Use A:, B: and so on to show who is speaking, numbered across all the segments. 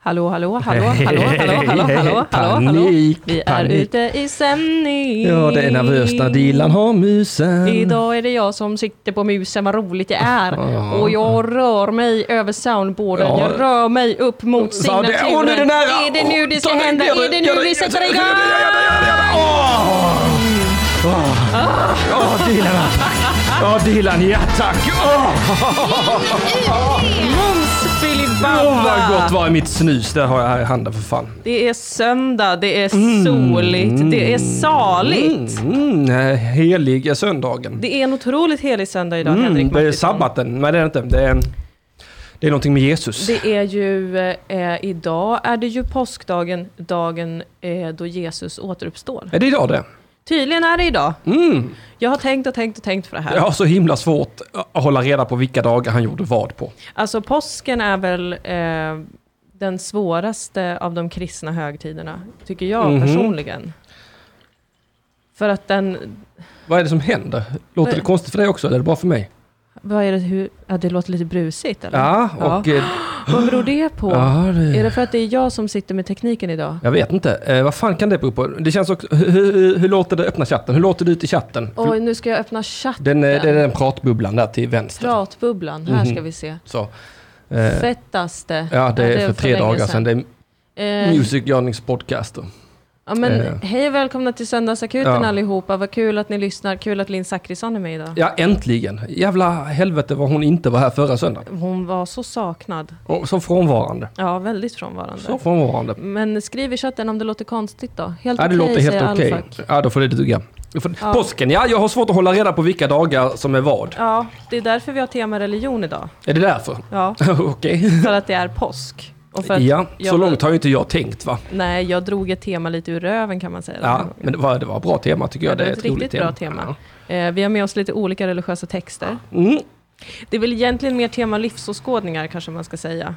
A: Hallå, hallå, hallå, hallå,
B: Hej,
A: hallå, hallå, hallå,
B: hej,
A: hallå, hallå,
B: panik,
A: Vi är
B: panik.
A: ute i sändning.
B: Ja, det är nervöst när Dilan har musen.
A: Idag är det jag som sitter på musen, vad roligt det är.
B: Ja.
A: Och jag rör mig över soundboarden,
B: Ja.
A: jag rör mig upp mot
B: Sa det-
A: signaturen.
B: Åh, nu är det nära!
A: Är det nu det ska
B: Ta ner
A: hända? Är det
B: gör
A: nu vi sätter
B: gör
A: igång?
B: gör det, gör det, gör det, gör det. Åh! Åh! Åh, Dilan! Ja, Dilan, ja tack! Åh,
A: Mums
B: Åh, vad gott
A: filibabba!
B: var i mitt snus. Det har jag här i handen för fan.
A: Det är söndag, det är Mm. soligt, det är saligt.
B: Mm, eh, heliga söndagen.
A: Det är en otroligt helig söndag idag,
B: Mm,
A: Henrik
B: det är
A: Mattisson.
B: sabbaten. Nej, det är det inte. Det är, det är någonting med Jesus.
A: Det är ju, eh, idag är det ju påskdagen, dagen eh, då Jesus återuppstår.
B: Är det idag det?
A: Tydligen är det idag.
B: Mm.
A: Jag har tänkt och tänkt och tänkt för det här.
B: Jag har så himla svårt att hålla reda på vilka dagar han gjorde vad på.
A: Alltså påsken är väl eh, den svåraste av de kristna högtiderna, tycker jag
B: Mhm.
A: personligen. För att den,
B: Vad är det som händer?
A: Eh.
B: Låter det konstigt för dig också, eller är det bara för mig?
A: vad är det, hur, ja, det låter lite brusigt eller?
B: Ja, och... eh,
A: Vad beror det på?
B: Ja,
A: Är
B: det...
A: det för att det är jag som sitter med tekniken idag?
B: Jag vet inte. Eh, vad fan kan det bero på? Det känns också... Hur, hur, hur låter det? Öppna chatten. Hur låter det ut i chatten?
A: Oj, nu ska jag öppna chatten.
B: Den, eh, det är den pratbubblan där till vänster.
A: Pratbubblan, här ska
B: Mhm.
A: vi se.
B: Så. Eh,
A: Fettaste.
B: ja, det är för tre
A: länge
B: dagar sedan. Det är
A: Eh,
B: Music Journings podcaster.
A: ja, men,
B: eh.
A: Hej och välkomna till Söndagsakuten
B: Ja.
A: allihopa. Vad kul att ni lyssnar. Kul att Linn Zachrisson är med idag.
B: Ja, äntligen. Jävla helvete vad hon inte var här förra söndagen.
A: Hon var så saknad.
B: Och så frånvarande.
A: Ja, väldigt frånvarande.
B: Så frånvarande.
A: Men skriv i chatten om det låter konstigt då. Helt
B: Ja, det
A: okej
B: låter helt
A: säger
B: okej.
A: Alfak.
B: Ja, då får det duga. Då får-
A: Ja.
B: Påsken, ja. Jag har svårt att hålla reda på vilka dagar som är vad.
A: Ja, det är därför vi har tema religion idag.
B: Är det därför?
A: Ja,
B: Okej.
A: för att det är påsk. Och för att
B: Ja,
A: jag,
B: så långt har ju inte jag tänkt va?
A: Nej, jag drog ett tema lite ur röven kan man säga. den här
B: Ja,
A: gången.
B: men det var, det var ett bra tema tycker
A: Ja,
B: jag.
A: det
B: Det
A: var
B: är
A: ett
B: ett roligt
A: riktigt bra tema. Eh, vi har med oss lite olika religiösa texter.
B: Ja. Mm.
A: Det är väl egentligen mer tema livsåskådningar kanske man ska säga.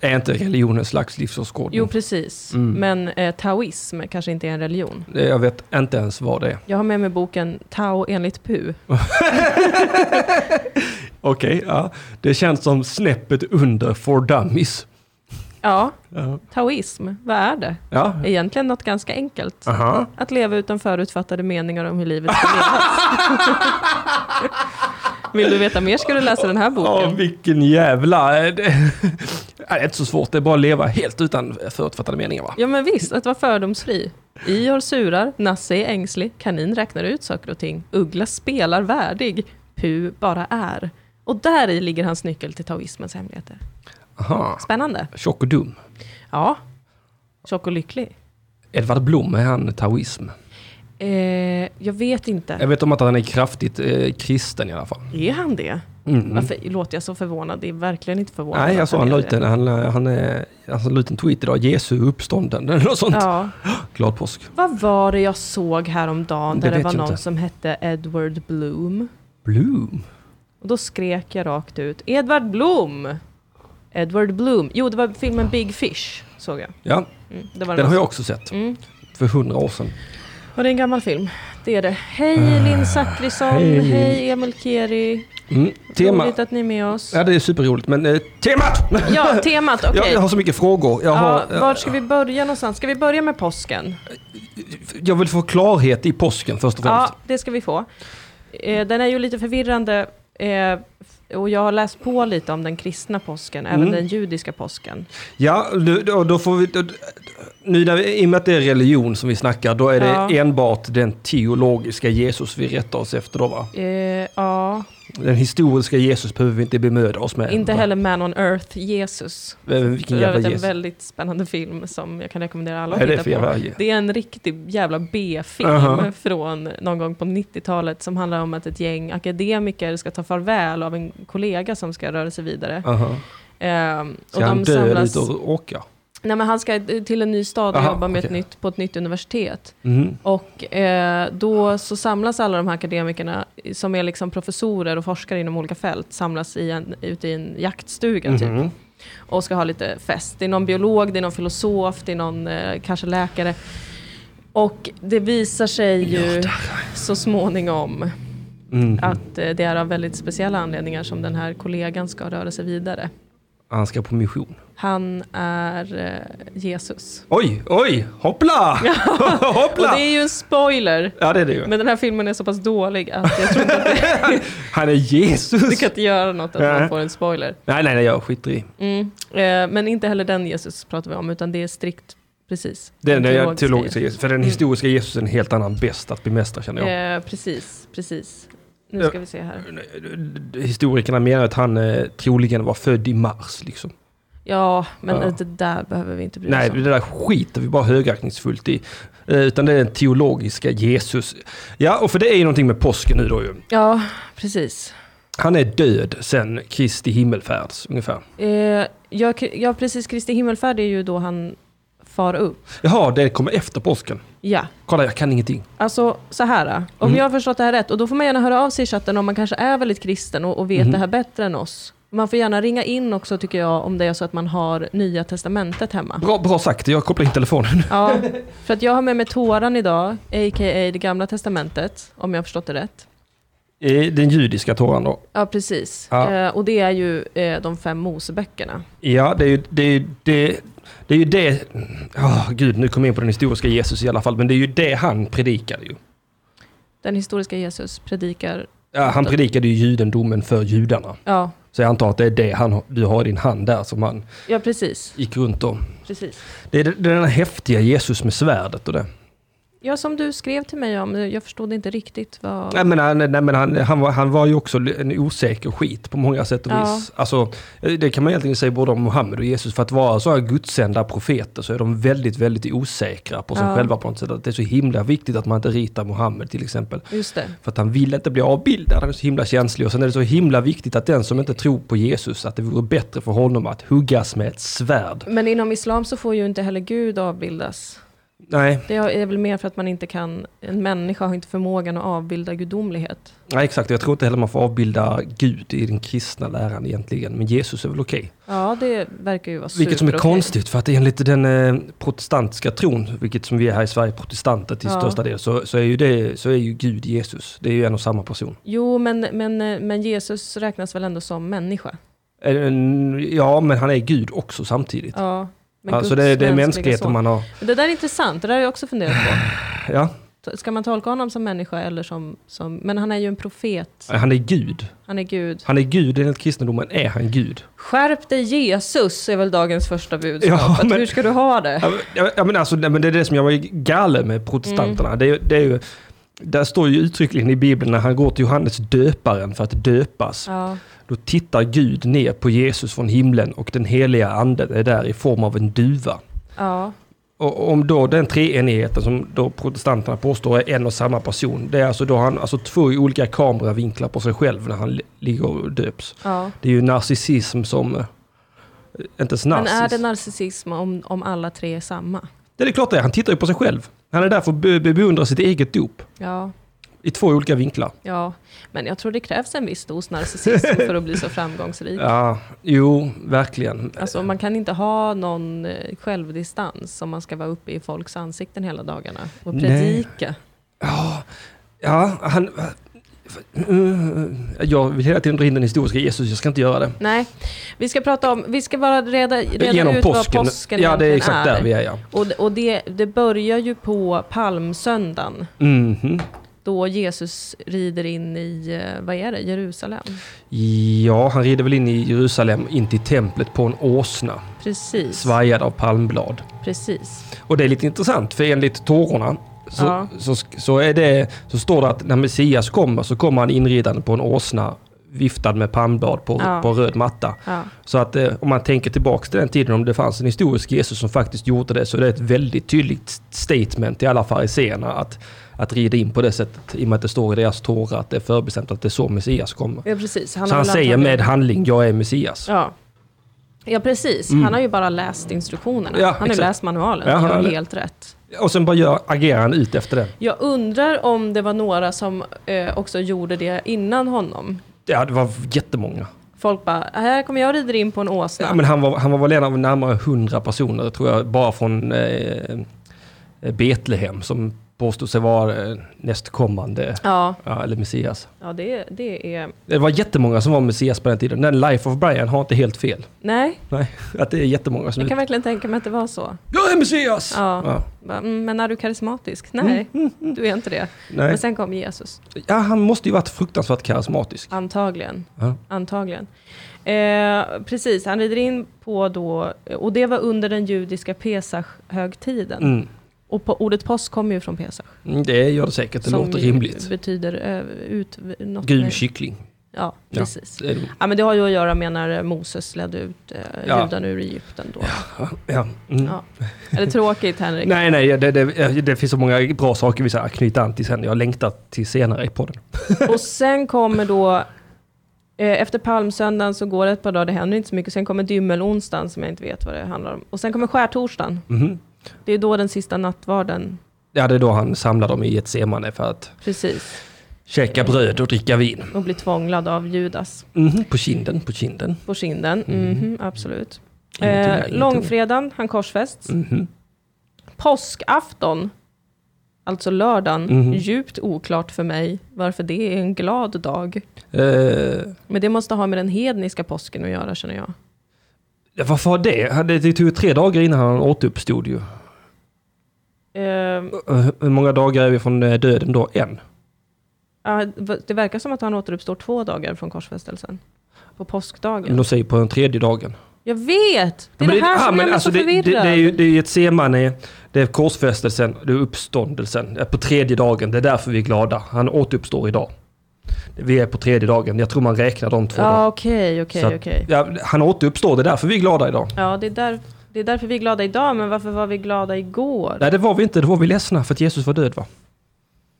B: Är inte religion en slags livsåskådning?
A: Jo, precis.
B: Mm.
A: Men eh, taoism kanske inte är en religion.
B: Det- Jag vet inte ens vad det är.
A: Jag har med mig boken Tao enligt Pu.
B: Okej, ja. Det känns som snäppet under for dummies.
A: Ja,
B: Ja.
A: taoism, vad är det?
B: Ja.
A: Egentligen något ganska enkelt.
B: Aha.
A: Att leva utan förutfattade meningar om hur livet ska levas. Vill du veta mer ska du läsa den här
B: Ja,
A: boken.
B: vilken jävla... Det det är inte så svårt, det är bara att leva helt utan förutfattade meningar va?
A: Ja men visst, att vara fördomsfri. Ior surar, Nasse är ängslig, Kanin räknar ut saker och ting, Uggla spelar värdig, Pu bara är. Och där i ligger hans nyckel till taoismens hemligheter.
B: Aha.
A: Spännande.
B: Tjock och dum.
A: Ja. Tjock och lycklig.
B: Edvard Blom, är han taoism?
A: Eh, jag vet inte.
B: Jag vet om att han är kraftigt eh, kristen i alla fall.
A: Är han det?
B: Eh. Mm.
A: Varför låter jag så förvånad? Det är verkligen inte förvånande.
B: Nej, jag
A: att
B: såg han
A: är
B: la ut
A: det.
B: en, han, eh, han, eh, alltså, la ut en tweet idag, Jesu uppstånden eller något sånt.
A: Ja.
B: Glad påsk.
A: Vad var det jag såg häromdagen där det,
B: Det vet
A: var
B: jag
A: någon
B: inte.
A: som hette Edward Bloom?
B: Bloom.
A: Och då skrek jag rakt ut, Edward Blom! Edward Bloom. Jo, det var filmen Big Fish, såg jag.
B: Ja,
A: Mm, det var
B: den har
A: jag.
B: jag också sett.
A: Mm.
B: För hundra år sedan.
A: Och det är en gammal film. Det är det. Hej Linn Zachrisson,
B: Ah, hej.
A: hej. Emil Keri.
B: Mm. Tema.
A: Roligt att ni är med oss.
B: Ja, det är superroligt, men eh, temat!
A: Ja, temat, okej.
B: Jag, jag har så mycket frågor. Jag, har, eh,
A: Ja, var ska vi börja någonstans? Ska vi börja med påsken?
B: jag vill få klarhet i påsken först och främst.
A: Ja, det ska vi få. Eh, Den är ju lite förvirrande eh, och jag har läst på lite om den kristna påsken, även
B: Mm.
A: den judiska påsken.
B: Ja, du- då, då får vi... Då, nu när vi, I och med att det är religion som vi snackar, då är det
A: Ja.
B: enbart den teologiska Jesus vi rättar oss efter då va?
A: Eh, ja,
B: Den historiska Jesus behöver vi inte bemöda oss med.
A: inte
B: va?
A: heller Man on Earth, Jesus.
B: Eh,
A: För
B: Vilken jävla
A: övrigt en
B: Jesus.
A: väldigt spännande film som jag kan rekommendera alla
B: Vad
A: att
B: är det
A: titta
B: för
A: på.
B: jävla Jesus?
A: Det är en riktig jävla B-film
B: Aha.
A: från någon gång på 90-talet som handlar om att ett gäng akademiker ska ta farväl av en kollega som ska röra sig vidare.
B: Aha.
A: Ehm,
B: Ska han dö eller ut och åka?
A: Nej, men han ska till en ny stad och
B: Aha,
A: jobba med ett
B: okej.
A: nytt, på ett nytt universitet.
B: Mhm.
A: Och eh, då så samlas alla de här akademikerna som är liksom professorer och forskare inom olika fält, samlas i en, ute i en jaktstuga typ,
B: Mhm.
A: och ska ha lite fest. Det är någon biolog, det är någon filosof, det är någon eh, kanske läkare. Och det visar sig ju så småningom
B: Mhm.
A: att eh, det är av väldigt speciella anledningar som den här kollegan ska röra sig vidare.
B: Han ska på mission.
A: Han är eh, Jesus.
B: Oj, oj, hoppla!
A: Och
B: hoppla!
A: det är ju en spoiler.
B: Ja, det är det ju.
A: Men den här filmen är så pass dålig att jag tror inte att det,
B: Han är Jesus!
A: det kan inte göra något att man
B: Nej.
A: får en spoiler.
B: Nej, nej, nej, jag skiter i.
A: Mm. Eh, men inte heller den Jesus pratar vi om, utan det är strikt precis.
B: Den är
A: teologiska Mm.
B: teologiska Jesus. För den historiska Jesus är en helt annan bäst att bemästra känner jag.
A: Eh, precis, precis. Nu ska vi se här. Eh.
B: Historikerna menar att han eh, troligen var född i Mars liksom.
A: Ja, men
B: Ja.
A: det där behöver vi inte bry
B: Nej,
A: oss
B: det
A: om.
B: där skiter vi bara högaktningsfullt i. Eh, Utan det är den teologiska Jesus. Ja, och för det är ju någonting med påsken nu då ju.
A: Ja, precis.
B: Han är död sen Kristi himmelfärds ungefär.
A: Eh, ja, k- ja, precis. Kristi himmelfärd är ju då han far upp.
B: Jaha, det kommer efter påsken.
A: Ja.
B: Kolla, jag kan ingenting.
A: Alltså så här, eh, om
B: Mm.
A: jag har förstått det här rätt, och då får man gärna höra av sig i chatten om man kanske är väldigt kristen och, och vet
B: Mhm.
A: det här bättre än oss. Man får gärna ringa in också tycker jag om det är så att man har Nya Testamentet hemma.
B: Bra, bra sagt, jag kopplar in telefonen.
A: Ja, för att jag har med mig Toran idag, a.k.a. det gamla testamentet, om jag har förstått det rätt.
B: Eh, Den judiska Toran då.
A: Ja, precis.
B: Ja.
A: Eh, och det är ju eh, de fem Moseböckerna.
B: Ja, det är ju det... Är, ju- det det är ju det, Åh, gud nu kom jag in på den historiska Jesus i alla fall, men det är ju det han predikade ju.
A: Den historiska Jesus predikar,
B: Ja, han predikade ju judendomen för judarna.
A: ja,
B: Så jag antar att det är det han, du har i din hand där som han
A: ja precis.
B: gick runt om.
A: precis.
B: Det är den den här häftiga Jesus med svärdet och det.
A: Ja, som du skrev till mig om, jag förstod inte riktigt vad...
B: Nej men, han, nej, men han, han, var, han var ju också en osäker skit på många sätt och
A: Ja.
B: vis. Alltså, det kan man egentligen säga både om Mohammed och Jesus. För att vara så här gudssända profeter så är de väldigt, väldigt osäkra på sig
A: Ja.
B: själva på något sätt. Att det är så himla viktigt att man inte ritar Mohammed till exempel.
A: Just det.
B: För att han vill inte bli avbildad, han är så himla känslig. Och sen är det så himla viktigt att den som inte tror på Jesus, att det vore bättre för honom att huggas med ett svärd.
A: Men inom islam så får ju inte heller Gud avbildas.
B: Nej,
A: Det är väl mer för att man inte kan, en människa har inte förmågan att avbilda gudomlighet.
B: nej exakt. Jag tror inte heller man får avbilda Gud i den kristna läran egentligen. Men Jesus är väl okej.
A: Ja, det verkar ju vara
B: Vilket som är
A: superokej.
B: konstigt för att enligt den eh, protestantiska tron, vilket som vi är här i Sverige protestanter till
A: Ja.
B: största del, så, så, är ju det, så är ju Gud Jesus. Det är ju en och samma person.
A: Jo, men, men, eh, men Jesus räknas väl ändå som människa?
B: En- Eh, Ja, men han är Gud också samtidigt.
A: Ja. Men
B: alltså
A: Guds
B: det, det är
A: mänskliga
B: mänskligheten
A: son.
B: man har.
A: Men Det där är intressant, det där har jag också funderat på.
B: Ja,
A: T- Ska man tolka honom som människa eller som... som men han är ju en profet,
B: han är Gud.
A: han är Gud.
B: Han är Gud, enligt kristendomen är han Gud.
A: Skärp dig Jesus är väl dagens första budskap.
B: Ja,
A: Att
B: men-
A: Hur ska du ha det?
B: Ja, men- ja, ja, men alltså, nej, men det är det som jag var galen med protestanterna.
A: Mm.
B: Det, är- det är ju, där står ju uttryckligen i Bibeln när han går till Johannes döparen för att döpas.
A: Ja,
B: Då tittar Gud ner på Jesus från himlen och den heliga anden är där i form av en duva.
A: ja,
B: Och om då den treenigheten som då protestanterna påstår är en och samma person, det är alltså då han, alltså två olika kameravinklar på sig själv när han li- ligger och döps.
A: ja.
B: Det är ju narcissism som, eh, inte ens
A: Men är
B: narciss.
A: det narcissism om, om alla tre är samma?
B: Det är klart det är, han tittar ju på sig själv. Han är där för att be- be- beundra sitt eget dop
A: Ja,
B: i två olika vinklar.
A: ja. Men jag tror det krävs en viss dos narcissism för att bli så framgångsrik.
B: Ja, jo, verkligen.
A: Alltså man kan inte ha någon eh, självdistans om man ska vara uppe i folks ansikten hela dagarna och
B: Nej.
A: predika.
B: Ja, ja han... Mm, Jag vill hela tiden dra in den historiska Jesus, jag ska inte göra det.
A: Nej. vi ska prata om, vi ska bara reda, reda ut vad påsken
B: Ja, det är
A: egentligen
B: exakt där vi är ja.
A: Och, och det, det börjar ju på palmsöndagen
B: Mhm.
A: då Jesus rider in i, eh, vad är det, Jerusalem?
B: Ja, han rider väl in i Jerusalem, in till templet på en åsna,
A: Precis.
B: svajad av palmblad.
A: Precis.
B: Och det är lite intressant, för enligt tårorna så,
A: Ja.
B: så, sk- så, är det, så står det att när Messias kommer så kommer han inridande på en åsna viftad med palmblad på,
A: Ja.
B: på röd matta.
A: Ja.
B: Så att eh, om man tänker tillbaka till den tiden, om det fanns en historisk Jesus som faktiskt gjorde det, så är det ett väldigt tydligt statement till alla fariséerna att, att rida in på det sättet, i och med att det står i deras tårar att det är förbestämt att det är så Messias kommer.
A: ja, precis.
B: så
A: har
B: han
A: väl
B: säger
A: antagligen-
B: med handling, jag är Messias.
A: Ja. Ja precis, han har ju bara läst instruktionerna.
B: Mm. Ja,
A: han har ju
B: exakt.
A: läst manualen,
B: Ja,
A: han
B: han
A: gör
B: har det.
A: helt rätt.
B: Och sen bara gör, agerar han ut efter det.
A: Jag undrar om det var några som eh, också gjorde det innan honom.
B: Ja, det var jättemånga.
A: Folk bara, här kommer jag och rider in på en åsna.
B: Ja, men han, var, han var väl en av närmare hundra personer, tror jag, bara från eh, Betlehem som påstod sig vara eh, nästkommande,
A: Ja,
B: ja, eller Messias.
A: ja det, det är...
B: Det var jättemånga som var Messias på den tiden. Den Life of Brian har inte helt fel.
A: Nej,
B: Nej, att det är jättemånga som...
A: jag kan verkligen tänka mig att det var så.
B: Jag är Messias!
A: Ja.
B: Ja, Mm.
A: Va, mm, Men är du karismatisk? Nej, du är inte det.
B: nej.
A: Men sen kom Jesus,
B: ja, han måste ju varit fruktansvärt karismatisk.
A: antagligen.
B: Ja.
A: Antagligen. Eh, precis, han rider in på då, och det var under den judiska Pesach-högtiden.
B: Mm.
A: Och på, ordet påsk kommer ju från Pesach.
B: Mm, Det gör det säkert, det
A: som
B: låter
A: ju
B: rimligt.
A: betyder eh, ut... Något
B: Gul kyckling.
A: Ja,
B: Ja.
A: precis.
B: Det är det.
A: Ja, men det har ju att göra med när Moses ledde ut eh,
B: Ja.
A: judarna ur Egypten då.
B: Ja. Mm.
A: Ja. Är det tråkigt Henrik?
B: Nej, nej, det, det, det finns så många bra saker vi ska knyta an till sen. Jag längtar till senare i podden.
A: Och sen kommer då, eh, efter palmsöndagen så går det ett par dagar, det händer inte så mycket. Sen kommer dymmelonsdagen som jag inte vet vad det handlar om. Och sen kommer skärtorsdagen.
B: Mhm.
A: Det är då den sista nattvarden.
B: Ja, det är då han samlar dem i ett semane för att
A: Precis.
B: käka bröd och dricka vin.
A: Och blir tvånglad av Judas
B: Mhm, På kinden, på kinden.
A: på kinden.
B: Mm-hmm.
A: Mhm, absolut.
B: Ingenting där,
A: Eh,
B: ingenting.
A: långfredagen, han korsfästs.
B: Mhm.
A: Påskafton, alltså lördagen,
B: Mhm.
A: djupt oklart för mig varför det är en glad dag.
B: Eh,
A: Men det måste ha med den hedniska påsken att göra känner jag.
B: ja, varför har det? Han- Det tog ju tre dagar innan han återuppstod ju.
A: Eh,
B: Eh, Hur många dagar är vi från eh, döden då? En?
A: ja, v- det verkar som att han återuppstår två dagar från korsfästelsen. På påskdagen.
B: De säger på den tredje dagen.
A: Jag vet! Det är det här
B: ah,
A: som gör mig så
B: det, det,
A: förvirrad.
B: det är ju det är ju ett semane, det är korsfästelsen, det är uppståndelsen. Eh, På tredje dagen, det är därför vi är glada. Han återuppstår idag. Vi är på tredje dagen, jag tror man räknar de två.
A: Ja, Ah, okej,
B: Så att-
A: okej, okej.
B: Ja, han återuppstår, det är därför vi är glada idag.
A: Ja, det är, där, det är därför vi är glada idag, men varför var vi glada igår?
B: Nej, det var vi inte, det var vi ledsna för att Jesus var död va?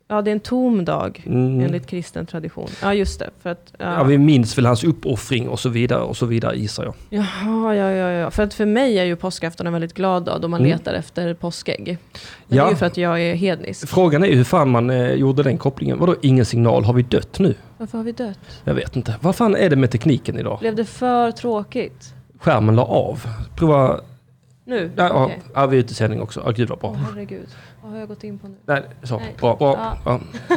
A: Ja, det är en tom dag,
B: Mm.
A: enligt kristen tradition. Ja, just det. För att, ja.
B: Ja, vi minns väl hans uppoffring och så vidare och så vidare gissar jag.
A: Jaha, ja, ja, ja. För att för mig är ju påskafton en väldigt glad dag, då man
B: Mm.
A: letar efter påskägg. Men det är
B: Ja.
A: ju för att jag är hednisk.
B: Frågan är ju hur fan man eh, gjorde den kopplingen. Vadå ingen signal? Har vi dött nu?
A: Varför har vi dött?
B: Jag vet inte. Vad fan är det med tekniken idag?
A: Blev det för tråkigt?
B: Skärmen la av. Prova...
A: Nu?
B: Ja, ja,
A: Okej.
B: ja, vi är ute i sändning också. Ja, gud vad
A: Åh,
B: bra.
A: herregud, vad har jag gått in på nu?
B: Nej, så.
A: Nej.
B: Bra, bra.
A: Ja.
B: Ja.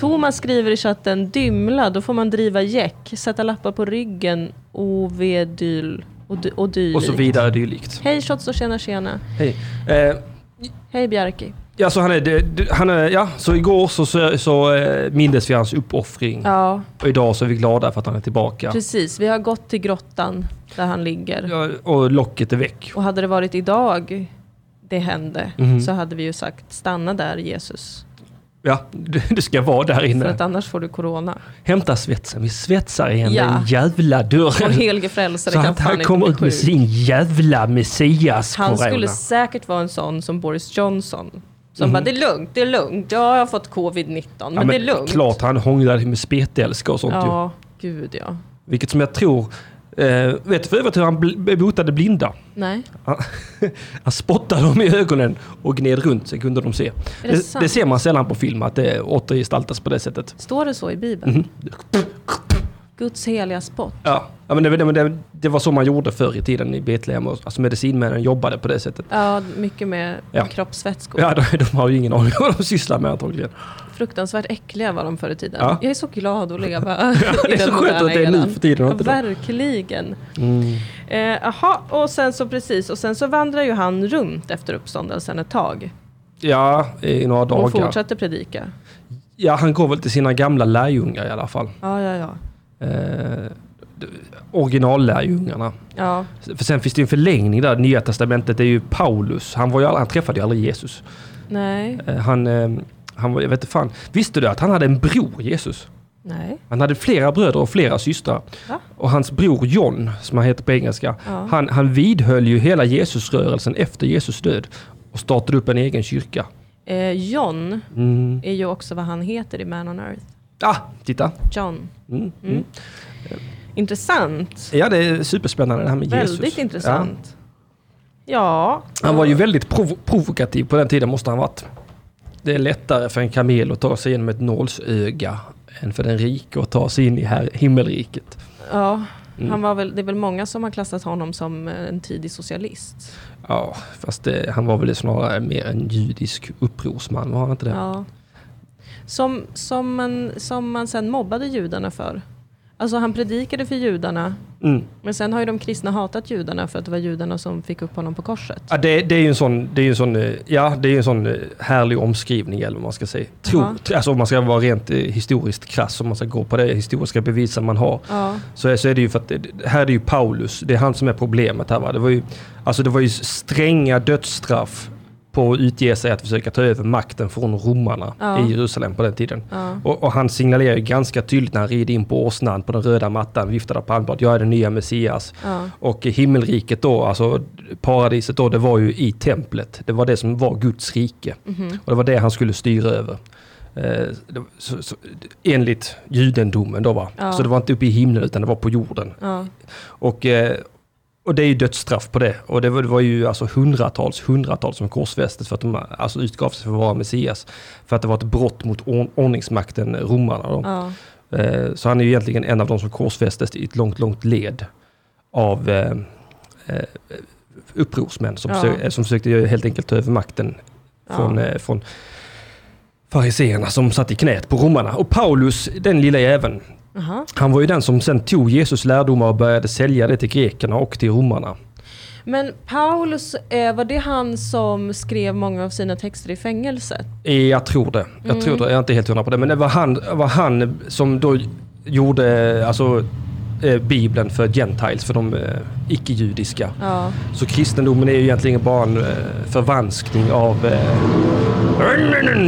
A: Thomas skriver i chatten, dymla, då får man driva gäck, sätta lappar på ryggen, ov, dyl och, dy- och dylikt.
B: Och så vidare dylikt.
A: Hej Shots och tjena tjena.
B: Hej. Eh,
A: Hej Bjarki.
B: ja, så han är, det- det- han är... Ja, så igår så, så, så eh, mindes vi hans uppoffring.
A: Ja,
B: Och idag så är vi glada för att han är tillbaka.
A: precis. Vi har gått till grottan där han ligger.
B: Ja, och locket är väck.
A: Och hade det varit idag det hände
B: Mhm.
A: så hade vi ju sagt stanna där Jesus.
B: Ja, du, du ska vara där
A: För
B: inne.
A: att annars får du corona.
B: Hämta svetsen. Vi svetsar igen
A: Ja.
B: den jävla
A: Och
B: dörren.
A: Helge Frälsare
B: Så
A: kan
B: att
A: fan
B: han
A: inte
B: kommer
A: bli
B: ut med
A: sjuk.
B: sin jävla messias
A: Han skulle
B: corona.
A: säkert vara en sån som Boris Johnson. Som bara det är lugnt, det är lugnt. Ja, jag har fått covid-19 men,
B: Mhm. Ja,
A: det är lugnt.
B: Klart han hånglade med spetälska och sånt ju.
A: Ja, gud ja.
B: Vilket som jag tror... Eh, vet du för övrigt hur han bl- botade blinda?
A: Nej,
B: Han spottade dem i ögonen och gned runt så kunde de se.
A: är det,
B: Det,
A: sant?
B: det ser man sällan på film, att det återgestaltas på det sättet.
A: Står det så i Bibeln?
B: Mhm.
A: Guds heliga spott.
B: Ja, ja men det, det, men det, det var så man gjorde förr i tiden i Betlehem. och- Alltså medicinmännen jobbade på det sättet.
A: Ja, mycket med
B: Ja.
A: kroppsvätskor.
B: Ja, de, de har ju ingen aning om vad de sysslar med antagligen.
A: Fruktansvärt äckliga var de förr i tiden.
B: Ja.
A: Jag är så glad att leva
B: Det
A: i
B: är så
A: den
B: skönt
A: moderna
B: att det är
A: eran.
B: nu för tiden. och
A: Ja,
B: inte då.
A: verkligen.
B: Mm.
A: Eh, aha, och sen så precis, och sen så vandrar ju han runt efter uppståndelsen ett tag.
B: Ja, i några
A: Och
B: dagar.
A: fortsätter predika.
B: Ja, han går väl till sina gamla lärjungar i alla fall.
A: Ja, ja, ja.
B: Eh, d- originallärjungarna.
A: Ja,
B: För sen finns det ju en förlängning där. Nya testamentet är ju Paulus. Han, var ju, all- han träffade ju aldrig Jesus.
A: nej,
B: Eh, han, eh, han var, jag vet inte fan. Visste du att han hade en bror, Jesus?
A: nej.
B: Han hade flera bröder och flera systrar.
A: Va?
B: Och hans bror John, som han heter på engelska,
A: Ja.
B: han, han vidhöll ju hela Jesusrörelsen efter Jesus död och startade upp en egen kyrka.
A: Eh, John
B: Mm.
A: är ju också vad han heter i Man on Earth.
B: Ah, titta!
A: John.
B: Mm.
A: Mm.
B: Mm.
A: Intressant.
B: Ja, det är superspännande det här med Jesus.
A: Väldigt intressant. Ja.
B: Ja. Han var ju väldigt prov- provokativ på den tiden, måste han varit. Det är lättare för en kamel att ta sig genom ett nålsöga än för den rike att ta sig in i här himmelriket.
A: Ja,
B: Mm.
A: Han var väl, det är väl många som har klassat honom som en tidig socialist.
B: Ja, fast det, han var väl snarare mer en judisk upprorsman, var han inte det?
A: Ja. Som, som, man, som man sen mobbade judarna för. Alltså han predikade för judarna,
B: Mm.
A: men sen har ju de kristna hatat judarna för att det var judarna som fick upp honom på korset.
B: Ja, det, det är ju en sån, det är ju en sån, eh, ja, det är ju en sån eh, härlig omskrivning eller vad man ska säga. Tro,
A: Ja.
B: t- Alltså om man ska vara rent eh, historiskt krass, om man ska gå på det historiska bevisen man har.
A: Ja,
B: Så är, så är det ju för att, det- det- här är det ju Paulus, det är han som är problemet här va. Det var ju, alltså det var ju stränga dödsstraff på att utge sig att försöka ta över makten från romarna
A: Ja.
B: i Jerusalem på den tiden.
A: ja,
B: Och, och han signalerar ju ganska tydligt när han rider in på åsnan på den röda mattan, viftar där på palmbladet, jag är den nya Messias.
A: ja,
B: Och himmelriket då, alltså paradiset då, det var ju i templet. Det var det som var Guds rike.
A: mhm,
B: Och det var det han skulle styra över. Eh, det, så, så, enligt judendomen då va.
A: Ja.
B: Så det var inte uppe i himlen utan det var på jorden.
A: ja,
B: Och, eh, och det är ju dödsstraff på det. Och det var, det var ju alltså hundratals, hundratals som korsfästes för att de alltså, utgav sig för att vara Messias. För att det var ett brott mot or- ordningsmakten, romarna. Då.
A: ja,
B: Eh, Så han är ju egentligen en av de som korsfästes i ett långt, långt led av eh, eh, upprorsmän som,
A: Ja.
B: försö- eh, som försökte ju helt enkelt ta över makten från,
A: ja,
B: eh, från fariseerna som satt i knät på romarna. Och Paulus, den lilla jäveln,
A: Aha.
B: han var ju den som sen tog Jesus lärdomar och började sälja det till grekerna och till romarna.
A: Men Paulus, eh, var det han som skrev många av sina texter i fängelset?
B: Eh, Jag tror det. Jag
A: Mm.
B: tror det. Jag är inte helt hundra på det. Men det var han, var han som då gjorde eh, alltså, eh, Bibeln för gentiles, för de eh, icke-judiska.
A: Ja,
B: Så kristendomen är ju egentligen bara en eh, förvanskning av... Eh,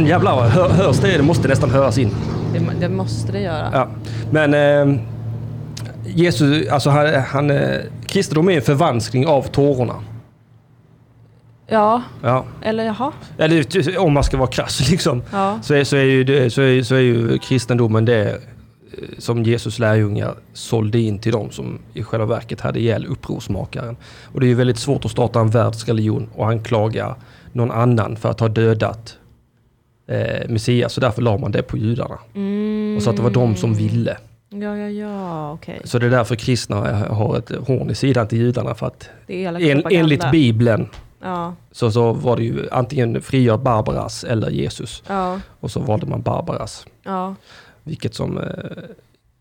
B: jävlar, hör, hörs det? Det måste nästan höras in.
A: det, det måste det göra.
B: Ja. Men eh, Jesus, alltså han, han, eh, kristendom är en förvanskning av tårorna.
A: Ja,
B: Ja.
A: eller jaha.
B: Eller t- om man ska vara krass liksom.
A: Ja,
B: Så är, så, är ju, det- så, är, så är ju kristendomen det eh, som Jesus lärjungar sålde in till de som i själva verket hade ihjäl upprorsmakaren. Och det är ju väldigt svårt att starta en världsreligion och anklaga någon annan för att ha dödat eh, Messias. Så därför la man det på judarna.
A: mm.
B: Och så att det var de som ville.
A: Ja, ja, ja, okej.
B: Så det är därför kristna har ett horn i sidan till judarna. För att
A: Det är elak
B: en,
A: propaganda.
B: enligt Bibeln
A: Ja,
B: så, så var det ju antingen frigör Barbaras eller Jesus.
A: ja,
B: Och så valde man Barbaras.
A: ja,
B: Vilket som eh,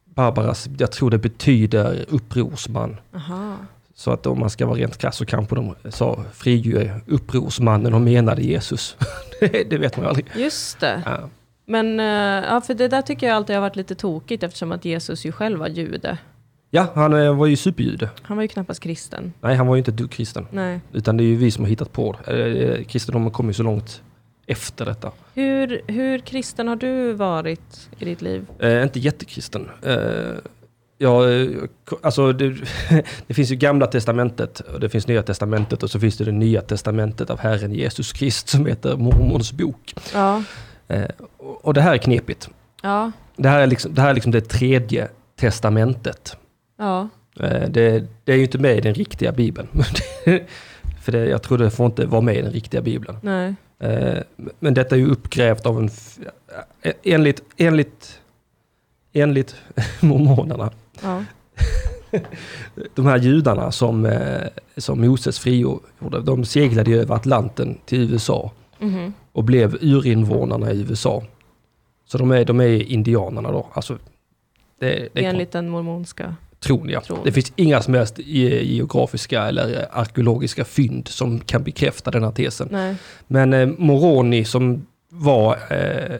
B: Barbaras, jag tror det betyder upprorsman.
A: aha.
B: Så att om man ska vara rent krass så kanske de sa frigör upprorsmannen och menade Jesus. det, det vet man ju aldrig.
A: Just det.
B: Ja.
A: Men eh, ja, för det där tycker jag alltid har varit lite tokigt eftersom att Jesus ju själv var jude.
B: Ja, han eh, var ju superjude.
A: Han var ju knappast kristen.
B: Nej, han var ju inte du kristen.
A: Nej.
B: Utan det är ju vi som har hittat på det. Eh, Kristendomen kom ju så långt efter detta.
A: Hur, hur kristen har du varit i ditt liv?
B: Eh, inte jättekristen. Eh, ja, eh, ko- alltså det, det finns ju gamla testamentet och det finns nya testamentet och så finns det det nya testamentet av Herren Jesus Krist som heter Mormons bok.
A: Ja,
B: Eh, och, och det här är knepigt.
A: ja,
B: Det här är liksom det, här är liksom det tredje testamentet.
A: ja,
B: Eh, det, det är ju inte med i den riktiga bibeln. För det, jag tror det får inte vara med i den riktiga bibeln.
A: nej.
B: Eh, Men detta är ju uppgrävt av en... f- eh, Enligt, enligt, enligt mormonerna,
A: Ja,
B: de här judarna som, eh, som Moses frigjorde, de seglade ju över Atlanten till USA
A: mhm,
B: och blev urinvånarna i USA. Så de är, de är indianerna då. Alltså, det, det är
A: enligt den mormonska.
B: tron, ja.
A: tron.
B: Det finns inga som helst ge- geografiska eller eh, arkeologiska fynd som kan bekräfta den här tesen.
A: Nej,
B: Men eh, Moroni som var eh,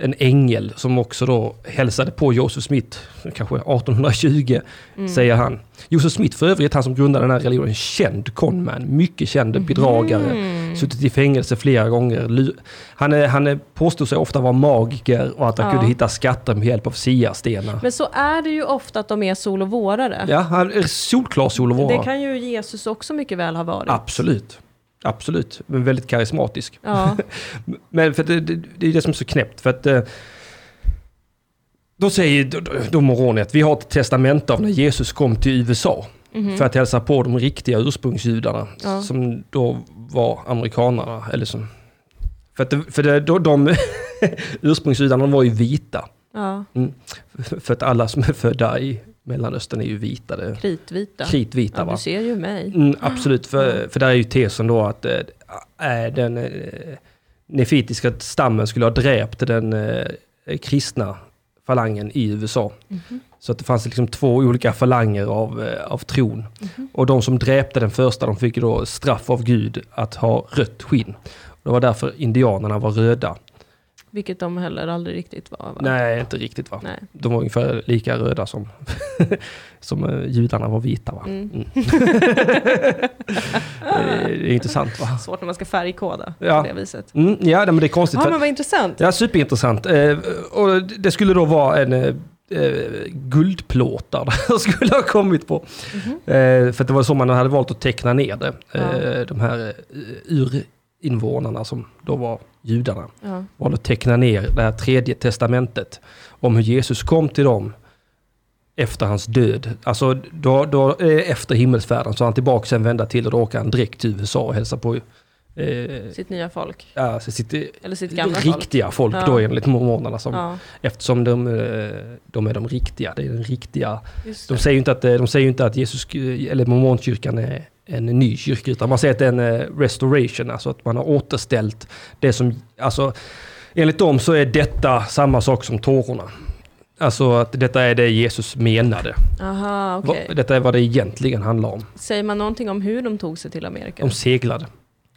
B: en ängel som också då hälsade på Joseph Smith, kanske 1820,
A: Mm.
B: säger han. Joseph Smith för övrigt, han som grundade den här religionen, känd conman, mycket känd bedragare.
A: Mhm.
B: Suttit i fängelse flera gånger. Lu- Han, eh, han eh, påstod sig ofta vara magiker och att han
A: Ja.
B: kunde hitta skatter med hjälp av siastenar.
A: Men så är det ju ofta att de är sol och vårare.
B: Ja, han är solklar
A: Det
B: solovara.
A: kan ju Jesus också mycket väl ha varit.
B: Absolut. Absolut, men väldigt karismatisk.
A: Ja,
B: Men för det, det, det är det som är så knäppt. För att, eh, då säger då- då- då Moroni att vi har ett testamente av när Jesus kom till USA
A: mhm,
B: för att hälsa på de riktiga ursprungsjudarna
A: Ja.
B: som då var amerikanerna. Eller som, för att, det- för det, då, de ursprungsjudarna var ju vita.
A: ja,
B: För att alla som är födda i Mellanöstern är ju vita, det,
A: Kritvita.
B: kritvita.
A: ja,
B: va?
A: du ser ju mig.
B: Mm, absolut, för, för där är ju tesen då att eh, äh, den eh, nefitiska stammen skulle ha dräpt den eh, kristna falangen i USA.
A: Mhm.
B: Så att det fanns liksom två olika falanger av, eh, av tron.
A: Mhm.
B: Och de som dräpte den första, de fick ju då straff av Gud att ha rött skinn. Och det var därför indianerna var röda.
A: Vilket de heller aldrig riktigt var. Va?
B: Nej, inte riktigt va?
A: Nej.
B: De var ungefär lika röda som, som eh, judarna var vita va?
A: Mm.
B: Mm. det är intressant va?
A: Svårt när man ska färgkoda
B: Ja.
A: på det viset.
B: Mm, ja, nej, men det är konstigt.
A: Ja,
B: för-
A: men vad intressant.
B: Ja, superintressant. Eh, och det skulle då vara en eh, eh, guldplåtar det skulle ha kommit på.
A: Mhm.
B: Eh, för att det var så man hade valt att teckna ner det. Eh, de här eh, urinvånarna som då var judarna
A: Ja.
B: valde att teckna ner det här tredje testamentet om hur Jesus kom till dem efter hans död. Alltså då, då, eh, efter himmelsfärden så är han tillbaka en vända till och då åker han direkt till USA och hälsar på eh,
A: Sitt nya folk.
B: ja, sitt eh,
A: Eller sitt gamla folk.
B: riktiga folk,
A: Ja.
B: då enligt mormonerna. Som,
A: Ja,
B: Eftersom de, eh, de är de riktiga. Det är den riktiga.
A: just
B: De
A: det.
B: säger ju inte att, eh, de säger ju inte att Jesus, eh, eller mormonkyrkan är en ny kyrka, utan man säger att det är en eh, restoration, alltså att man har återställt det som, alltså enligt dem så är detta samma sak som tårorna. Alltså att detta är det Jesus menade.
A: Aha,
B: Va-
A: okej.
B: Detta är vad det egentligen handlar om.
A: Säger man någonting om hur de tog sig till Amerika?
B: De seglade.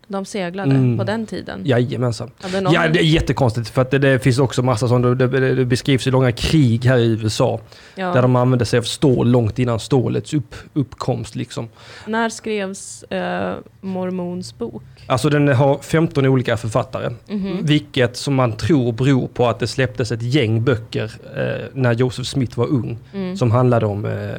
A: De seglade
B: Mm.
A: på den tiden.
B: Jajamensan.
A: Hade någon...
B: Ja, det är jättekonstigt för att det, det finns också massa sånt. Det, det, det beskrivs ju långa krig här i USA.
A: Ja.
B: Där de använde sig av stål långt innan stålets upp, uppkomst. Liksom.
A: När skrevs eh, Mormons bok?
B: Alltså den har 15 olika författare.
A: Mhm.
B: Vilket som man tror beror på att det släpptes ett gäng böcker eh, när Joseph Smith var ung.
A: Mm.
B: Som handlade om eh,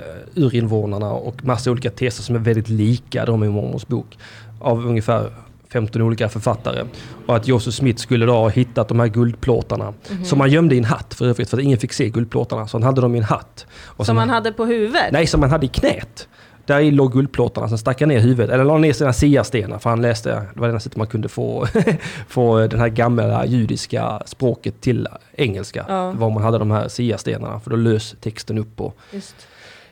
B: urinvånarna och massa olika teser som är väldigt lika de i Mormons bok. Av ungefär 15 olika författare. Och att Joseph Smith skulle då ha hittat de här guldplåtarna.
A: Mhm.
B: Som man gömde i en hatt för övrigt, för att ingen fick se guldplåtarna. Så han hade dem i en hatt. Och
A: Som
B: sen-
A: man hade på huvudet?
B: Nej, som han hade i knät. Där i låg guldplåtarna, sen stack han ner huvudet, eller la ner sina siastenar, för han läste, det var det enda sättet man kunde få, få den här gamla judiska språket till engelska.
A: Ja.
B: Det var om man hade de här siastenarna, för då lös texten upp på
A: Just.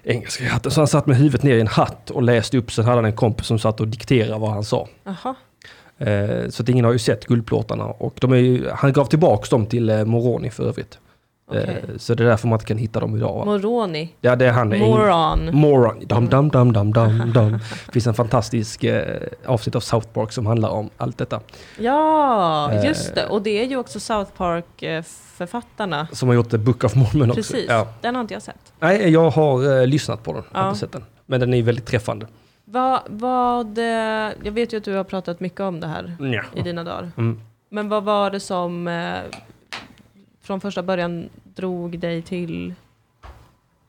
B: engelska i hatten. Så han satt med huvudet ner i en hatt och läste upp, sen hade han en kompis som satt och dikterade vad han sa.
A: Aha.
B: Eh, Så att ingen har ju sett guldplåtarna. Och de är ju, han gav tillbaks dem till eh, Moroni för övrigt. Eh,
A: Okej.
B: Så det är därför man inte kan hitta dem idag. Va?
A: Moroni.
B: Ja, det är han. Eng-
A: Moron.
B: Moron. Dam, dam, dam, dam, dam, dam. Det finns en fantastisk eh, avsnitt av South Park som handlar om allt detta.
A: Ja,
B: Eh.
A: just det. Och det är ju också South Park-författarna.
B: Som har gjort The Book of Mormon också.
A: Precis.
B: Ja.
A: Den har inte jag sett.
B: Nej, jag har eh, lyssnat på den. Jag har
A: Ja.
B: inte sett den. Men den är väldigt träffande.
A: Vad, vad, eh, jag vet ju att du har pratat mycket om det här
B: Nja.
A: i dina dagar.
B: Mm.
A: Men vad var det som eh, från första början drog dig till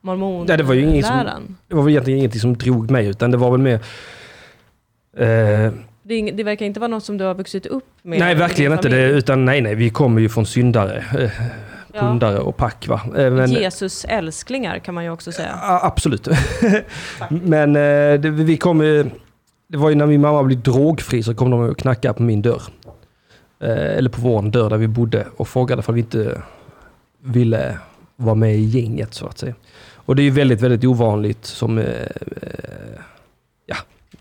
A: mormonläran?
B: Nej, det var ju ingen som- Det var väl egentligen ingenting som drog mig, utan det var väl mer... Eh,
A: Det, är ing- det verkar inte vara något som du har vuxit upp med?
B: nej,
A: i din
B: verkligen inte. Det,
A: familj.
B: utan nej, nej, vi kommer ju från syndare, eh,
A: Ja.
B: pundare och pack va. Eh, men-
A: Jesus älsklingar kan man ju också säga.
B: Ja, absolut. Men eh, det, vi kom, eh, det var ju när min mamma blev drogfri så kom de och knackade på min dörr. Eh, Eller på vår dörr där vi bodde och frågade om vi inte ville vara med i gänget så att säga. Och det är ju väldigt, väldigt ovanligt som eh, eh, ja,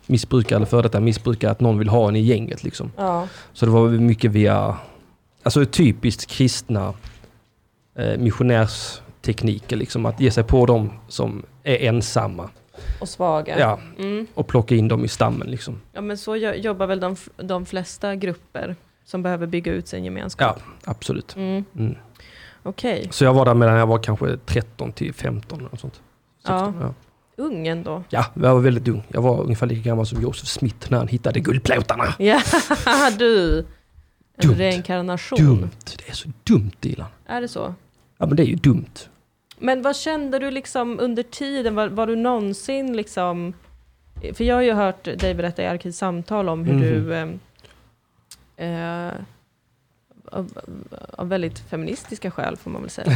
B: missbrukare eller före detta missbrukare att någon vill ha en i gänget liksom.
A: Ja.
B: Så det var väl mycket via, alltså typiskt kristna eh, missionärstekniker, liksom att ge sig på dem som är ensamma.
A: Och svaga.
B: Ja,
A: Mm.
B: och plocka in dem i stammen liksom.
A: ja, men så jo- jobbar väl de, f- de flesta grupper som behöver bygga ut sin gemenskap.
B: Ja, absolut.
A: Mm.
B: Mm.
A: Okej,
B: Så jag var där medan jag var kanske 13 till 15 och sånt. 16,
A: Ja.
B: ja.
A: ung ändå.
B: ja, jag var väldigt ung. Jag var ungefär lika gammal som Josef Smith när han hittade guldplåtarna.
A: Ja, du. En
B: Dumt.
A: reinkarnation.
B: Dumt, det är så dumt Dilan.
A: Är det så?
B: Ja men det är ju dumt.
A: Men vad kände du liksom under tiden? Var, var du någonsin liksom... För jag har ju hört dig berätta i Arkivsamtal om hur
B: Mhm.
A: du... eh, Eh, av, av väldigt feministiska skäl får man väl säga.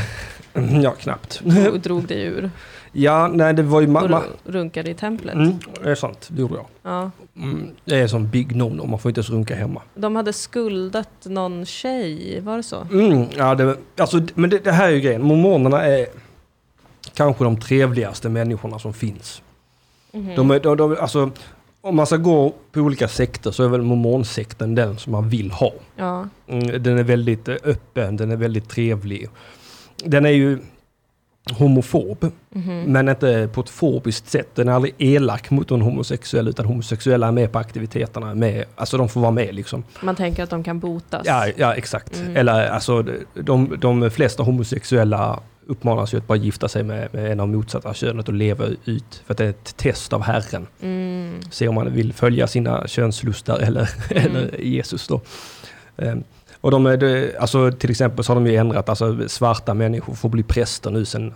B: Mm, Ja, knappt.
A: Och drog dig ur
B: Ja, nej det var ju
A: och
B: mamma.
A: ru- runkade i templet.
B: Mm, det är sant, det gjorde jag.
A: Ja.
B: Mm, det är som big no-no, man får inte ens runka hemma.
A: De hade skuldat någon tjej, var det så?
B: Mm, ja, det, alltså, men det, det här är ju grejen, mormonerna är... kanske de trevligaste människorna som finns. De är, de, de, alltså, om man ska gå på olika sekter så är väl mormonsekten den som man vill ha.
A: Ja.
B: Mm, Den är väldigt eh, öppen, den är väldigt trevlig. Den är ju homofob,
A: Mhm.
B: men inte på ett fobiskt sätt. Den är aldrig elak mot en homosexuell, utan homosexuella är med på aktiviteterna. är Med, alltså de får vara med liksom.
A: Man tänker att de kan botas.
B: Ja, ja exakt.
A: Mm.
B: Eller alltså, de, de flesta homosexuella uppmanas ju att bara gifta sig med, med en av motsatta könet och leva ut. För att det är ett test av Herren.
A: Mm.
B: Se om man vill följa sina könslustar eller, eller Jesus då. Ehm, Och de är, det- alltså, till exempel så har de ju ändrat, alltså svarta människor får bli präster nu sedan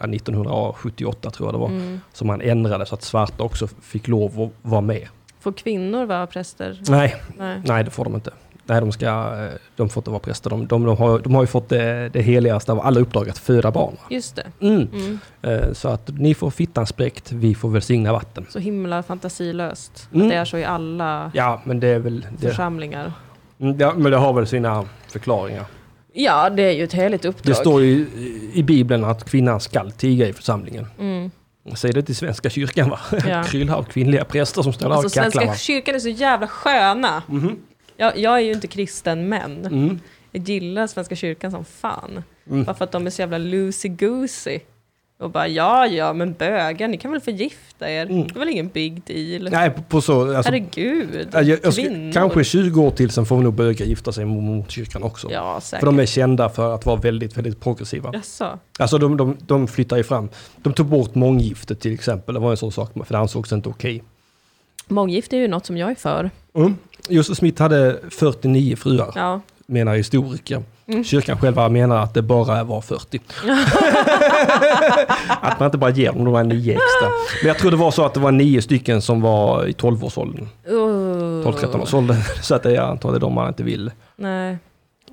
B: ja, 1978 tror jag det var.
A: Mm.
B: Så man ändrade så att svarta också fick lov att vara med.
A: Får kvinnor vara präster?
B: Nej,
A: Nej.
B: Nej, det får de inte. Nej, de, ska, eh, de får inte vara präster. De, de, de, har, de har ju fått det, det heligaste av alla uppdrag, att föda barn.
A: Just det.
B: Mm.
A: Mm.
B: Eh, Så att ni får fittan spräckt, vi får välsigna vatten.
A: Så himla fantasilöst.
B: Mm.
A: Att det är så i alla
B: Ja, men det är väl... Det,
A: församlingar.
B: Mm, ja, men det har väl sina förklaringar.
A: Ja, det är ju ett heligt uppdrag.
B: Det står ju i- i Bibeln att kvinnan skall tiga i församlingen.
A: Mm.
B: Säg det till Svenska kyrkan va?
A: Ja.
B: Kryllar av kvinnliga präster som står där
A: Alltså,
B: och kacklar va?
A: Svenska kyrkan är så jävla sköna.
B: Mhm.
A: Jag, jag är ju inte kristen, men
B: Mm.
A: jag gillar Svenska kyrkan som fan.
B: Mm.
A: Bara för att de är så jävla loosey-goosey. Och bara, ja, ja, men bögar, ni kan väl förgifta er?
B: Mm.
A: Det är väl ingen big deal?
B: Nej, på- på så... Alltså,
A: Herregud,
B: jag, jag,
A: kvinnor.
B: jag, kanske 20 år till sen får vi nog bögar gifta sig mot kyrkan också.
A: Ja, säkert.
B: För de är kända för att vara väldigt, väldigt progressiva.
A: Jaså?
B: Alltså de, de, de flyttar ju fram. De tog bort månggiftet till exempel. Det var en sån sak, för det ansågs inte okej.
A: Månggifte är ju något som jag är för.
B: Mm. Josef Smith hade 49 fruar,
A: Ja. Mm.
B: menar historiker. Kyrkan själva menar att det bara var 40. att man inte bara ger dem de här nio extra. Men jag tror det var så att det var nio stycken som var i 12-årsåldern.
A: Uh,
B: 12-13-årsåldern. Så att det är antagligen de man inte vill
A: Nej,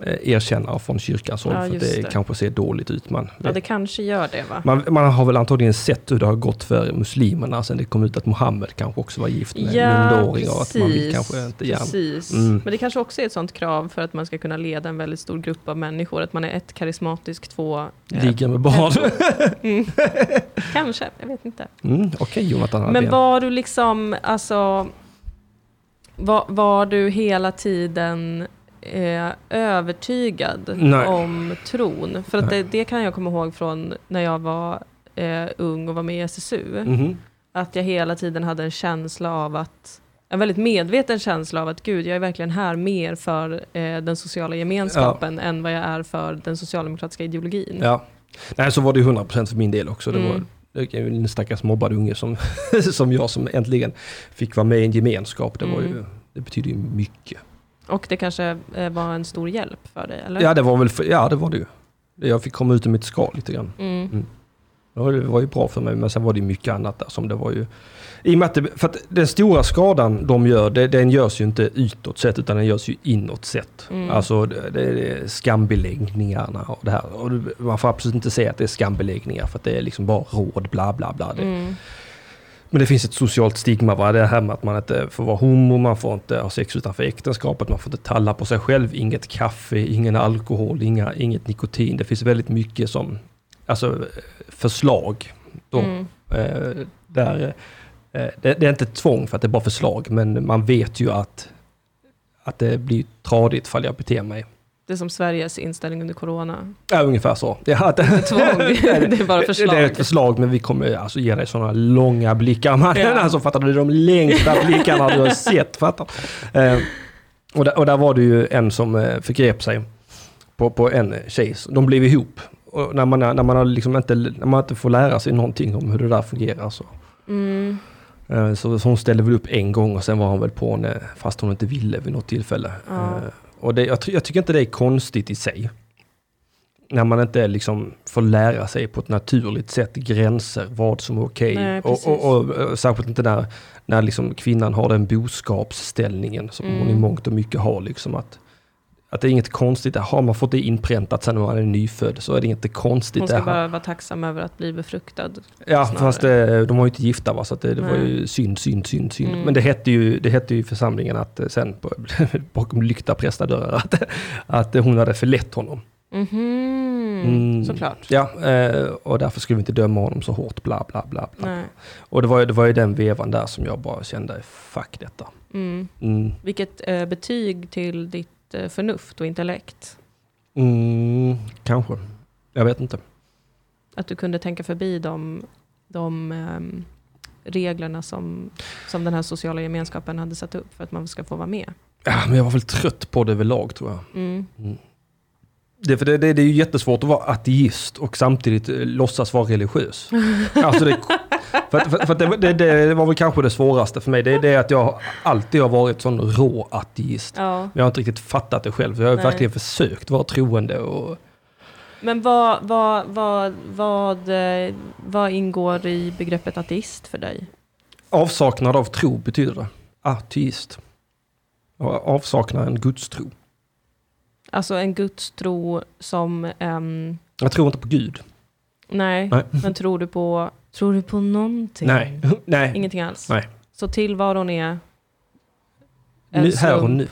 B: eh, erkänna från kyrkans håll.
A: Ja,
B: för att
A: just
B: det,
A: det.
B: kanske ser dåligt ut. Man
A: ja, det kanske gör det va?
B: Man, man har väl antagligen sett hur det har gått för muslimerna sen det kom ut att Mohammed kanske också var gift med en underåring och att man vill kanske inte gärna...
A: precis.
B: Mm.
A: Men det kanske också är ett sånt krav för att man ska kunna leda en väldigt stor grupp av människor. Att man är ett karismatisk, två... eh,
B: Ligga med barn.
A: Kanske, jag vet inte.
B: Mm, Okej Jonathan
A: Men
B: Hallén.
A: var du liksom, alltså... Var, var du hela tiden eh, övertygad
B: Nej.
A: om tron? För att det, det kan jag komma ihåg från när jag var eh, ung och var med i SSU.
B: Mhm.
A: Att jag hela tiden hade en känsla av att en väldigt medveten känsla av att gud, jag är verkligen här mer för eh, den sociala gemenskapen än vad jag är för den socialdemokratiska ideologin.
B: Ja. Nej, så var det ju 100% för min del också. Det var
A: Mm.
B: det är ju en stackars mobbad unge som, som jag som äntligen fick vara med i en gemenskap. Det, var ju,
A: Mm.
B: det betyder ju mycket.
A: Och det kanske eh, var en stor hjälp för dig, eller?
B: Ja det var väl, för, ja det var det ju. Jag fick komma ut ur mitt skal lite grann.
A: Mm.
B: Ja, det var ju bra för mig, men sen var det ju mycket annat där som det var ju... I och med att det, för att den stora skadan de gör, det, den görs ju inte utåt sett, utan den görs ju inåt sett.
A: Mm.
B: Alltså det, det är skambeläggningarna och det här. Och det- man får absolut inte säga att det är skambeläggningar, för att det är liksom bara råd, bla bla bla. Det,
A: Mm.
B: Men det finns ett socialt stigma, va? det här med att man inte får vara homo, man får inte ha sex utanför äktenskapet, man får inte talla på sig själv, inget kaffe, ingen alkohol, inga, inget nikotin. Det finns väldigt mycket som, alltså förslag. Då,
A: Mm.
B: eh, där, eh, det, det är inte ett tvång för att det är bara förslag, men man vet ju att, att det blir tradigt ifall jag beter mig.
A: Det är som Sveriges inställning under corona.
B: Ja, ungefär så. Ja, det,
A: Det är tvång, det är bara förslag.
B: Det är ett förslag, men vi kommer alltså ge dig sådana långa blickar. Man,
A: Ja.
B: alltså, fattar du? De längsta blickarna du har sett. Fattar? Eh, och, där, och där var det ju en som eh, förgrep sig på, på en tjej. De blev ihop. Och när, man, när, man har liksom inte, när man inte får lära sig någonting om hur det där fungerar så.
A: Mm.
B: Eh, Så hon ställde väl upp en gång och sen var han väl på henne fast hon inte ville vid något tillfälle.
A: Ja.
B: Eh, Och det, jag, ty- jag tycker inte det är konstigt i sig. När man inte liksom får lära sig på ett naturligt sätt gränser, vad som är okej.
A: Nej,
B: och,
A: precis.
B: och, och, eh, särskilt inte när, när liksom kvinnan har den boskapsställningen som hon i
A: Mm.
B: mångt och mycket har. Liksom att, att det är inget konstigt, har man fått det inpräntat sen när man är nyfödd så är det inte konstigt.
A: Hon ska
B: Det här-
A: bara vara tacksam över att bli befruktad.
B: Ja,
A: snarare.
B: fast eh, de var ju inte gifta va, så att det, det var
A: Nej.
B: ju synd, synd, synd, synd.
A: Mm.
B: Men det hette ju, det hette ju i församlingen att eh, sen, på, bakom lyckta prästadörrar, att, att hon hade förlett honom.
A: Mhm.
B: Mm.
A: Såklart.
B: Ja, eh, och därför skulle vi inte döma honom så hårt, bla bla bla. bla.
A: Nej.
B: Och det var, ju- det var ju den vevan där som jag bara kände, fuck detta.
A: Mm.
B: Mm.
A: Vilket eh, betyg till ditt eh, förnuft och intellekt?
B: Mm, kanske. Jag vet inte.
A: Att du kunde tänka förbi de, de ehm, reglerna som, som den här sociala gemenskapen hade satt upp för att man ska få vara med.
B: Ja, men jag var väl trött på det överlag tror jag.
A: Mm.
B: Det, för det, det, det är ju jättesvårt att vara ateist och samtidigt eh, låtsas vara religiös. Alltså det, för att, för, för att det, det, det var väl kanske det svåraste för mig. Det är det att jag alltid har varit sån rå ateist.
A: Ja.
B: Men jag har inte riktigt fattat det själv. Så jag har
A: Nej.
B: verkligen försökt vara troende. Och,
A: Men vad, vad, vad, vad, eh, vad ingår i begreppet ateist för dig?
B: avsaknad av tro betyder det. Ateist. Och Avsaknad en gudstro.
A: Alltså en gudstro som... ehm,
B: Jag tror inte på Gud.
A: nej,
B: Nej.
A: men tror du på, tror du på någonting?
B: Nej. Nej.
A: Ingenting alls?
B: Nej.
A: Så tillvaron är... en
B: Nu, här och
A: slump.
B: nu.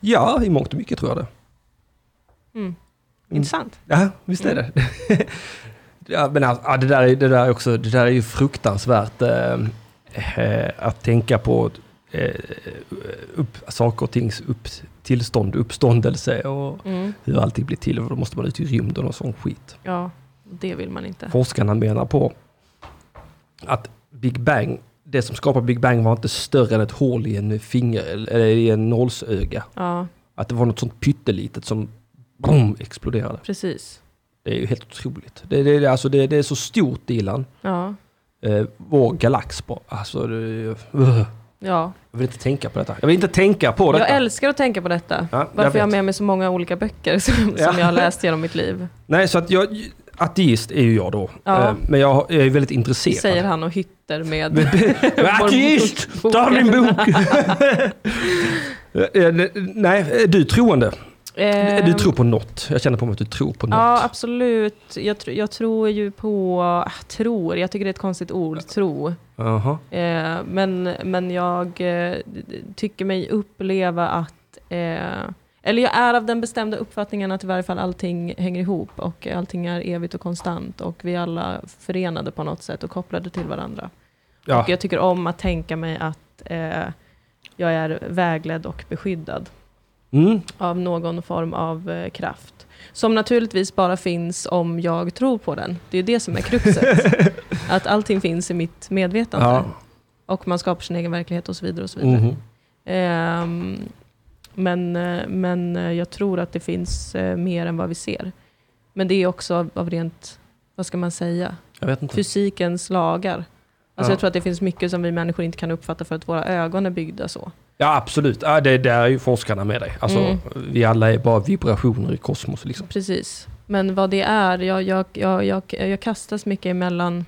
B: Ja, i mångt och mycket tror jag det.
A: Mm. Intressant.
B: Ja, visst är det. ja, men alltså, ja, det, där, är- det, där är också, det där är ju fruktansvärt eh, eh, att tänka på eh, upp, saker och tings upp, tillstånd, uppståndelse och
A: Mm.
B: hur allting blir till. Och då måste man ut i rymden och sån skit.
A: Ja, det vill man inte.
B: Forskarna menar på att Big Bang, det som skapade Big Bang var inte större än ett hål i en finger eller i en nålsöga.
A: Ja,
B: Att det var något sånt pyttelitet som boom, exploderade.
A: precis.
B: Det är ju helt otroligt. Det, det, det, alltså det, det är så stort Dilan.
A: Ja,
B: Eh, vår galax bara. Alltså, det, ugh.
A: ja.
B: jag vill inte tänka på detta. Jag vill inte tänka på detta.
A: Jag älskar att tänka på detta.
B: Ja, jag
A: Varför jag har
B: vet.
A: med mig så många olika böcker som,
B: Ja.
A: som jag har läst genom mitt liv.
B: Nej, så att jag... Ateist är ju jag då.
A: Ja.
B: Eh, men jag, har- jag är väldigt intresserad.
A: Säger han och hytter med...
B: Men Ateist! Ta min bok! Eh, eh, Nej, är du troende?
A: Eh,
B: Du tror på något. Jag känner på mig att du tror på något.
A: Ja, absolut. Jag, tr- jag tror ju på... ah, Tror, jag tycker det är ett konstigt ord, tro.
B: Jaha.
A: Eh, men, men jag eh, d- d- tycker mig uppleva att... Eh, eller jag är av den bestämda uppfattningen att i varje fall allting hänger ihop och allting är evigt och konstant och vi är alla förenade på något sätt och kopplade till varandra.
B: Ja.
A: Och jag tycker om att tänka mig att eh, jag är vägledd och beskyddad
B: Mm.
A: av någon form av eh, kraft. Som naturligtvis bara finns om jag tror på den. Det är ju det som är kruxet. att allting finns i mitt medvetande.
B: Ja.
A: Och man skapar sin egen verklighet och så vidare. Och så vidare.
B: Mhm.
A: Ehm, men, eh, men eh, jag tror att det finns eh, mer än vad vi ser. Men det är också av- av rent, vad ska man säga,
B: Jag vet inte.
A: fysikens lagar. Alltså
B: Ja.
A: Jag tror att det finns mycket som vi människor inte kan uppfatta för att våra ögon är byggda så.
B: Ja, absolut. Ja, det, där är ju forskarna med dig. Alltså,
A: Mm.
B: Vi alla är bara vibrationer i kosmos. Liksom.
A: Precis. Men vad det är, jag, jag, jag, jag, jag kastas mycket emellan.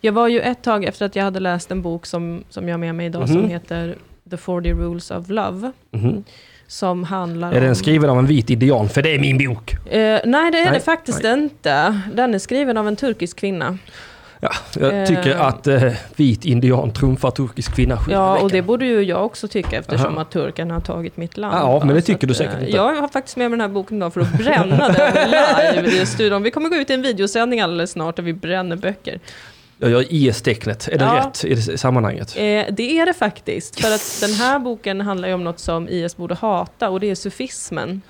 A: Jag var ju ett tag efter att jag hade läst en bok som, som jag har med mig idag som
B: Mhm.
A: heter The 40 Rules of Love.
B: Mhm.
A: Som handlar
B: Är den
A: om...
B: skriven av en vit indian? För det är min bok!
A: Eh, nej, det är
B: Nej,
A: det faktiskt inte. Den är skriven av en turkisk kvinna.
B: Ja, jag
A: Eh.
B: tycker att eh, vit indian trumfar turkisk kvinna sju
A: Ja,
B: veckor.
A: och det borde ju jag också tycka eftersom
B: Aha.
A: att turkarna har tagit mitt land.
B: Ja,
A: va?
B: men det
A: Så
B: tycker du
A: att,
B: säkert
A: eh,
B: inte.
A: Jag har faktiskt med mig den här boken idag för att bränna den live i studion. Vi kommer gå ut i en videosändning alldeles snart där vi bränner böcker.
B: Jag gör IS-tecknet. Är det
A: Ja.
B: rätt i det sammanhanget?
A: Eh, det är det faktiskt, för att den här boken handlar ju om något som IS borde hata och det är sufismen.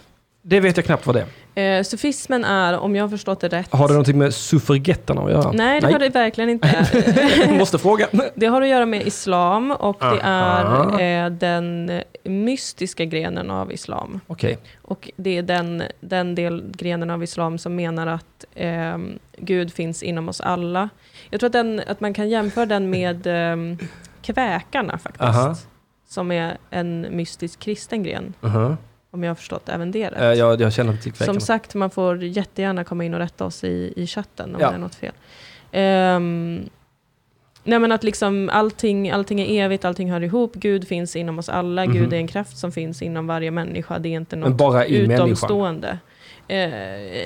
B: Det vet jag knappt vad det är.
A: Eh, sufismen är, om jag har förstått det rätt,
B: Har det någonting med suffragetterna att göra?
A: Nej, det har det verkligen inte.
B: Måste fråga.
A: Det har att göra med islam och det
B: Aha.
A: är eh, den mystiska grenen av islam.
B: Okej.
A: Och det är den, den del grenen av islam som menar att eh, Gud finns inom oss alla. Jag tror att, den, att man kan jämföra den med eh, kväkarna faktiskt.
B: Aha.
A: Som är en mystisk kristen gren,
B: Aha.
A: om jag har förstått även det rätt.
B: Uh-huh. Eh, Jag, jag känner inte till
A: Som
B: kväkarna.
A: sagt, man får jättegärna komma in och rätta oss i, i chatten om
B: Ja.
A: det är något fel. Ehm, nej men att liksom allting, allting är evigt, allting hör ihop, Gud finns inom oss alla, Gud
B: Mhm.
A: är en kraft som finns inom varje människa, det är inte
B: Men
A: något
B: bara i människan.
A: utomstående. Eh,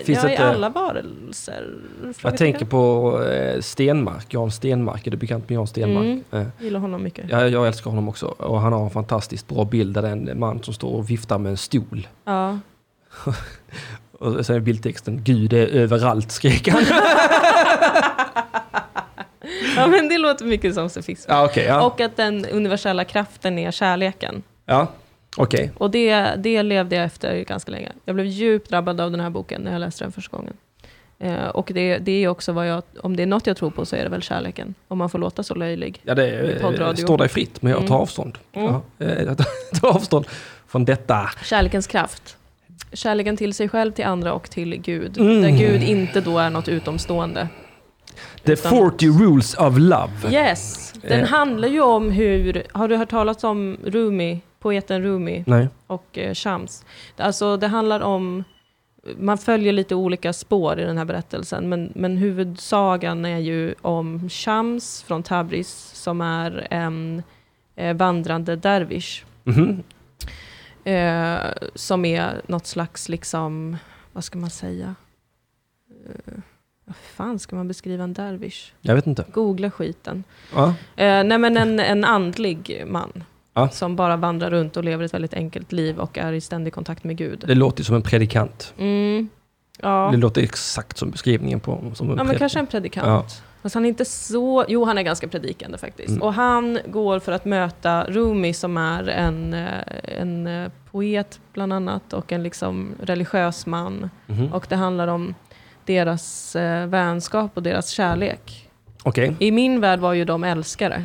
B: Finns
A: ja, i
B: inte-
A: alla varelser?
B: Jag
A: Frågetecken.
B: tänker på eh, Stenmark, Jan Stenmark. Är du bekant med Jan
A: Mm.
B: Stenmark? Eh,
A: Gillar honom mycket. Ja.
B: Ja, jag älskar honom också. Och han har en fantastiskt bra bild där det är en man som står och viftar med en stol. Och sen i bildtexten, Gud är överallt skrek han.
A: Ja, men det låter mycket som sofism.
B: ja, okej. ja.
A: Och att den universella kraften är kärleken.
B: ja. Okej.
A: Och det, det levde jag efter ganska länge. Jag blev djupt drabbad av den här boken när jag läste den första gången. Eh, och det, det är också vad jag, om det är något jag tror på så är det väl kärleken. Om man får låta så löjlig.
B: Ja, det eh,
A: Poddradio.
B: står dig fritt, men jag tar
A: Mm.
B: avstånd.
A: Mm.
B: Ja, eh, jag tar- tar avstånd från detta.
A: Kärlekens kraft. Kärleken till sig själv, till andra och till Gud.
B: Mm.
A: Där Gud inte då är något utomstående.
B: The
A: Utan-
B: 40 rules of love.
A: Yes! Den
B: Eh.
A: handlar ju om hur, har du hört talas om Rumi, poeten Rumi?
B: Nej.
A: och eh, Shams. Alltså det handlar om, man följer lite olika spår i den här berättelsen, men, men huvudsagan är ju om Shams från Tabriz som är en eh, vandrande dervish.
B: Mhm.
A: Eh, som är något slags, liksom, vad ska man säga? Eh, vad fan ska man beskriva en dervish?
B: Jag vet inte.
A: Googla skiten.
B: Ja.
A: Eh, nej men en, en andlig man.
B: Ja.
A: Som bara vandrar runt och lever ett väldigt enkelt liv och är i ständig kontakt med Gud.
B: Det låter ju som en predikant.
A: Mm. Ja.
B: Det låter exakt som beskrivningen på som en
A: ja, men
B: pred-
A: kanske en predikant.
B: Ja.
A: Fast han är inte så... Jo, han är ganska predikande faktiskt.
B: Mm.
A: Och han går för att möta Rumi som är en, eh, en eh, poet bland annat och en liksom religiös man.
B: Mhm.
A: Och det handlar om deras eh, vänskap och deras kärlek.
B: Okej,
A: I min värld var ju de älskare.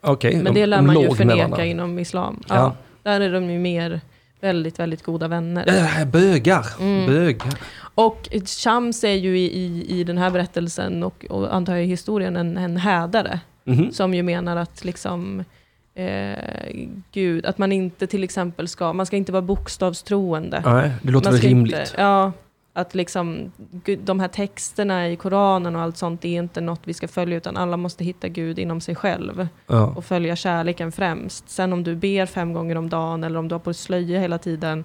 B: okej.
A: Men det
B: De-
A: lär
B: de
A: man ju
B: låg med varandra.
A: förneka inom islam. Ja.
B: Ja.
A: Där är de ju mer väldigt, väldigt goda vänner.
B: Ja, ja, bögar.
A: Mm.
B: Bögar.
A: Och Shams är ju i, i, i den här berättelsen och, och antar jag i historien en, en hädare
B: Mhm.
A: som ju menar att liksom eh, Gud, att man inte till exempel ska, man ska inte vara bokstavstroende.
B: Nej, det låter
A: man
B: väl
A: ska
B: rimligt.
A: Inte, ja, att liksom Gud, de här texterna i Koranen och allt sånt, det är inte något vi ska följa utan alla måste hitta Gud inom sig själv
B: Ja.
A: och följa kärleken främst. Sen om du ber fem gånger om dagen eller om du har på dig slöja hela tiden,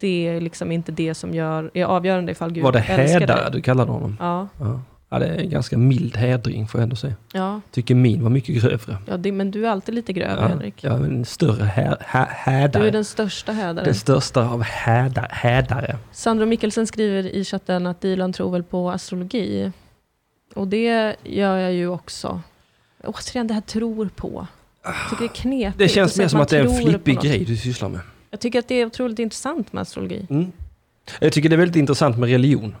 A: det är liksom inte det som gör, är avgörande ifall Gud
B: Var det
A: älskar
B: hädare
A: dig.
B: du kallade honom?
A: Ja,
B: Ja. ja, det är en ganska mild hädring får jag ändå säga.
A: ja,
B: Tycker min var mycket grövre.
A: ja det, men du är alltid lite grövre
B: Ja,
A: Henrik.
B: ja, en större hä- hä- hädare.
A: Du är den största hädaren.
B: Den största av hädar, hädare.
A: Sandro Mikkelsen skriver i chatten att Dilan tror väl på astrologi. Och det gör jag ju också. Återigen, det här tror på. Jag tycker det är knepigt.
B: Ah, Det
A: att
B: känns
A: säga
B: mer
A: att
B: som
A: man
B: att det är en
A: tror på
B: flippig
A: något.
B: grej du sysslar med.
A: Jag tycker att det är otroligt intressant med astrologi.
B: Mm. Jag tycker det är väldigt intressant med religion.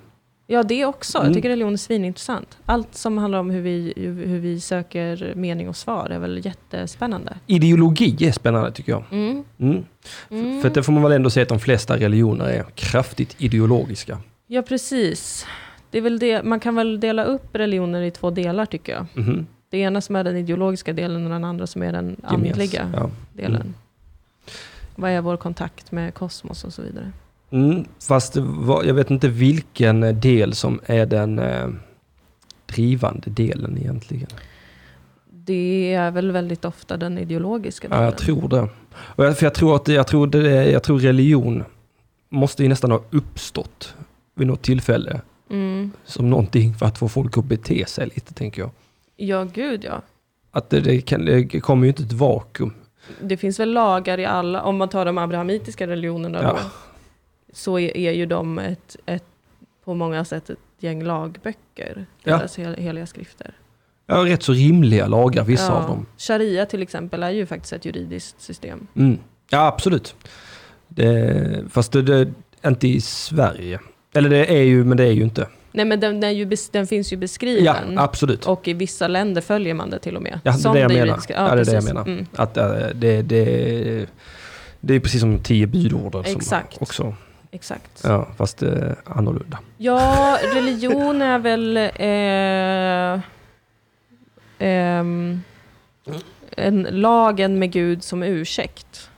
A: Ja, det också.
B: Mm.
A: Jag tycker religion är svinintressant. Allt som handlar om hur vi, hur hur vi söker mening och svar är väl jättespännande.
B: Ideologi är spännande tycker jag.
A: Mm.
B: Mm. F- För att det får man väl ändå säga att de flesta religioner är kraftigt ideologiska.
A: Ja, precis. Det är väl det. Man kan väl dela upp religioner i två delar, tycker jag.
B: Mhm.
A: Det ena som är den ideologiska delen och den andra som är den
B: Gemens-
A: andliga
B: Ja.
A: delen.
B: Mm.
A: Vad är vår kontakt med kosmos och så vidare?
B: Mm. Fast det var, jag vet inte vilken eh, del som är den eh, drivande delen egentligen.
A: Det är väl väldigt ofta den ideologiska
B: Ja,
A: delen.
B: jag tror det. Och jag, för jag tror att jag tror, det, är- jag tror religion måste ju nästan ha uppstått vid något tillfälle
A: mm.
B: som någonting för att få folk att bete sig lite, tänker jag.
A: Ja, gud ja.
B: Att det, det, kan, det kommer ju inte ett vakuum.
A: Det finns väl lagar i alla, om man tar de abrahamitiska religionerna
B: Ja.
A: då, så är, är ju de ett, ett, på många sätt ett gäng lagböcker,
B: Ja.
A: deras hel, heliga skrifter.
B: Ja, rätt så rimliga lagar, vissa av dem.
A: Sharia till exempel är ju faktiskt ett juridiskt system.
B: Mm. Ja, absolut. Det, fast det, det inte i Sverige. Eller det är ju, men det är ju inte.
A: Nej men den, den, är ju, bes- den finns ju
B: Ja,
A: beskriven.
B: absolut.
A: Och i vissa länder följer man det till och med.
B: Ja, det är det jag menar.
A: juridiska-
B: Ja, det är det jag
A: precis.
B: menar.
A: Mm.
B: Att eh, det, det, det är precis som tio budorden. som
A: Exakt.
B: Också.
A: Exakt. Ja.
B: Ja, fast eh, annorlunda.
A: religion är väl... Eh, ehm, en lagen med Gud som ursäkt.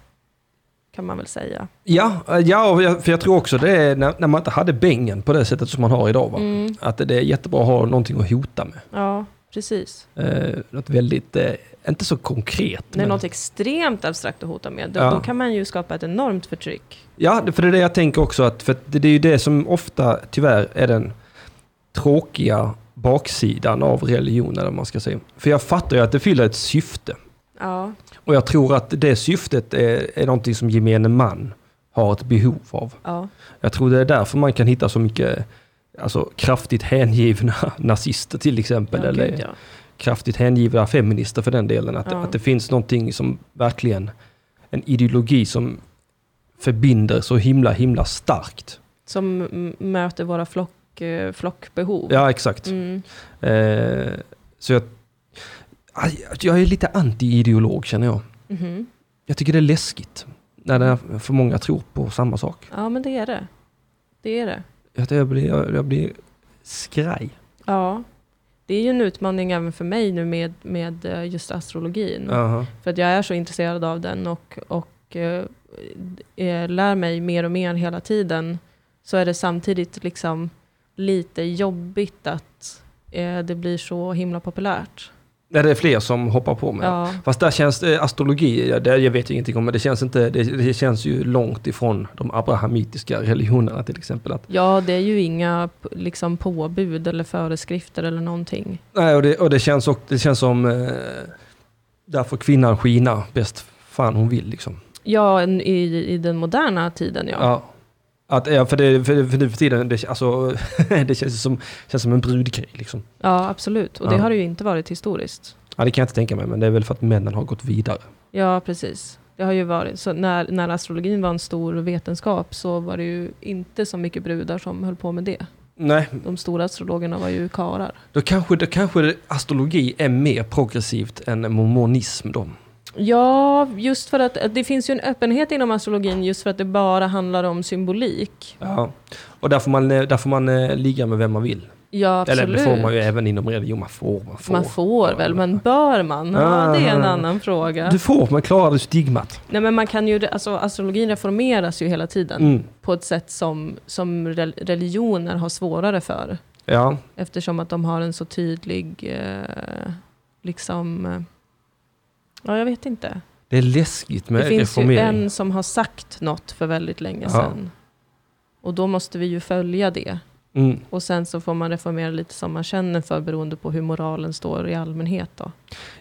A: Kan man väl säga.
B: Ja, eh, ja och jag- för jag tror också det är när, när man inte hade bängen på det sättet som man har idag. Va?
A: Mm,
B: Att det är jättebra att ha någonting att hota med.
A: ja, precis.
B: Eh, något väldigt, eh, inte så konkret.
A: Det är något extremt abstrakt att hota med. Då,
B: Ja.
A: då kan man ju skapa ett enormt förtryck.
B: Ja, det- för det är det jag tänker också. Att, för att det det är ju det som ofta tyvärr är den tråkiga baksidan av religionen, eller vad man ska säga. För jag fattar ju att det fyller ett syfte.
A: Ja,
B: Och jag tror att det syftet är, är någonting som gemene man har ett behov av.
A: Ja.
B: Jag tror det är därför man kan hitta så mycket alltså, kraftigt hängivna nazister till exempel.
A: Ja,
B: eller
A: gud, ja.
B: kraftigt hängivna feminister för den delen. Att,
A: Ja.
B: att det finns någonting som verkligen, en ideologi som förbinder så himla, himla starkt.
A: Som m- möter våra flock, eh, flockbehov.
B: Ja, exakt.
A: Mm.
B: Eh, så jag, aj, jag är lite anti-ideolog känner jag.
A: Mhm.
B: Jag tycker det är läskigt när det är för många tror på samma sak.
A: Ja, men det är det. Det är det.
B: Jag, jag, blir, jag, jag blir skraj.
A: Ja. Det är ju en utmaning även för mig nu med, med eh, just astrologin.
B: Aha.
A: För att jag är så intresserad av den och, och eh, eh, lär mig mer och mer hela tiden. Så är det samtidigt liksom lite jobbigt att eh, det blir så himla populärt.
B: Nej, det är fler som hoppar på mig.
A: Ja.
B: Fast där känns det, astrologi, ja, det, jag vet ju ingenting om, men det känns, inte, det, det känns ju långt ifrån de abrahamitiska religionerna till exempel. Att,
A: ja, det är ju inga p- liksom, påbud eller föreskrifter eller någonting.
B: nej, och det, och det, känns, och, det känns som, eh, där får kvinnan skina bäst fan hon vill liksom.
A: Ja, en- i, i den moderna tiden ja.
B: Ja. Att, ja, för, det, för, för nu för tiden, det, alltså, det känns ju som, känns som en brudgrej liksom.
A: Ja, absolut. Och det
B: Ja.
A: har det ju inte varit historiskt.
B: Ja, det kan jag inte tänka mig, men det är väl för att männen har gått vidare.
A: Ja, precis. Det har ju varit, så när, när astrologin var en stor vetenskap så var det ju inte så mycket brudar som höll på med det.
B: Nej,
A: De stora astrologerna var ju karar.
B: då kanske, då kanske astrologi är mer progressivt än mormonism då.
A: Ja, just för att att det finns ju en öppenhet inom astrologin just för att det bara handlar om symbolik.
B: Ja, och där får man, eh, där får man eh, ligga med vem man vill.
A: Ja, absolut.
B: Eller det får man ju även inom religion. Man får, man får.
A: Man får väl, men bör man? Ja,
B: Ah.
A: det är en annan fråga.
B: Du får, man klarar det stigmat.
A: Nej, men man kan ju, alltså, astrologin reformeras ju hela tiden
B: Mm.
A: på ett sätt som, som rel- religioner har svårare för.
B: Ja,
A: Eftersom att de har en så tydlig, eh, liksom, eh, ja jag vet inte.
B: det är läskigt med
A: det finns ju
B: reformering.
A: en som har sagt något för väldigt länge
B: Ja.
A: sedan. Och då måste vi ju följa det.
B: Mm.
A: Och sen så får man reformera lite som man känner för beroende på hur moralen står i allmänhet då.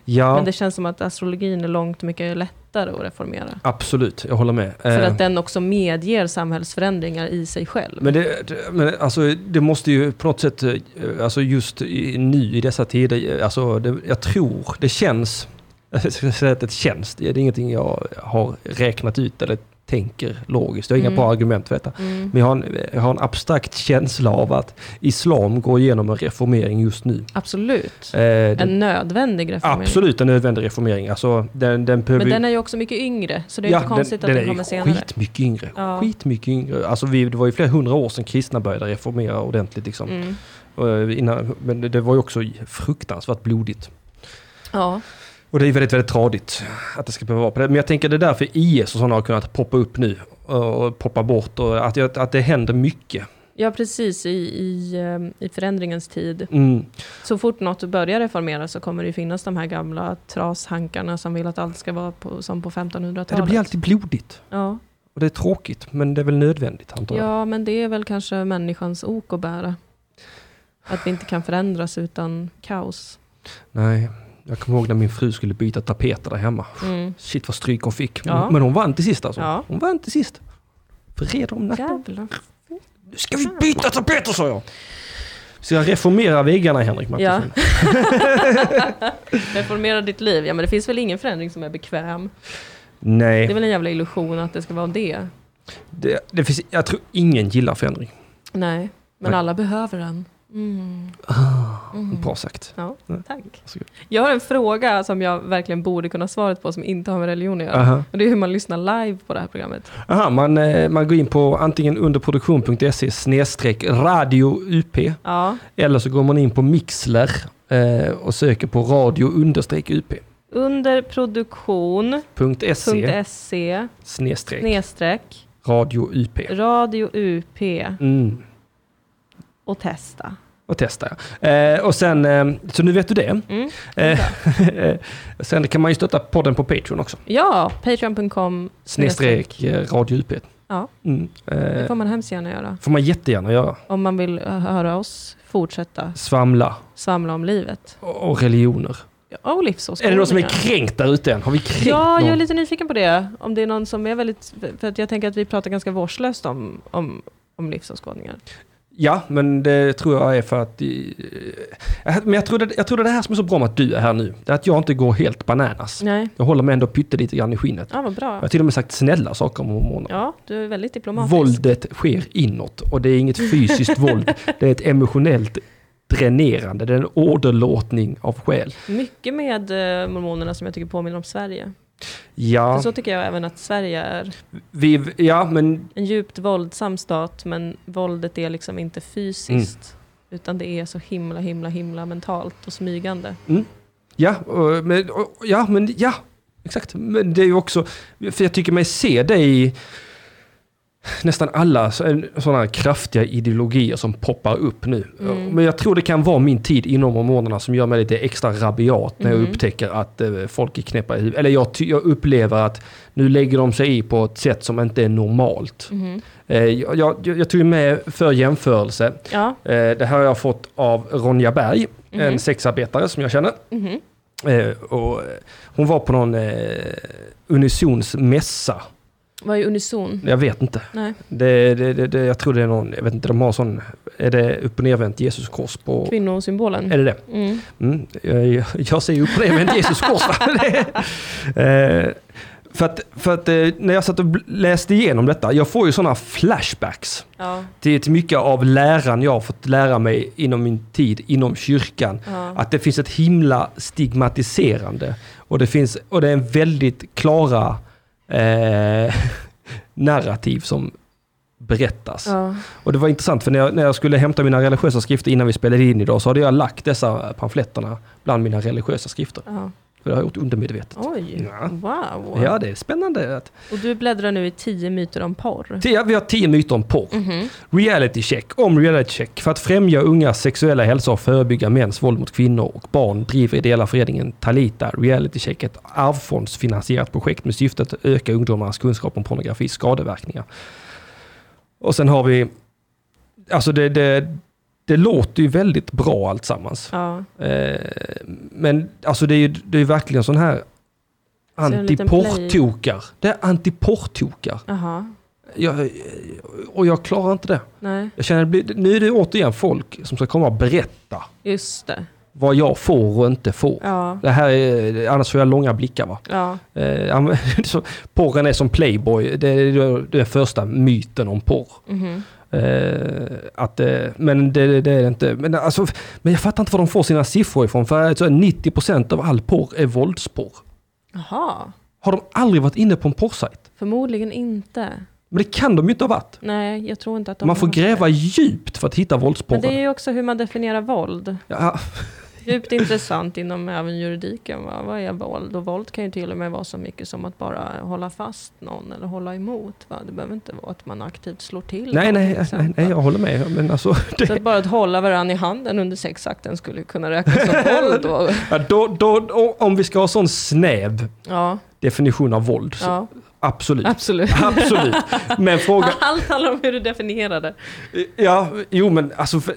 B: Ja,
A: Men det känns som att astrologin är långt mycket lättare att reformera.
B: absolut. Jag håller med.
A: För
B: Eh,
A: att den också medger samhällsförändringar i sig själv.
B: Men, det, det- men alltså, det måste ju på något sätt, eh, alltså just i, nu i dessa tider, eh, alltså det, jag tror, det känns, jag ska säga att det känns, det är ingenting jag har räknat ut eller tänker logiskt. Jag har inga
A: Mm.
B: bra argument för detta.
A: Mm.
B: Men jag har, en, jag har en abstrakt känsla av att islam går igenom en reformering just nu.
A: Absolut.
B: Eh, det,
A: En nödvändig reformering.
B: absolut en nödvändig reformering. Alltså, den, den behöver,
A: Men den är ju också mycket yngre, så det är
B: Ja,
A: inte konstigt att den, kommer senare.
B: skitmycket yngre.
A: Ja.
B: Skitmycket yngre. Alltså, vi, det var ju flera hundra år sedan kristna började reformera ordentligt. Liksom.
A: Mm.
B: Och Innan, men det- det var ju också fruktansvärt blodigt.
A: Ja,
B: Och det är väldigt, väldigt tradigt att det ska behöva vara på det. Men jag tänker det är därför IS och sådana har kunnat poppa upp nu och poppa bort och att, jag- att det händer mycket.
A: ja precis. I, i, ehm, I förändringens tid.
B: Mm.
A: Så fort något börjar reformeras så kommer det ju finnas de här gamla trashankarna som vill att allt ska vara på, som på
B: Ja, Det blir
A: 1500-talet.
B: alltid blodigt
A: Ja,
B: och det är tråkigt men det är väl nödvändigt antar jag.
A: ja, men det är väl kanske människans ok att bära. Att vi inte kan förändras utan kaos.
B: Nej, jag kommer ihåg när min fru skulle byta tapeter där hemma.
A: Mm.
B: Shit vad stryk hon fick.
A: Ja.
B: Men hon vann till sist alltså.
A: Ja.
B: Hon vann till sist. Vred om nacken.
A: Jävlar.
B: Nu ska vi byta tapeter sa jag. Så jag reformerar väggarna Henrik
A: Ja.
B: Mattisson.
A: Reformera ditt liv. Ja, men det finns väl ingen förändring som är bekväm.
B: Nej.
A: Det är väl en jävla illusion att det ska vara det.
B: Det, det finns, jag tror ingen gillar förändring.
A: Nej, men
B: Nej.
A: alla behöver den. Mm. Mm.
B: Bra sagt.
A: Ja, tack.
B: Ah, Varsågod.
A: Jag har en fråga som jag verkligen borde kunna svaret på som inte har med religion att göra.
B: Aha.
A: Och det är hur man lyssnar live på det här programmet.
B: Aha, man, eh, man går in på antingen underproduktion.se snedstreck radio UP
A: Ja,
B: eller så går man in på Mixler eh, och söker på radio understreck
A: underproduktion.se
B: UP.se snedstreck
A: snedstreck
B: radio UP.
A: radio UP
B: Mm.
A: och testa.
B: Och testa. Eh, och sen, eh, så nu vet du det.
A: Mm.
B: Eh, sen kan man ju stötta podden på Patreon också.
A: Ja, patreon.com.
B: Snedstreck eh, radio UP.
A: Ja.
B: Mm.
A: Det
B: Eh,
A: får man hemskt gärna göra.
B: får man jättegärna göra.
A: Om man vill eh, höra oss fortsätta
B: Svamla
A: svamla om livet.
B: och och religioner.
A: Ja, och livsåskådningar.
B: Är det någon som är kränkt där ute än? Har vi kränkt
A: Ja,
B: någon?
A: jag är lite nyfiken på det. Om det är någon som är väldigt... För att jag tänker att vi pratar ganska vårdslöst om, om, om livsåskådningar.
B: Ja, men det tror jag är för att... eh, Men jag tror, det, jag tror det är det här som är så bra med att du är här nu. Det är att jag inte går helt bananas.
A: Nej,
B: Jag håller mig ändå pyttelite grann i skinnet.
A: ja, vad
B: Jag
A: bra.
B: har till och med sagt snälla saker om hormoner.
A: Ja, du är väldigt diplomatisk.
B: Våldet sker inåt och det är inget fysiskt våld. Det är ett emotionellt dränerande. Det är en åderlåtning av själ.
A: Mycket med eh, mormonerna som jag tycker påminner om Sverige. För
B: Ja,
A: så tycker jag även att Sverige är.
B: vi, ja men
A: En djupt våldsam stat, men våldet är liksom inte fysiskt.
B: Mm.
A: Utan det är så himla, himla, himla mentalt och smygande.
B: Ja, eh, men, och- ja, men ja, exakt. Men det är ju också, för jag tycker mig se det i nästan alla sådana kraftiga ideologier som poppar upp nu.
A: Mm.
B: Men jag tror det kan vara min tid inom hormonerna som gör mig lite extra rabiat när jag
A: Mm.
B: upptäcker att eh, folk är knäppa i huvudet. Eller jag, ty- jag upplever att nu lägger de sig i på ett sätt som inte är normalt.
A: Mhm.
B: Eh, Jag, jag, jag tog ju med för jämförelse,
A: Ja.
B: eh, det här har jag fått av Ronja Berg,
A: Mhm.
B: en sexarbetare som jag känner.
A: Mhm.
B: Eh, och eh, hon var på någon eh, unisonsmässa.
A: Vad är unison?
B: Jag vet inte.
A: Nej,
B: Det, det, det, det, jag tror det är någon, jag vet inte, de har sån, är det upp och nervänt Jesuskors på...
A: kvinnosymbolen.
B: Är det det?
A: Mm.
B: Mm. Jag, jag säger upp och nervänt Jesuskors. va? Det- eh, för att, för att eh, när jag satt och bl- läste igenom detta, jag får ju sådana flashbacks
A: Ja,
B: till, till mycket av läran jag har fått lära mig inom min tid inom kyrkan.
A: ja.
B: Att det finns ett himla stigmatiserande. Och det, finns, och det är en väldigt klara eh, narrativ som berättas.
A: ja.
B: Och det var intressant för när jag, när jag skulle hämta mina religiösa skrifter innan vi spelade in idag så hade jag lagt dessa pamfletterna bland mina religiösa skrifter.
A: ja.
B: För det har jag gjort undermedvetet.
A: Oj,
B: Ja.
A: wow.
B: Ja, det är spännande. att-
A: Och du bläddrar nu i tio myter om porr.
B: Tia, Vi har tio myter om porr.
A: Mhm.
B: Reality check om reality check. För att främja ungas sexuella hälsa och förebygga mäns våld mot kvinnor och barn driver ideella föreningen Talita Reality Check ett arvsfondsfinansierat projekt med syftet att öka ungdomarnas kunskap om pornografis skadeverkningar. Och sen har vi, alltså det, det, det låter ju väldigt bra alltsammans.
A: Ja.
B: Eh, men alltså det är ju det är ju verkligen sån här
A: Så en liten
B: antiporrtokar. Det är antiporrtokar.
A: Jaha.
B: Jag, och jag klarar inte det.
A: Nej,
B: Jag känner, det blir- nu är det återigen folk som ska komma och berätta
A: just det.
B: vad jag får och inte får.
A: Ja.
B: Det här är, annars får jag långa blickar va.
A: Ja.
B: Eh, ja, men så- Porren är som Playboy, det är ju den första myten om porr.
A: Mhm.
B: Eh, att, eh, men det, det är det inte. Men, alltså, men jag fattar inte var de får sina siffror ifrån. För alltså, 90% av all porr är våldsporr.
A: Jaha.
B: Har de aldrig varit inne på en porrsajt?
A: Förmodligen inte.
B: Men det kan de ju inte ha varit.
A: Nej, jag tror inte att de
B: Man får
A: har-
B: gräva djupt för att hitta
A: Men det
B: våldsporren.
A: är ju också hur man definierar våld.
B: Ja,
A: Djupt intressant inom även juridiken. Va? Vad är våld? Och våld kan ju till och med vara så mycket som att bara hålla fast någon eller hålla emot. Va? Det behöver inte vara att man aktivt slår till. någon,
B: nej,
A: till
B: nej, nej,
A: exempel.
B: nej, jag håller med. Men alltså, det,
A: Så att bara att hålla varandra i handen under sexakten skulle kunna räknas som våld. Då.
B: Ja, då, då, då, om vi ska ha sån snäv
A: Ja,
B: definition av våld, så
A: ja,
B: absolut.
A: absolut.
B: Absolut. Men frågan...
A: Allt handlar om hur du definierar det.
B: Ja, jo men alltså... För,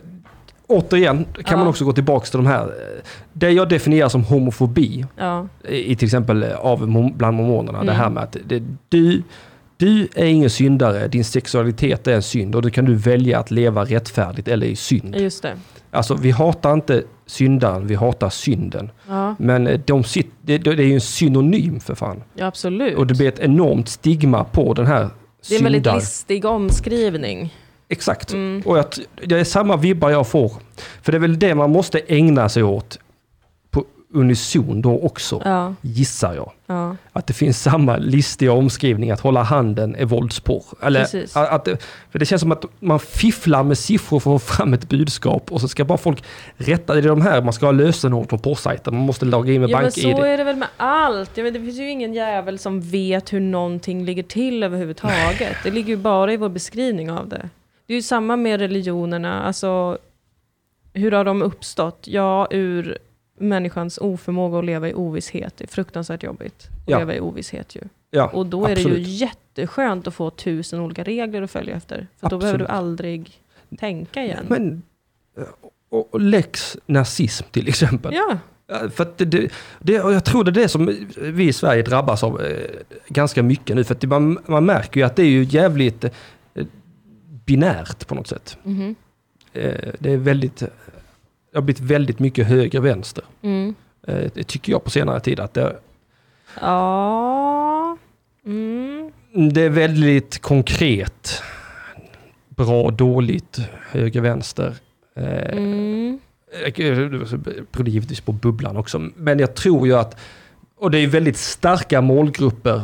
B: återigen kan
A: Ja.
B: man också gå tillbaka till de här... eh, Det jag definierar som homofobi,
A: Ja,
B: i i till exempel eh, av, mom- bland mormonerna, det
A: Mm.
B: här med att det, du, du är ingen syndare, din sexualitet är en synd och då kan du välja att leva rättfärdigt eller i synd.
A: just det.
B: Alltså vi hatar inte syndaren, vi hatar synden.
A: Ja,
B: Men eh, de sit, det, det är ju en synonym för fan.
A: ja absolut.
B: Och det blir ett enormt stigma på den här
A: det är en väldigt
B: syndaren.
A: listig omskrivning.
B: Exakt.
A: Mm.
B: Och att det är samma vibbar jag får. För det är väl det man måste ägna sig åt på unison då också,
A: Ja,
B: gissar jag.
A: ja,
B: Att det finns samma listiga omskrivning, att hålla handen är våldsporr. Eller,
A: Precis.
B: att, att, för det känns som att man fifflar med siffror för att få fram ett budskap och så ska bara folk rätta. Det är de här man ska ha lösenord på porrsajten, man måste logga in med
A: ja men
B: bank-id.
A: så är det väl med allt. Ja, men det finns ju ingen jävel som vet hur någonting ligger till överhuvudtaget. Det ligger ju bara i vår beskrivning av det. Det är ju samma med religionerna. Alltså, hur har de uppstått? Ja, ur människans oförmåga att leva i ovisshet. Det är fruktansvärt jobbigt att
B: Ja.
A: leva i ovisshet ju.
B: Ja,
A: Och då är det ju
B: absolut.
A: jätteskönt att få tusen olika regler att följa efter. För då behöver du
B: Absolut.
A: aldrig tänka igen.
B: eh, Men, och, och lex nazism till exempel.
A: ja,
B: Ja, För att det- det, det, och jag tror det är det som vi i Sverige drabbas av eh, ganska mycket nu. För att det- man, man märker ju att det är ju jävligt eh, binärt på något sätt.
A: Mhm.
B: Eh, det är väldigt, det har blivit väldigt mycket höger-vänster.
A: Mm.
B: Eh, det tycker jag på senare tid att det,
A: Ja. Mm.
B: det är väldigt konkret. Bra, dåligt, höger-vänster. Eh,
A: Mm.
B: Jag- det beror givetvis på bubblan också, men jag tror ju att, och det är väldigt starka målgrupper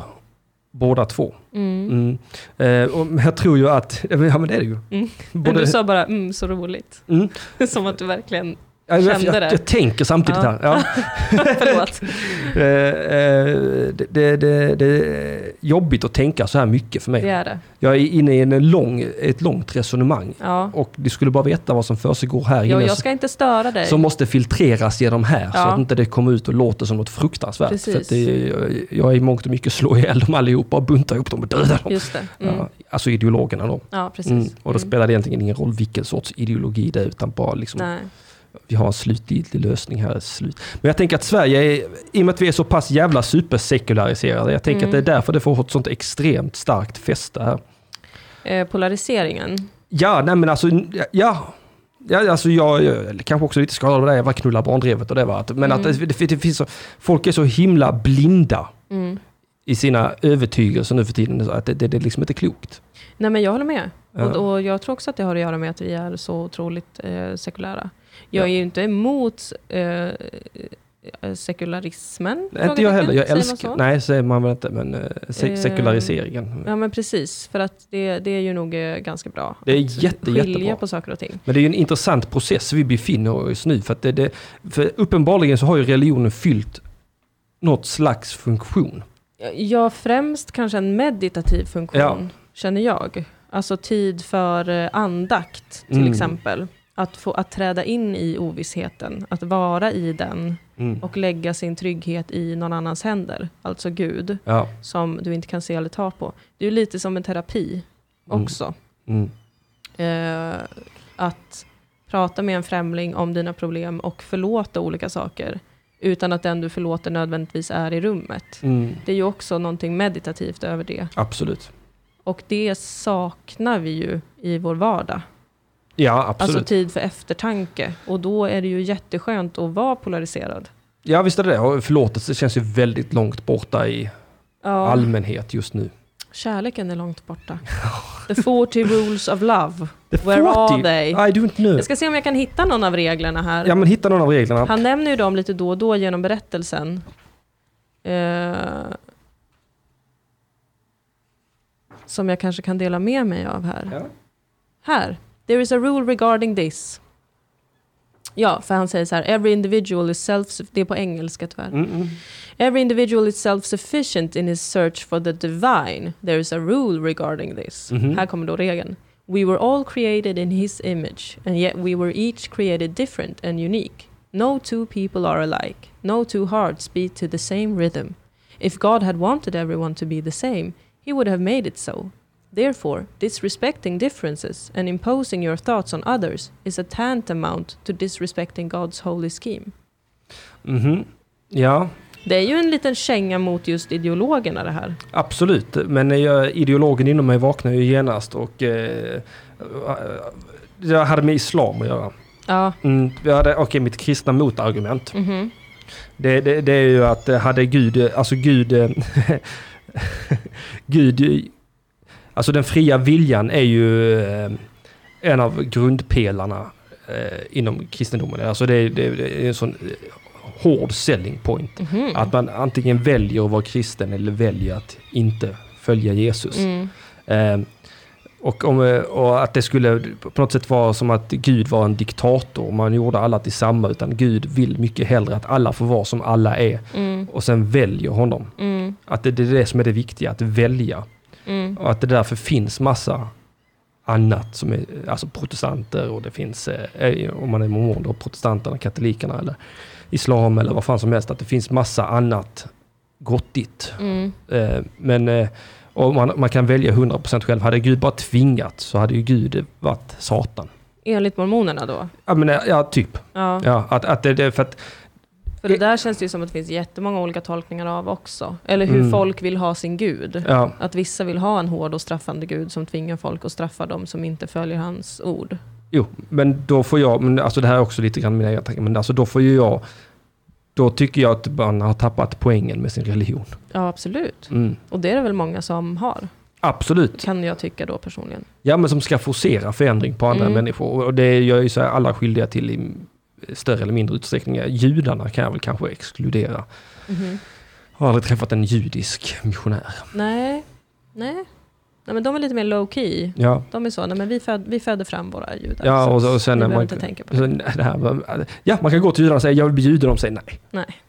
B: båda två.
A: Mm.
B: Mm. Eh, och men jag tror ju att, ja men det är det ju.
A: Mm. Men
B: Både,
A: du sa bara mm, så roligt.
B: Mm.
A: Som att du verkligen,
B: Ja, men jag,
A: kände
B: jag,
A: det.
B: jag tänker samtidigt
A: Ja.
B: här. Ja.
A: förlåt.
B: Eh, eh, det, det, det, det är jobbigt att tänka så här mycket för mig.
A: Det är det.
B: Jag är inne i en lång, ett långt resonemang
A: Ja.
B: och du skulle bara veta vad som försiggår här
A: Jo,
B: inne
A: jag ska inte störa dig.
B: som måste filtreras genom här så
A: Ja.
B: att inte det kommer ut och låter som något fruktansvärt.
A: Precis.
B: För att det, jag är i mångt och mycket slå ihjäl dem allihopa och buntar ihop dem och dödar dem.
A: Just det. Mm.
B: Ja,
A: Ja.
B: alltså ideologerna då.
A: precis.
B: Mm. Och då
A: Mm.
B: spelar det egentligen ingen roll vilken sorts ideologi det är utan bara liksom,
A: Nej.
B: vi har en slutgiltig lösning här. Slut. Men jag tänker att Sverige, är, i och med att vi är så pass jävla supersekulariserade, jag tänker
A: Mm.
B: att det är därför det får ett sånt extremt starkt fäste här.
A: Eh, polariseringen.
B: Ja, nej men alltså, ja. Ja, alltså jag, jag kanske också lite skadad av det där jävla knulla barndrevet och det var att, men att det, det, det finns så, folk är så himla blinda
A: Mm.
B: i sina övertygelser nu för tiden så att det, det, det är liksom inte klokt.
A: Nej men jag håller med.
B: Ja.
A: Och, och jag tror också att det har att göra med att vi är så otroligt eh, sekulära. Jag är ju inte emot eh, eh, sekularismen.
B: Nej, inte jag heller, jag
A: Säger man
B: älskar,
A: så?
B: nej säger man väl inte, men eh, se,
A: Eh,
B: sekulariseringen.
A: Ja men precis, för att det, det är ju nog eh, ganska bra.
B: Det är
A: att
B: jätte,
A: skilja
B: jättebra.
A: på saker och ting.
B: Men det är ju en intressant process vi befinner oss nu för att det, det, för uppenbarligen så har ju religionen fyllt något slags funktion.
A: Ja, främst kanske en meditativ funktion,
B: Ja.
A: känner jag. Alltså tid för eh, andakt, till
B: Mm.
A: exempel. Att, få, att träda in i ovissheten, att vara i den
B: Mm.
A: och lägga sin trygghet i någon annans händer, alltså Gud,
B: Ja.
A: som du inte kan se eller ta på. Det är ju lite som en terapi
B: Mm.
A: också.
B: Mm.
A: Eh, att prata med en främling om dina problem och förlåta olika saker, utan att den du förlåter nödvändigtvis är i rummet.
B: Mm.
A: Det är ju också någonting meditativt över det.
B: Absolut.
A: Och det saknar vi ju i vår vardag.
B: Ja, absolut.
A: Alltså tid för eftertanke. Och då är det ju jätteskönt att vara polariserad.
B: Ja visst är det det. Och Förlåtelse känns ju väldigt långt borta i
A: Ja,
B: allmänhet just nu.
A: Kärleken är långt borta. The 40 rules of love. Where are they?
B: I don't know.
A: Jag ska se om jag kan hitta någon av reglerna här.
B: Ja men hitta någon av reglerna.
A: Han nämner ju dem lite då och då genom berättelsen. Eh, som jag kanske kan dela med mig av här.
B: Ja.
A: Här. There is a rule regarding this. Ja, för han säger så här. Every individual is self... Det är på engelska tyvärr.
B: Mm, mm.
A: Every individual is self-sufficient in his search for the divine. There is a rule regarding this.
B: Mhm.
A: Här kommer då regeln. We were all created in his image, and yet we were each created different and unique. No two people are alike. No two hearts beat to the same rhythm. If God had wanted everyone to be the same, he would have made it so. Therefore, disrespecting differences and imposing your thoughts on others is a tantamount to disrespecting God's holy scheme.
B: Mhm. Ja,
A: Det är ju en liten känga mot just ideologerna det här.
B: absolut. Men eh, jag, ideologen inom mig vaknar ju genast och eh, jag hade med islam att göra.
A: Ja. Mhm.
B: Mm, jag hade, Okej, mitt kristna motargument. Det, det, det är ju att eh, hade Gud, eh, alltså Gud, eh, Gud, eh, alltså den fria viljan är ju eh, en av grundpelarna eh, inom kristendomen. Alltså det, är- det, är- det är en sån eh, hård selling point.
A: Mhm. Mm.
B: Att man antingen väljer att vara kristen eller väljer att inte följa Jesus.
A: Mm.
B: Eh, och, om, eh, och att det skulle på något sätt vara som att Gud var en diktator och man gjorde alla till samma utan Gud vill mycket hellre att alla får vara som alla är
A: Mm.
B: och sen väljer honom.
A: Mm.
B: Att det, det är det som är det viktiga, att välja.
A: Mm.
B: Och att det därför finns massa annat som är, alltså protestanter och det finns, eh, eh, om man är mormon då, protestanterna, katolikerna eller islam eller vad fan som helst, att det finns massa annat gottigt
A: Mm.
B: Eh, Men eh, och man, man kan välja 100% själv. Hade Gud bara tvingat så hade ju Gud varit Satan.
A: Enligt mormonerna då?
B: Ja, men, eh, ja typ.
A: Ja.
B: Ja, att, att det, det, för att
A: För För det där känns det ju som att det finns jättemånga olika tolkningar av också. Eller hur
B: Mm.
A: folk vill ha sin gud.
B: Ja,
A: Att vissa vill ha en hård och straffande gud som tvingar folk att straffa dem som inte följer hans ord.
B: jo, men då får jag, men alltså det här är också lite grann mina egna tankar, men alltså då får ju jag, då tycker jag att man har tappat poängen med sin religion.
A: Ja, absolut.
B: Mm.
A: Och det är det väl många som har,
B: Absolut.
A: kan jag tycka då personligen.
B: Ja, men som ska forcera förändring på andra
A: Mm.
B: människor. Och det gör ju så här alla skyldiga till i större eller mindre utsträckning. Judarna kan jag väl kanske exkludera.
A: Mhm.
B: Jag har aldrig träffat en judisk missionär.
A: Nej, nej. Nej, men de är lite mer low key.
B: Ja,
A: De är så, nej men vi, föd, vi föder fram våra judar.
B: ja
A: så
B: och,
A: att
B: så- och sen
A: ni
B: när
A: behöver
B: man...
A: inte tänka på
B: så,
A: det.
B: alltså, nej, det här, var- ja, man kan gå till judarna och säga jag vill bli jude. De säger nej.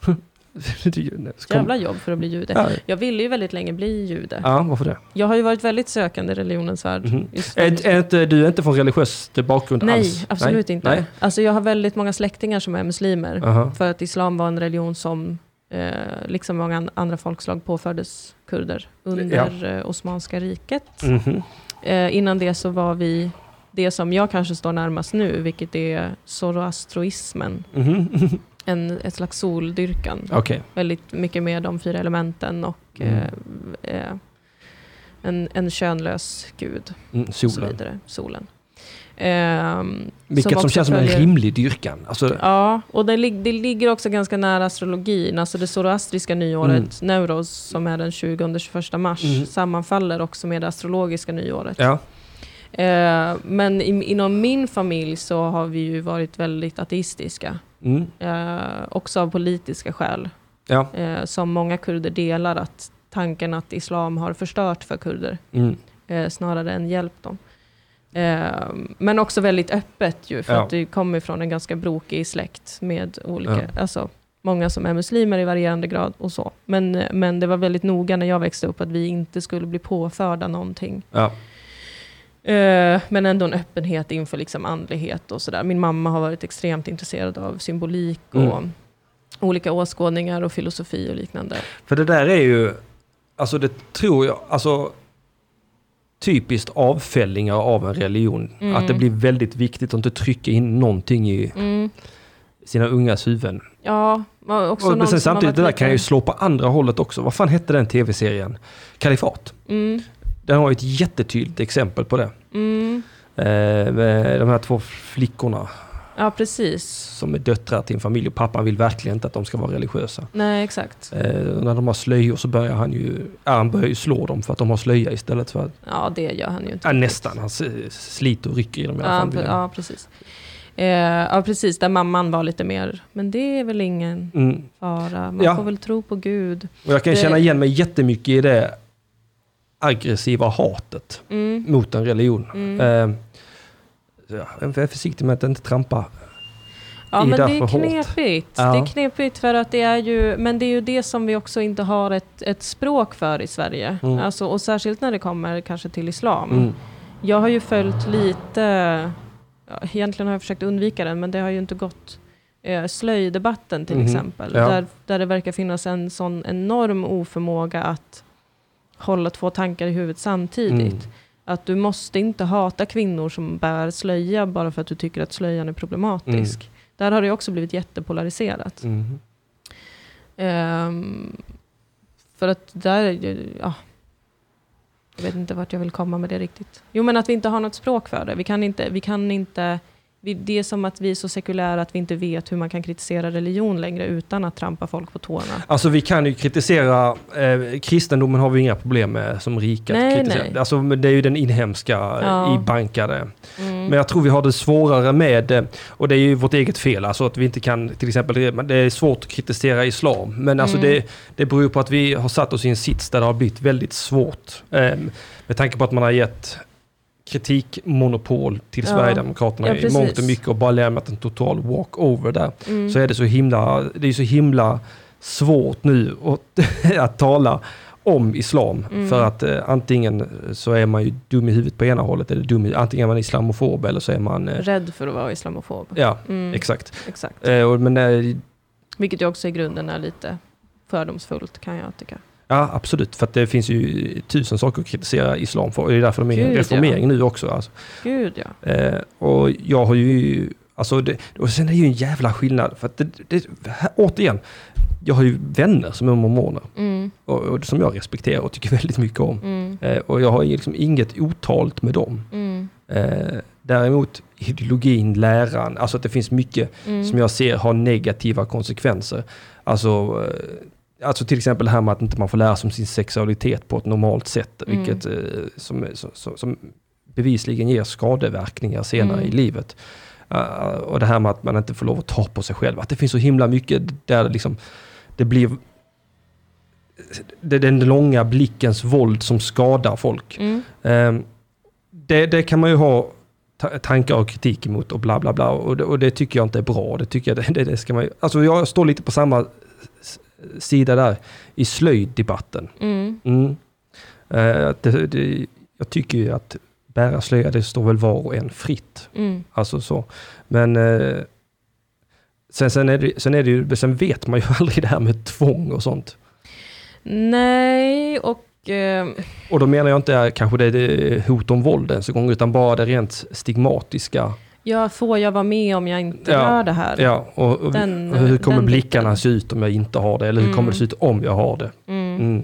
A: Nej.
B: Det är ju- nej, så kom-
A: Jävla jobb för att bli jude.
B: ja,
A: Jag ville ju väldigt länge bli jude.
B: ja, varför det?
A: Jag har ju varit väldigt sökande i religionens värld.
B: Mhm.
A: Just
B: Är, är inte, du är inte från religiös bakgrund
A: Nej,
B: alls?
A: absolut inte.
B: Nej.
A: Alltså jag har väldigt många släktingar som är muslimer.
B: Aha.
A: För att islam var en religion som, eh, liksom många an- andra folkslag, påfördes kurder under eh, Osmanska riket.
B: Mhm.
A: Eh, innan det så var vi det som jag kanske står närmast nu, vilket är zoroastroismen.
B: Mhm.
A: En, ett slags soldyrkan.
B: Okej.
A: Väldigt mycket med de fyra elementen och
B: Mm.
A: eh, eh, en, en könlös gud.
B: Mm,
A: Och så
B: solen.
A: vidare. Solen. Ehm,
B: Vilket som,
A: också
B: känns som en
A: följer-
B: rimlig dyrkan. Alltså,
A: Ja, och det, lig- det ligger också ganska nära astrologin. Alltså det zoroastriska nyåret, Neuros, som är den 20-21 mars,
B: Mm.
A: sammanfaller också med det astrologiska nyåret.
B: ja.
A: Eh, men i, inom min familj så har vi ju varit väldigt ateistiska.
B: Mm.
A: Eh, också av politiska skäl,
B: Ja.
A: eh, som många kurder delar, att tanken att islam har förstört för kurder
B: Mm.
A: eh, snarare än hjälpt dem. Eh, men också väldigt öppet ju, för
B: Ja.
A: att det kommer från en ganska brokig släkt med olika, alltså många som är muslimer i varierande grad och så. Men, eh, men det var väldigt noga när jag växte upp att vi inte skulle bli påförda någonting.
B: Ja.
A: Eh, men ändå en öppenhet inför liksom andlighet och sådär. Min mamma har varit extremt intresserad av symbolik och
B: Mm.
A: olika åskådningar och filosofi och liknande.
B: För det där är ju, alltså det tror jag, alltså typiskt avfällingar av en religion.
A: Mm.
B: Att det blir väldigt viktigt att inte trycka in någonting i
A: Mm.
B: sina ungas huvuden.
A: Ja, och också
B: Och,
A: någon
B: men
A: som har
B: sen samtidigt,
A: varit
B: det där
A: lite-
B: kan ju slå på andra hållet också. Vad fan hette den tv-serien? Kalifat.
A: Mm,
B: Den har ju ett jättetydligt exempel på det.
A: mm.
B: Eh, med de här två flickorna
A: Ja, precis.
B: som är döttrar till en familj och pappan vill verkligen inte att de ska vara religiösa.
A: Nej, exakt.
B: Eh, och när de har slöjor så börjar han ju, ja, han börjar ju slå dem för att de har slöja istället för att
A: Ja, det gör han ju inte.
B: Ja, nästan. Han s- sliter och rycker i dem i
A: Ja,
B: alla
A: han,
B: fall.
A: ja precis. Eh, ja, precis. Där mamman var lite mer, men det är väl ingen
B: Mm.
A: fara. Man
B: Ja.
A: får väl tro på Gud.
B: Och jag kan
A: Det-
B: känna igen mig jättemycket i det aggressiva hatet
A: Mm.
B: mot en religion.
A: Mm.
B: Eh, ja, jag är försiktig med att inte trampa.
A: Ja,
B: i
A: men det
B: därför
A: är
B: hårt.
A: knepigt.
B: Ja.
A: Det är knepigt för att det är ju, men det är ju det som vi också inte har ett, ett språk för i Sverige.
B: Mm.
A: Alltså, och särskilt när det kommer kanske till islam.
B: Mm.
A: Jag har ju följt lite, ja, egentligen har jag försökt undvika den, men det har ju inte gått. Eh, slöjdebatten till
B: Mhm,
A: exempel,
B: ja.
A: där, där det verkar finnas en sån enorm oförmåga att hålla två tankar i huvudet samtidigt.
B: Mm.
A: Att du måste inte hata kvinnor som bär slöja bara för att du tycker att slöjan är problematisk. Där har det också blivit jättepolariserat.
B: Mm.
A: Ehm, för att där, är ju- ja. Jag vet inte vart jag vill komma med det riktigt. Jo men att vi inte har något språk för det. Vi kan inte, vi kan inte vi, det är som att vi är så sekulära att vi inte vet hur man kan kritisera religion längre utan att trampa folk på tårna.
B: Alltså vi kan ju kritisera, eh, kristendomen har vi inga problem med som rika. att
A: Nej,
B: kritisera.
A: nej.
B: Alltså, men det är ju den inhemska eh,
A: Ja.
B: ibankade.
A: Mm.
B: Men jag tror vi har det svårare med, eh, och det är ju vårt eget fel, alltså att vi inte kan, till exempel, det- men det är svårt att kritisera islam. Men alltså
A: Mm.
B: det, det beror ju på att vi har satt oss i en sits där det har blivit väldigt svårt. Eh, Med tanke på att man har gett kritikmonopol till
A: Ja.
B: Sverigedemokraterna
A: Ja,
B: i
A: precis.
B: mångt och mycket och bara lämnat en total walkover där.
A: Mm.
B: Så är det så himla, det är så himla svårt nu att, att tala om islam.
A: Mm.
B: För att eh, antingen så är man ju dum i huvudet på ena hållet, eller dum i, antingen är man islamofob eller så är man... Eh,
A: Rädd för att vara islamofob.
B: ja,
A: Mm,
B: exakt.
A: exakt.
B: Eh, och, men eh,
A: Vilket ju också i grunden är lite fördomsfullt kan jag tycka.
B: ja, absolut, för att det finns ju tusen saker att kritisera islam för. Och det är därför de är i
A: Gud,
B: reformering nu också. Alltså.
A: Gud ja.
B: Eh, och jag har ju Alltså det, och sen är det ju en jävla skillnad. För att det, det, här, återigen, jag har ju vänner som är mormoner.
A: Mm,
B: Och, och, som jag respekterar och tycker väldigt mycket om.
A: mm,
B: Eh, och jag har ju liksom inget otalt med dem.
A: mm,
B: Eh, däremot ideologin, läran, alltså att det finns mycket
A: mm.
B: som jag ser har negativa konsekvenser. Alltså, eh, alltså till exempel det här med att inte man får lära sig om sin sexualitet på ett normalt sätt,
A: Mm.
B: vilket eh, som, som, som bevisligen ger skadeverkningar senare
A: Mm.
B: i livet. Eh, och det här med att man inte får lov att ta på sig själv, att det finns så himla mycket där det liksom, det blir det är den långa blickens våld som skadar folk.
A: Mm,
B: Ehm, det, det kan man ju ha ta- tankar och kritik emot och bla bla bla. Och det, och det tycker jag inte är bra. Det tycker jag, det, det ska man ju, alltså jag står lite på samma s- sida där i slöjddebatten.
A: mm,
B: Mm. Eh, det, det, jag tycker ju att bära slöja, det står väl var och en fritt.
A: mm,
B: Alltså så. Men eh, sen, sen, är det, sen, är det ju, sen vet man ju aldrig det här med tvång och sånt.
A: Nej, och... Eh,
B: Och då menar jag inte eh, kanske det, det hot om våld ens en gång, utan bara det rent stigmatiska.
A: ja, får jag vara med om jag inte
B: Ja,
A: gör det här?
B: Ja, och, och
A: Den-
B: hur kommer
A: den
B: blickarna
A: biten.
B: se ut om jag inte har det? Eller hur
A: Mm.
B: kommer det se ut om jag har det?
A: Mm.
B: Mm.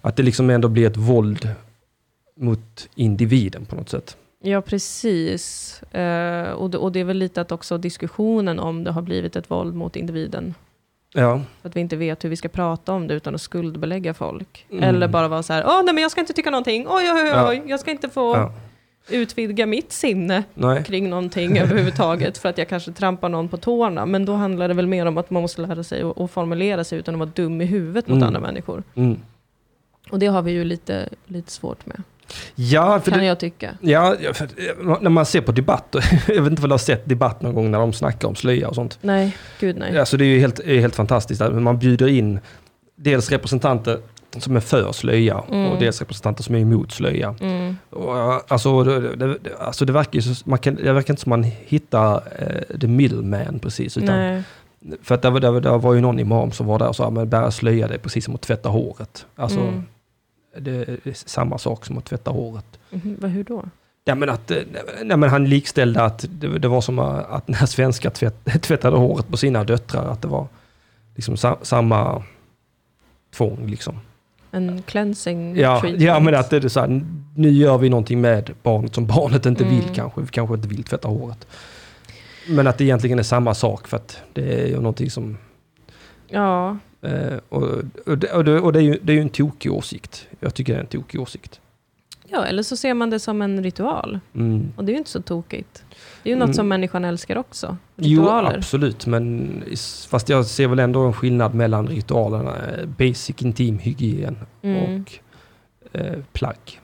B: Att det liksom ändå blir ett våld mot individen på något sätt.
A: Ja, precis. Eh, och, det, och det är väl lite att också diskussionen om det har blivit ett våld mot individen.
B: Ja,
A: För att vi inte vet hur vi ska prata om det utan att skuldbelägga folk.
B: Mm.
A: Eller bara vara så här, åh nej men jag ska inte tycka någonting, oj oj oj,
B: Ja.
A: oj. jag ska inte få
B: Ja.
A: utvidga mitt sinne
B: nej.
A: kring någonting överhuvudtaget för att jag kanske trampar någon på tårna. Men då handlar det väl mer om att man måste lära sig att att formulera sig utan att vara dum i huvudet mot
B: Mm.
A: andra människor.
B: Mm.
A: Och det har vi ju lite, lite svårt med,
B: Ja, för
A: kan
B: det,
A: jag tycka.
B: ja, för, när man ser på debatter, jag vet inte om du har sett debatt någon gång när de snackar om slöja och sånt.
A: Nej, gud nej.
B: Alltså det är ju helt, är helt fantastiskt. att Man bjuder in dels representanter som är för slöja
A: Mm.
B: och dels representanter som är emot slöja.
A: Mm.
B: Och, eh, alltså, det, det, det- alltså det verkar ju så, man kan, det verkar inte som man hittar eh, the middleman precis. Utan,
A: Nej.
B: för att det, var- det, var- det var ju någon imam som var där och sa att bära slöja det är precis som att tvätta håret. Alltså,
A: Mm.
B: det, är samma sak som att tvätta håret.
A: Mhm, vad- Hur då?
B: Ja, men att, eh, nej, men han likställde att det, det var som eh, att när svenskar tvätt, tvättade håret på sina döttrar, att det var liksom sa, samma tvång. Liksom.
A: En cleansing
B: Ja,
A: treatment?
B: ja, men att det är så här, nu gör vi någonting med barnet som barnet inte vill
A: Mm.
B: kanske, vi kanske inte vill tvätta håret. Men att det egentligen är samma sak för att det är ju någonting som...
A: Ja,
B: Eh, och, och, det, och, det, och det är ju det är ju en tokig åsikt. Jag tycker det är en tokig åsikt.
A: ja, eller så ser man det som en ritual.
B: Mm.
A: Och det är ju inte så tokigt. Det är ju något
B: Mm.
A: som människan älskar också.
B: Jo,
A: Ritualer.
B: absolut. Men is- fast jag ser väl ändå en skillnad mellan ritualerna, eh, basic intim hygien
A: mm.
B: och eh, plagg.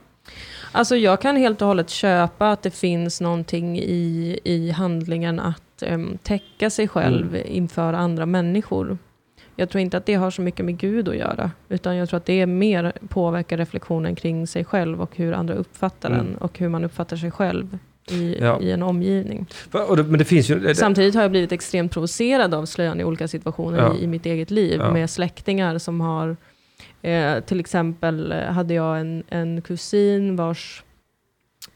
A: Alltså jag kan helt och hållet köpa att det finns någonting i, i handlingen att um, täcka sig själv
B: Mm.
A: inför andra människor. Jag tror inte att det har så mycket med Gud att göra, utan jag tror att det är mer påverkar reflektionen kring sig själv och hur andra uppfattar
B: Mm.
A: den och hur man uppfattar sig själv i,
B: Ja.
A: i en omgivning.
B: För, och det, men det finns ju... Det,
A: Samtidigt har jag blivit extremt provocerad av slöjan i olika situationer
B: Ja.
A: i, i mitt eget liv
B: Ja.
A: med släktingar som har, eh, till exempel eh, hade jag en, en kusin vars,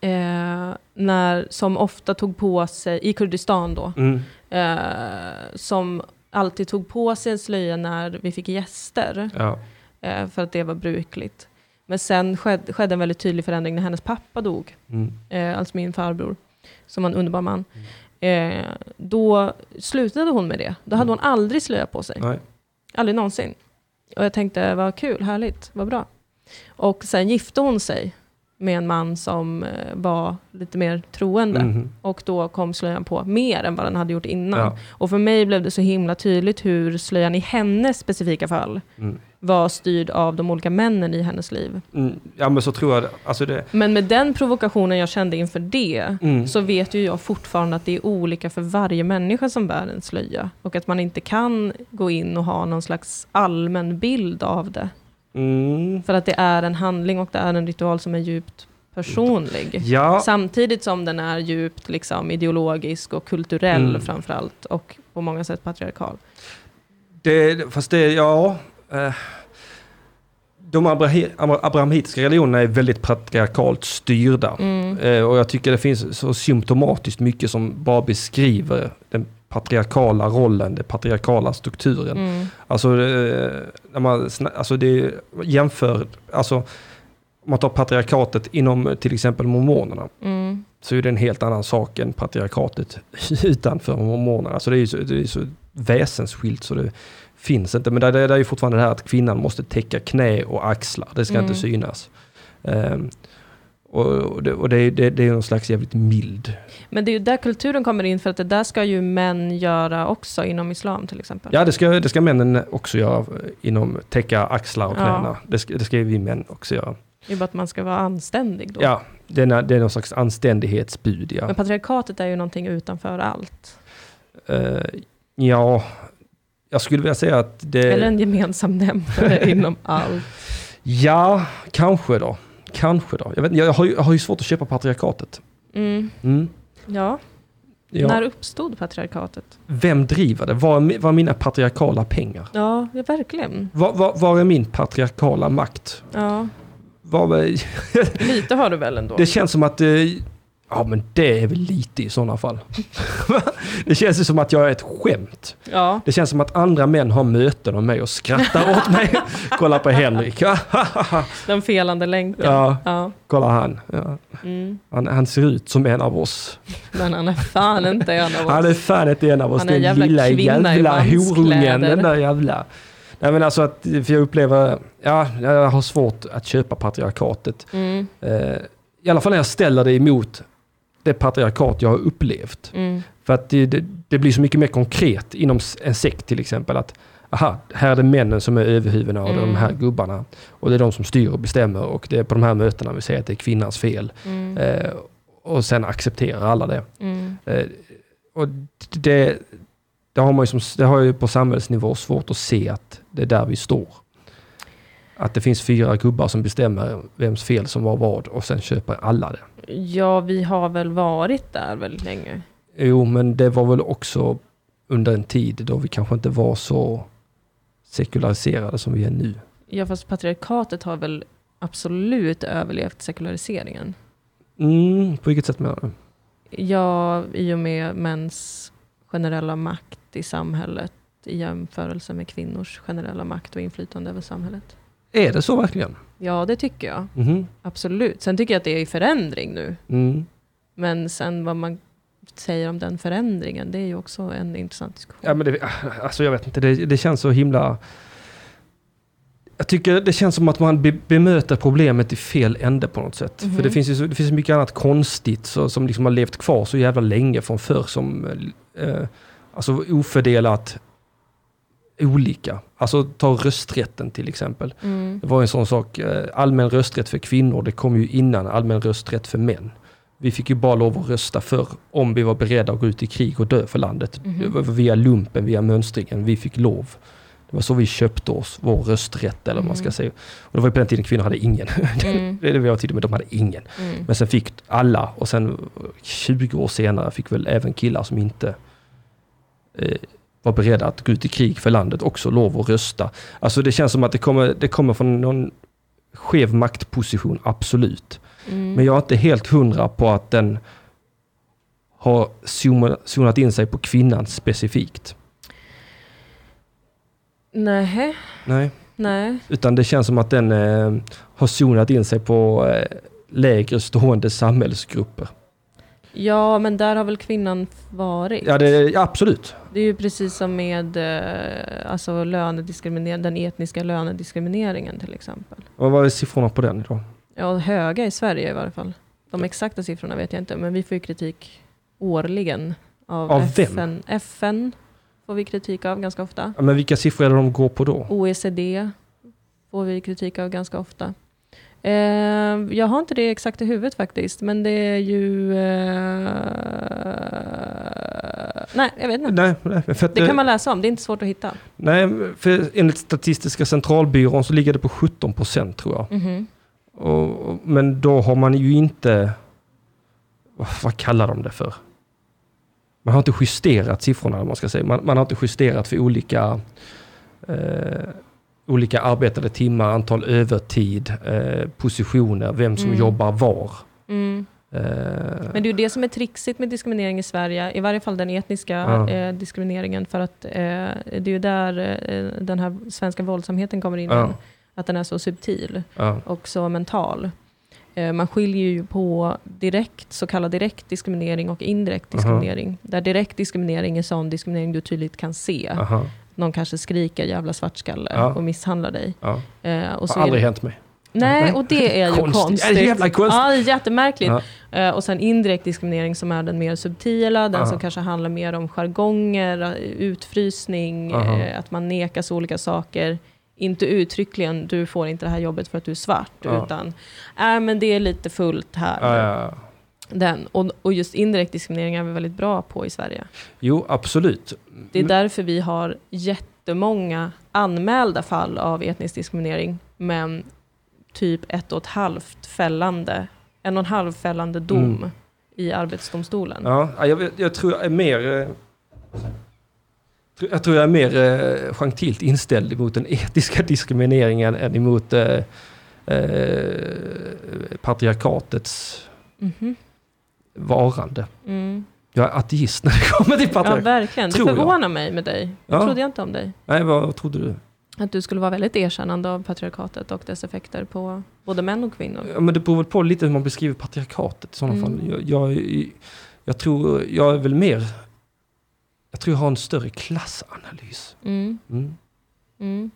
A: eh, när, som ofta tog på sig, i Kurdistan då,
B: mm,
A: eh, som alltid tog på sig en slöja när vi fick gäster,
B: ja,
A: eh, för att det var brukligt. Men sen skedde, skedde en väldigt tydlig förändring när hennes pappa dog
B: mm,
A: eh, alltså min farbror, som var en underbar man, eh, då slutade hon med det. Då hade hon aldrig slöja på sig.
B: Mm. nej.
A: Aldrig någonsin. Och jag tänkte, vad kul, härligt, vad bra. Och sen gifte hon sig med en man som eh, var lite mer troende.
B: mhm,
A: Och då kom slöjan på mer än vad den hade gjort innan.
B: Ja.
A: Och för mig blev det så himla tydligt hur slöjan i hennes specifika fall
B: Mm.
A: var styrd av de olika männen i hennes liv.
B: Mm, ja, men så tror jag... det- Alltså det...
A: Men med den provokationen jag kände inför det,
B: Mm,
A: så vet ju jag fortfarande att det är olika för varje människa som bär en slöja. Och att man inte kan gå in och ha någon slags allmän bild av det.
B: mm,
A: För att det är en handling och det är en ritual som är djupt personlig.
B: ja,
A: Samtidigt som den är djupt liksom, ideologisk och kulturell
B: Mm.
A: framförallt. Och på många sätt patriarkal.
B: det, fast det... Ja... Eh, de abrahi- abra- abrahamitiska religionerna är väldigt patriarkalt styrda.
A: Mm.
B: Eh, Och jag tycker det finns så symptomatiskt mycket som bara beskriver den patriarkala rollen, den patriarkala strukturen.
A: Mm.
B: Alltså, eh, när man, sna- alltså det jämför, alltså om man tar patriarkatet inom eh, till exempel mormonerna,
A: Mm.
B: så är det en helt annan sak än patriarkatet utanför mormonerna. Alltså det är ju så, det är så väsensskilt så det finns inte. Men det, det, det är ju fortfarande det här att kvinnan måste täcka knä och axlar, det ska
A: Mm.
B: inte synas. Ehm, och och, det, och det, är- det, det är någon slags jävligt mild.
A: Men det är ju där kulturen kommer in, för att det där ska ju män göra också inom islam till exempel.
B: Ja, det ska, det ska männen också göra eh, inom täcka axlar och
A: Ja.
B: knäna. Det, ska, det ska ju vi män också göra.
A: Det är ju bara att man ska vara anständig då.
B: Ja, det är, na- det är någon slags anständighetsbud. Ja,
A: Men patriarkatet är ju någonting utanför allt.
B: Eh, ja jag skulle vilja säga att det...
A: Eller en gemensam nämnare inom allt.
B: Ja, kanske då. Kanske då. Jag, vet, inte, jag, har, ju, jag har ju svårt att köpa patriarkatet.
A: Mm.
B: Mm.
A: Ja.
B: Ja.
A: när uppstod patriarkatet?
B: Vem driver det? Var är, mi- var är mina patriarkala pengar?
A: Ja, ja verkligen.
B: Var, var, var är min patriarkala makt?
A: Ja.
B: Var, är-
A: Lite har du väl ändå?
B: det känns som att... eh, Ja, men det är väl lite i sådana fall. det känns ju som att jag är ett skämt.
A: Ja.
B: Det känns som att andra män har möten om mig och skrattar åt mig. Kolla på Henrik.
A: Den felande länken.
B: Ja.
A: Ja.
B: Kolla han. Ja.
A: Mm.
B: han. Han ser ut som en av oss.
A: Men han är fan inte en av oss.
B: Han är fan inte en av oss.
A: Han är en
B: Den
A: jävla
B: lilla
A: kvinna i
B: jävla horungen.
A: manskläder.
B: Den där jävla. Nej men alltså att, för jag upplever, ja, jag har svårt att köpa patriarkatet.
A: Mm.
B: Eh, I alla fall när jag ställer det emot det patriarkat jag har upplevt.
A: Mm.
B: För att det, det, det blir så mycket mer konkret inom s- en sekt till exempel. Att aha, här är det männen som är överhuvudena och det är de här
A: Mm.
B: gubbarna. Och det är de som styr och bestämmer och det är på de här mötena vi säger att det är kvinnans fel.
A: Mm.
B: Eh, och sen accepterar alla det.
A: Mm.
B: Eh, och det, det, har man ju som, det har jag ju på samhällsnivå svårt att se att det är där vi står. Att det finns fyra gubbar som bestämmer vems fel som var vad och sen köper alla det.
A: Ja, vi har väl varit där väldigt länge.
B: Jo, men det var väl också under en tid då vi kanske inte var så sekulariserade som vi är nu.
A: Ja, fast patriarkatet har väl absolut överlevt sekulariseringen.
B: Mm, på vilket sätt menar du?
A: Ja, i och med mäns generella makt i samhället i jämförelse med kvinnors generella makt och inflytande över samhället.
B: Är det så verkligen?
A: Ja, det tycker jag.
B: Mhm.
A: Absolut. Sen tycker jag att det är i förändring nu.
B: Mm.
A: Men sen vad man säger om den förändringen, det är ju också en intressant diskussion.
B: Ja, men det, alltså jag vet inte, det, det känns så himla... Jag tycker det känns som att man be, bemöter problemet i fel ände på något sätt.
A: Mhm.
B: För det finns ju så, det finns mycket annat konstigt så, som liksom har levt kvar så jävla länge från förr som eh, alltså ofördelat olika. Alltså ta rösträtten till exempel.
A: Mm.
B: Det var en sån sak, eh, allmän rösträtt för kvinnor, det kom ju innan allmän rösträtt för män. Vi fick ju bara lov att rösta för om vi var beredda att gå ut i krig och dö för landet.
A: Mhm.
B: Det var Via lumpen, via mönstringen, vi fick lov. Det var så vi köpte oss vår rösträtt eller vad man ska
A: Mhm.
B: säga. Och det var ju på den tiden kvinnor hade ingen.
A: Mm.
B: Det är det vi har till och med, de hade ingen.
A: Mm.
B: Men sen fick alla och sen eh, 20 år senare fick väl även killar som inte eh, var beredda att gå ut i krig för landet också lov att rösta. Alltså det känns som att det kommer, det kommer från någon skev maktposition, absolut.
A: Mm.
B: Men jag är inte helt hundra på att den har zooma- zonat in sig på kvinnan specifikt.
A: Nähä,
B: Nej.
A: nej.
B: Utan det känns som att den eh, har zonat in sig på eh, lägre stående samhällsgrupper.
A: Ja, men där har väl kvinnan varit.
B: Ja, det, ja absolut.
A: Det är ju precis som med eh, alltså lönediskriminering, den etniska lönediskrimineringen till exempel.
B: Vad var siffrorna på den idag?
A: Ja, höga i Sverige i varje fall. De exakta siffrorna vet jag inte, men vi får ju kritik årligen av,
B: Av vem?
A: FN. FN får vi kritik av ganska ofta.
B: Ja, men vilka siffror är det de går på då?
A: OECD får vi kritik av ganska ofta. Eh, jag har inte det exakt i huvudet faktiskt, men det är ju... Eh, nej, jag vet inte.
B: Nej, nej, för att,
A: Det kan man läsa om, det är inte svårt att hitta.
B: nej, för enligt Statistiska centralbyrån så ligger det på 17 procent tror jag.
A: Mhm.
B: Och, och- men då har man ju inte, vad, vad kallar de det för? Man har inte justerat siffrorna, eller vad man ska säga. Man, man har inte justerat för olika, eh, olika arbetade timmar, antal övertid, eh, positioner, vem som
A: Mm.
B: jobbar var.
A: Mm.
B: Eh,
A: Men det är ju det som är trixigt med diskriminering i Sverige, i varje fall den etniska
B: Ja.
A: eh, diskrimineringen, för att eh, det är ju där eh, den här svenska våldsamheten kommer in.
B: Ja.
A: Att den är så subtil
B: ja,
A: och så mental. Eh, man skiljer ju på direkt, så kallad direkt diskriminering och indirekt
B: Aha.
A: diskriminering. Där direkt diskriminering är sån diskriminering du tydligt kan se.
B: aha,
A: Någon kanske skriker jävla svartskalle
B: Ja.
A: och misshandlar dig.
B: ja.
A: Eh, och så
B: Har
A: är
B: aldrig hänt mig.
A: Nej,
B: Nej.
A: och det är ju
B: Konstigt.
A: konstigt.
B: Ja, det är jävla konstigt.
A: Ja, det är jättemärkligt. Eh, Och sen indirekt diskriminering som är den mer subtila, den
B: Aha.
A: som kanske handlar mer om jargonger, eh, utfrysning,
B: Aha.
A: eh, att man nekas olika saker. Inte uttryckligen, du får inte det här jobbet för att du är svart,
B: Ja.
A: utan äh, men det är lite fullt här.
B: Ja, ja, ja.
A: Den. Och, och just indirekt diskriminering är vi väldigt bra på i Sverige.
B: Jo, absolut.
A: Det är
B: Men-
A: därför vi har jättemånga anmälda fall av etnisk diskriminering, men typ ett och ett halvt fällande, en och en halv fällande dom
B: Mm.
A: i Arbetsdomstolen.
B: Ja, ja, jag, vet- jag tror jag är mer... eh, tror- Jag tror jag är mer eh, gentilt inställd mot den etiska diskrimineringen än emot eh, eh, patriarkatets
A: Mhm.
B: varande.
A: Mm.
B: Jag är ateist när det kommer till
A: Ja,
B: patriarkat.
A: verkligen. Det
B: tror jag.
A: förvånar mig med dig. Det
B: Ja.
A: trodde jag inte om dig.
B: Nej, vad trodde du?
A: Att du skulle vara väldigt erkännande av patriarkatet och dess effekter på både män och kvinnor.
B: Ja, men det beror väl på lite hur man beskriver patriarkatet i sådana
A: Mm.
B: fall. Jag, jag, jag tror jag är väl mer... Jag tror jag har en större klassanalys.
A: Mm.
B: Mm.
A: Mm.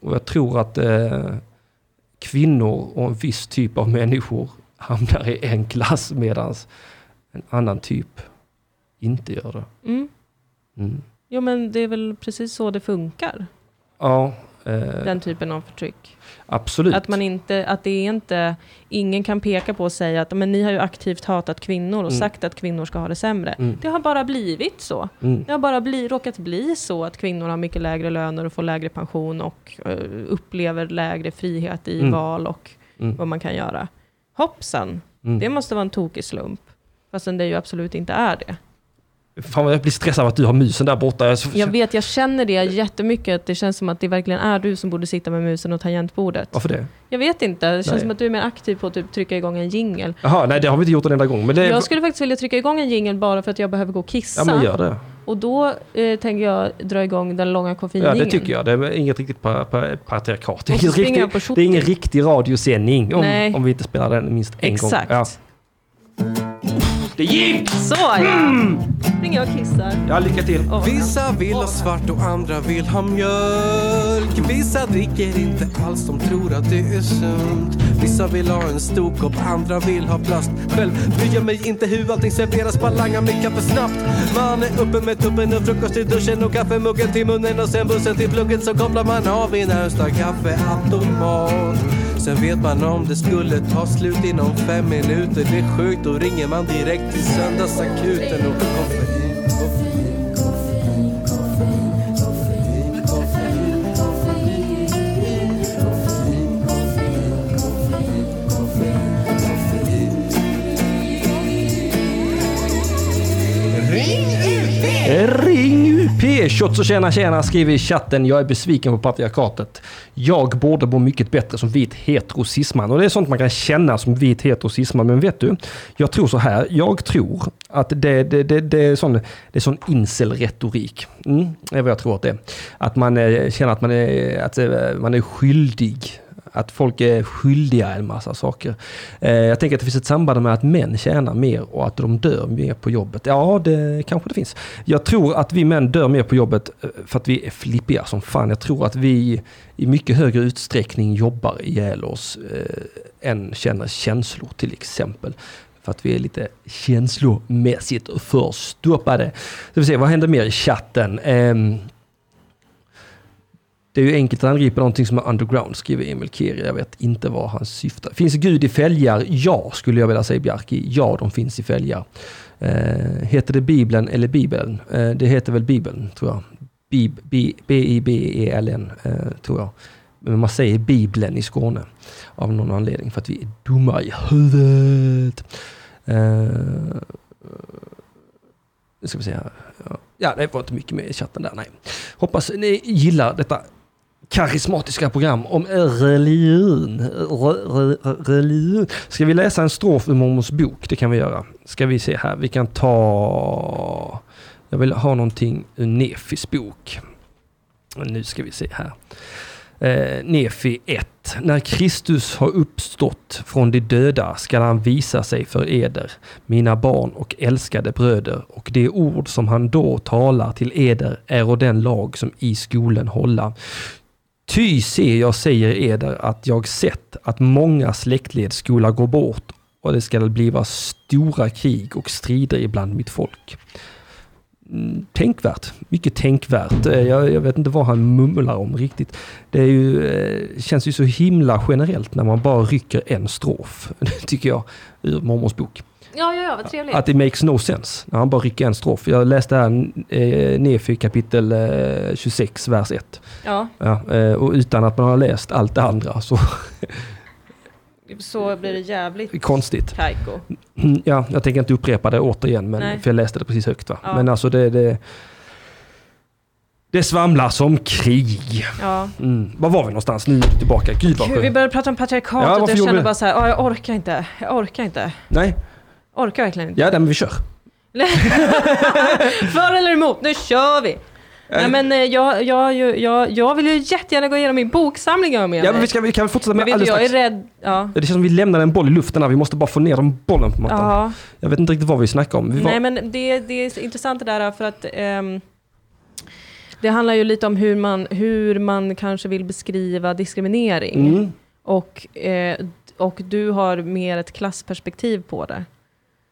B: Och jag tror att eh, kvinnor och en viss typ av människor hamnar i en klass medan en annan typ inte gör det.
A: Mm.
B: Mm.
A: Jo, men det är väl precis så det funkar,
B: Ja, eh,
A: den typen av förtryck.
B: absolut.
A: Att, man inte, att det är inte, ingen kan peka på och säga att men ni har ju aktivt hatat kvinnor och
B: Mm.
A: sagt att kvinnor ska ha det sämre.
B: Mm.
A: Det har bara blivit så.
B: Mm.
A: Det har bara bli, råkat bli så att kvinnor har mycket lägre löner och får lägre pension och eh, upplever lägre frihet i
B: Mm.
A: val och
B: Mm.
A: vad man kan göra. Hoppsan, det
B: Mm.
A: måste vara en tokig slump. Fastän det ju absolut inte är det.
B: Fan vad jag blir stressad av att du har musen där borta. Jag,
A: Jag vet, jag känner det jättemycket. Att det känns som att det verkligen är du som borde sitta med musen och tangentbordet.
B: Varför det?
A: Jag vet inte, det känns
B: Nej.
A: som att du är mer aktiv på att typ trycka igång en jingle.
B: Jaha, nej det har vi inte gjort en enda gång. Men det,
A: Jag skulle faktiskt vilja trycka igång en jingle bara för att jag behöver gå och kissa.
B: ja, men gör det.
A: Och då eh, tänker jag dra igång den långa
B: Ja,
A: koffeinjingeln.
B: det tycker jag. Det är inget riktigt pa, pa, patriarkat. Det är,
A: Och så
B: inget
A: springer jag
B: riktigt,
A: på
B: det är ingen
A: shopping.
B: riktig radiosändning om,
A: Nej.
B: om vi inte spelar den minst en gång.
A: Exakt.
B: Ja. Det gick!
A: Så ja! Springer jag och kissar.
B: Ja, lycka till.
A: Åh, vad skönt.
C: Vissa vill ha svart och andra vill ha mjölk Vissa dricker inte alls, de tror att det är sunt Vissa vill ha en stor kopp, andra vill ha plast Själv bryr jag mig inte hur allting serveras, bara langar mig kaffe snabbt Man är uppe med tuppen och frukost i duschen och kaffemuggen till munnen och sen bussen till plugget så kopplar man av i närmsta kaffeautomat Sen vet man om det skulle ta slut inom fem minuter Det är sjukt, då ringer man direkt till söndagsakuten och koffein, koffein
B: Ring UP! Shots och tjena tjena skriver i chatten. Jag är besviken på patriarkatet. Jag borde må mycket bättre som vit hetero cisman. Och det är sånt man kan känna som vit hetero cisman. Men vet du? Jag tror så här. Jag tror att det, det, det, det är sån, det är sån incelretorik. Mm, det är vad jag tror att det är. Att man eh, känner att man är, att eh, man är skyldig. Att folk är skyldiga en massa saker. Eh, jag tänker att det finns ett samband med att män tjänar mer och att de dör mer på jobbet. Ja, det kanske det finns. Jag tror att vi män dör mer på jobbet eh, för att vi är flippiga som fan. Jag tror att vi i mycket högre utsträckning jobbar ihjäl oss eh, än känner känslor till exempel. För att vi är lite känslomässigt förstoppade. Så vi ser, vad händer mer i chatten? Ehm, det är ju enkelt att angripa någonting som är underground, skriver Emil Kiri. Jag vet inte vad han syftar. Finns Gud i fälgar? Ja, skulle jag vilja säga Bjarki. Ja, de finns i fälgar. Eh, heter det Bibeln eller Bibeln? Eh, det heter väl Bibeln, tror jag. Bib- B- B-I-B-E-L-N, eh, tror jag. Men man säger Bibeln i Skåne av någon anledning, för att vi är dumma i huvudet. Eh, nu ska vi se här. Ja, det var inte mycket med i chatten där, nej. Hoppas ni gillar detta karismatiska program om religion. Re- re- religion. Ska vi läsa en strof ur mormons bok? Det kan vi göra. Ska vi se här. Vi kan ta... Jag vill ha någonting ur Nefis bok. Nu ska vi se här. Eh, Nefi 1. När Kristus har uppstått från de döda skall han visa sig för eder, mina barn och älskade bröder, och de ord som han då talar till eder är och den lag som i skolan hålla. Ty se jag säger eder att jag sett att många släktled skola gå bort och det skall bliva stora krig och strider ibland mitt folk. Mm, Tänkvärt, mycket tänkvärt. Eh, Jag, jag vet inte vad han mumlar om riktigt. Det är ju, eh, känns ju så himla generellt när man bara rycker en strof, tycker jag, ur mormors bok.
A: Ja, ja, ja, vad trevligt.
B: Att det makes no sense när han bara rycker en strof. Jag läste här eh, Nefi kapitel eh, 26, vers 1.
A: Ja,
B: Ja, eh, och utan att man har läst allt det andra så
A: så blir det jävligt
B: konstigt.
A: kajko.
B: Mm, Ja, jag tänker inte upprepa det återigen, men,
A: Nej.
B: för jag läste det precis högt. Va?
A: Ja.
B: Men alltså det, det... Det svamlas om krig.
A: Ja.
B: Mm. Var var vi någonstans? Nu är vi tillbaka. Gud vad
A: Gud, vi
B: skönt.
A: började prata om
B: Ja,
A: patriarkatet och
B: varför
A: jag
B: gjorde
A: kände
B: vi
A: bara så här, "Ah, jag orkar inte, jag orkar inte,
B: Nej,
A: orkar verkligen inte.
B: ja, nej, men vi kör.
A: För eller emot, nu kör vi! Nej men eh, jag, jag, jag, jag, jag vill ju jättegärna gå igenom min boksamling jag har med
B: Ja, men
A: mig.
B: vi, ska, vi kan fortsätta
A: Men
B: med
A: vet du,
B: alldeles
A: jag är
B: strax.
A: rädd. Ja.
B: Det känns som vi lämnade en boll i luften här. Vi måste bara få ner den bollen på mattan.
A: ja.
B: Jag vet inte riktigt vad vi snackar om. Vi var...
A: Nej men det, det är intressant det där för att ehm, det handlar ju lite om hur man, hur man kanske vill beskriva diskriminering.
B: mm.
A: Och, eh, och du har mer ett klassperspektiv på det.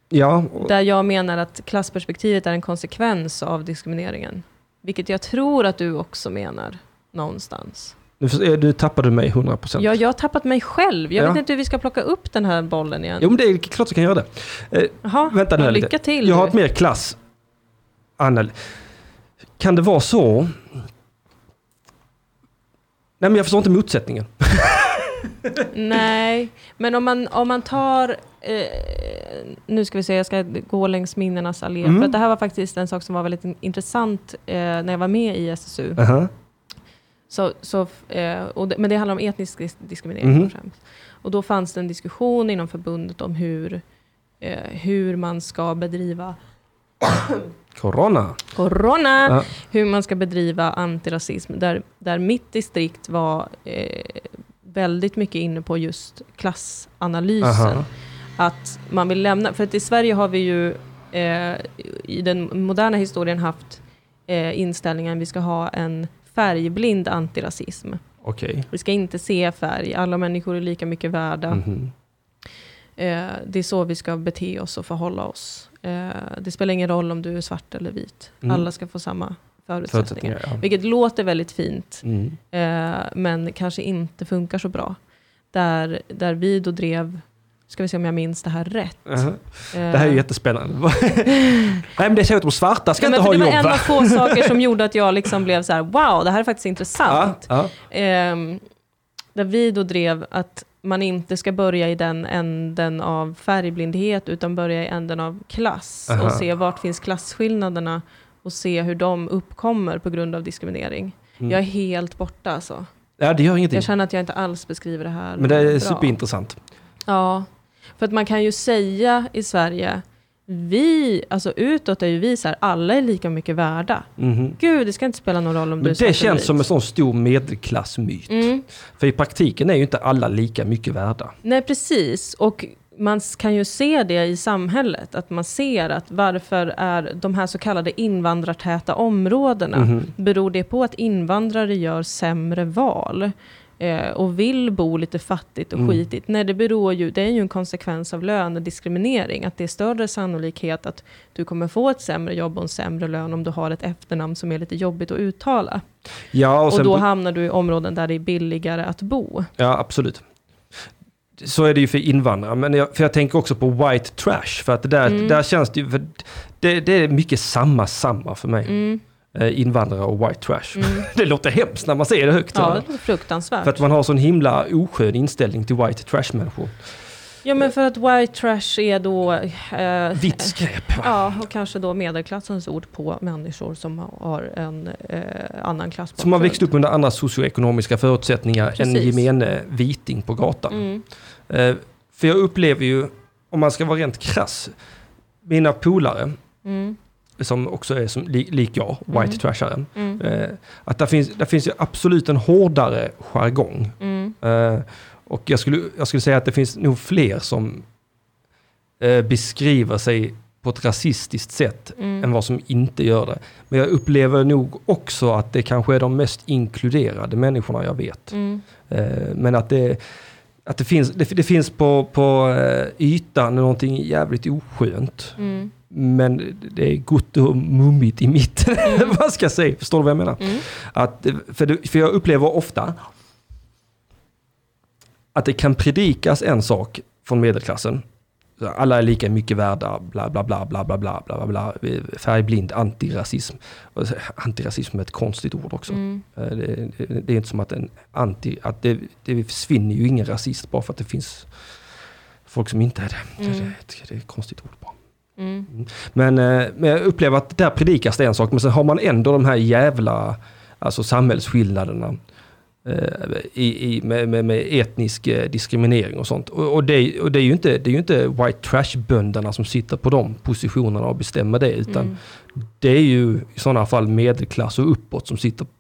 B: Ja, och-
A: Där jag menar att klassperspektivet är en konsekvens av diskrimineringen. Vilket jag tror att du också menar någonstans.
B: nu förs- nu tappade du mig 100%.
A: Ja, jag har tappat mig själv. Jag
B: Ja.
A: vet inte hur vi ska plocka upp den här bollen igen.
B: Jo, men det är klart vi kan göra det.
A: Jaha,
B: vänta nu
A: ja,
B: lite.
A: lycka till.
B: Jag har
A: du.
B: ett mer klass... Anal- kan det vara så... Nej, men jag förstår inte motsättningen.
A: Nej, men om man, om man tar... Eh, nu ska vi se, jag ska gå längs minnenas allé.
B: Mm.
A: För att det här var faktiskt en sak som var väldigt in- intressant eh, när jag var med i SSU.
B: Aha.
A: Så, så, eh, och det, men det handlar om etnisk dis- diskriminering.
B: Mhm.
A: främst. Och då fanns det en diskussion inom förbundet om hur, eh, hur man ska bedriva
B: Corona.
A: Corona!
B: Ja.
A: Hur man ska bedriva antirasism. Där, där mitt distrikt var eh, väldigt mycket inne på just klassanalysen.
B: Aha.
A: Att man vill lämna, för att i Sverige har vi ju eh, i den moderna historien haft eh, inställningen vi ska ha en färgblind antirasism.
B: Okej.
A: Vi ska inte se färg, alla människor är lika mycket värda.
B: Mhm.
A: Eh, det är så vi ska bete oss och förhålla oss. Eh, det spelar ingen roll om du är svart eller vit.
B: Mm.
A: Alla ska få samma förutsättningar.
B: Förutsättningar, Mm. ja.
A: Vilket låter väldigt fint,
B: Mm.
A: eh, men kanske inte funkar så bra. Där, där vi då drev, ska vi se om jag minns det här rätt. eh,
B: Aha. Det här är ju jättespännande. Nej, men det säger att de svarta ska
A: Ja, men
B: inte
A: för
B: ha
A: det var en
B: jobb,
A: av få
B: va?
A: saker som gjorde att jag liksom blev så här: wow, det här är faktiskt intressant.
B: ja.
A: Ehm, där vi då drev att man inte ska börja i den änden av färgblindhet utan börja i änden av klass
B: Aha.
A: och se vart finns klasskillnaderna och se hur de uppkommer på grund av diskriminering.
B: Mm.
A: Jag är helt borta alltså.
B: ja, det gör ingenting.
A: Jag känner att jag inte alls beskriver det här
B: Men det är
A: bra.
B: superintressant.
A: Ja, för att man kan ju säga i Sverige, vi, alltså utåt är ju vi så här, alla är lika mycket värda.
B: Mhm.
A: Gud, det ska inte spela någon roll om du är
B: Men
A: svart eller
B: det känns
A: vit.
B: som en sån stor medelklassmyt.
A: Mm.
B: För i praktiken är ju inte alla lika mycket värda.
A: Nej, precis. Och man s- kan ju se det i samhället, att man ser att varför är de här så kallade invandrartäta områdena,
B: Mhm.
A: beror det på att invandrare gör sämre val? eh, och vill bo lite fattigt och
B: Mm.
A: skitigt. Nej, det, beror ju, det är ju en konsekvens av lönediskriminering. Att det är större sannolikhet att du kommer få ett sämre jobb och en sämre lön om du har ett efternamn som är lite jobbigt att uttala.
B: Ja, och,
A: Och,
B: sen
A: då hamnar du i områden där det är billigare att bo.
B: Ja, absolut. Så är det ju för invandrare. Men jag, för jag tänker också på white trash. För att det där,
A: Mm.
B: där känns det ju... För det, det är mycket samma, samma för mig.
A: Mm.
B: Eh, Invandrare och white trash. det låter hemskt när man säger det högt.
A: Ja,
B: va?
A: det är fruktansvärt.
B: För att man har sån himla oskön inställning till white trash-människor.
A: Ja, men för att white trash är då... Eh,
B: Vitt skräp. va?
A: Ja, och kanske då medelklassens ord på människor som har en eh, annan klassbakgrund.
B: Som har växt upp under andra socioekonomiska förutsättningar än
A: Precis.
B: gemene viting på gatan.
A: Mm.
B: Eh, för jag upplever ju, om man ska vara rent krass, mina polare
A: Mm.
B: som också är som, li, lik jag, white
A: Mm.
B: trasharen,
A: Mm.
B: eh, att där finns, där finns ju absolut en hårdare jargong.
A: Mm.
B: Eh, och jag skulle, jag skulle säga att det finns nog fler som eh, beskriver sig på ett rasistiskt sätt än
A: Mm.
B: vad som inte gör det. Men jag upplever nog också att det kanske är de mest inkluderade människorna jag vet.
A: Mm.
B: Eh, Men att det, att det finns, det, det finns på, på eh, ytan någonting jävligt oskönt.
A: Mm.
B: Men det är gott och mummigt i mitten. vad ska jag säga? Förstår du vad jag menar?
A: Mm.
B: Att, eh, för, det, för jag upplever ofta att det kan predikas en sak från medelklassen. Så Alla är lika mycket värda, bla bla bla bla bla bla bla bla, bla. Eh, Färgblind antirasism. Och så- Antirasism är ett konstigt ord också.
A: Mm.
B: Eh, Det, det, det är inte som att en anti... Att det, det försvinner ju ingen rasist bara för att det finns folk som inte är det. Det,
A: Mm.
B: det, det är ett konstigt ord bara.
A: Mm.
B: Men, eh, men jag upplever att där predikas det en sak, men sen har man ändå de här jävla alltså samhällsskillnaderna eh, i, i, med, med, med etnisk eh, diskriminering och sånt. Och, och, det, och det är ju inte, det är ju inte white trash-bönderna som sitter på de positionerna och bestämmer det, utan
A: Mm.
B: det är ju i sådana fall medelklass och uppåt som sitter på-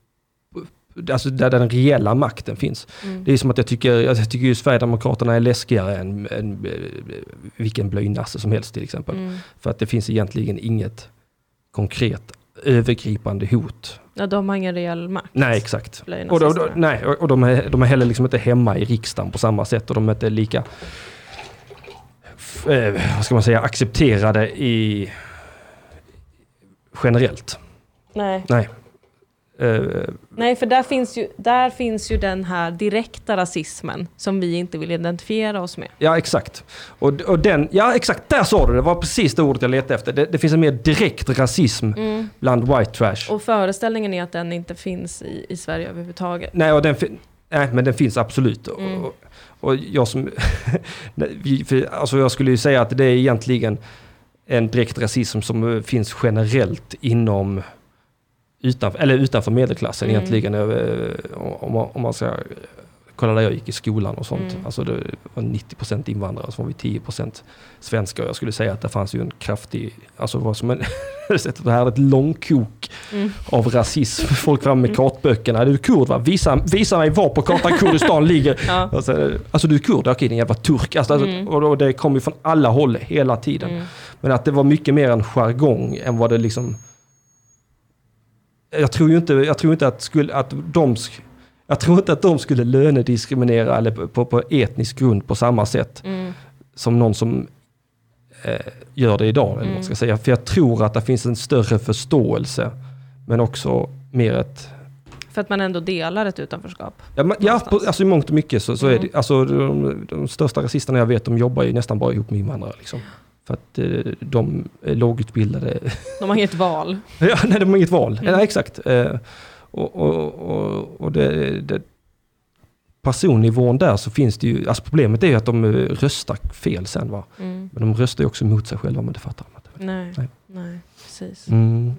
B: Alltså där den reella makten finns.
A: Mm.
B: Det är som att jag tycker, alltså, jag tycker ju Sverigedemokraterna är läskigare än, än eh, vilken blöjnasse som helst till exempel.
A: Mm.
B: För att det finns egentligen inget konkret övergripande hot.
A: Ja, de har ingen reell makt.
B: Nej, exakt.
A: blir ju
B: Och, då, då,
A: nazisterna.
B: nej, och och de, är, de är heller liksom inte hemma i riksdagen på samma sätt och de är inte lika, f- eh, vad ska man säga, accepterade i generellt.
A: Nej.
B: Eh,
A: Nej, för där finns, ju, där finns ju den här direkta rasismen som vi inte vill identifiera oss med.
B: Ja, exakt. Och, och den, ja, exakt, där sa du det. Det var precis det ordet jag letade efter. Det, det finns en mer direkt rasism bland white trash.
A: Och föreställningen är att den inte finns i, i Sverige överhuvudtaget.
B: Nej, och den fin- Nej, men den finns absolut. Och-
A: Mm.
B: Och, och jag som... Nej, vi- för, alltså jag skulle ju säga att det är egentligen en direkt rasism som eh, finns generellt inom utanför, eller utanför medelklassen
A: Mm.
B: egentligen. eh, Om man, om man ska kolla där jag gick i skolan och sånt.
A: Mm.
B: Alltså det var 90% invandrare, så var vi 10% svenskar. Jag skulle säga att det fanns ju en kraftig, alltså det var som en, det här var ett långkok
A: Mm.
B: av rasism. Folk fram med kartböckerna. Du är kurd va? Visa, visa mig var på kartan Kurdistan ligger.
A: Ja.
B: Alltså, alltså du är kurd? Okej din jävla turk. Alltså, alltså,
A: Mm.
B: och, då- det kom ju från alla håll hela tiden.
A: Mm.
B: Men att det var mycket mer en jargong än vad det liksom... Jag tror ju inte, jag tror inte att, skulle, att de... sk- Jag tror inte att de skulle lönediskriminera eller på, på etnisk grund på samma sätt
A: Mm.
B: som någon som eh, gör det idag. Eller vad man
A: Mm.
B: ska säga. För jag tror att det finns en större förståelse men också mer ett...
A: För att man ändå delar ett utanförskap.
B: Ja, men, ja på,
A: Någonstans.
B: alltså i mångt och mycket så, så är
A: Mm.
B: det... Alltså, de, de största rasisterna jag vet, de jobbar ju nästan bara ihop med invandrare. Liksom. För att eh, de är lågutbildade
A: De har inget val.
B: Ja, nej, de har inget val.
A: Mm.
B: Nej, exakt. Eh, och och, och, och det, det, personnivån där så finns det ju, alltså problemet är ju att de eh, röstar fel sen va.
A: Mm.
B: Men de röstar ju också mot sig själva, men det fattar de inte.
A: Nej.
B: Nej.
A: Nej, precis.
B: Mm.
A: Mm.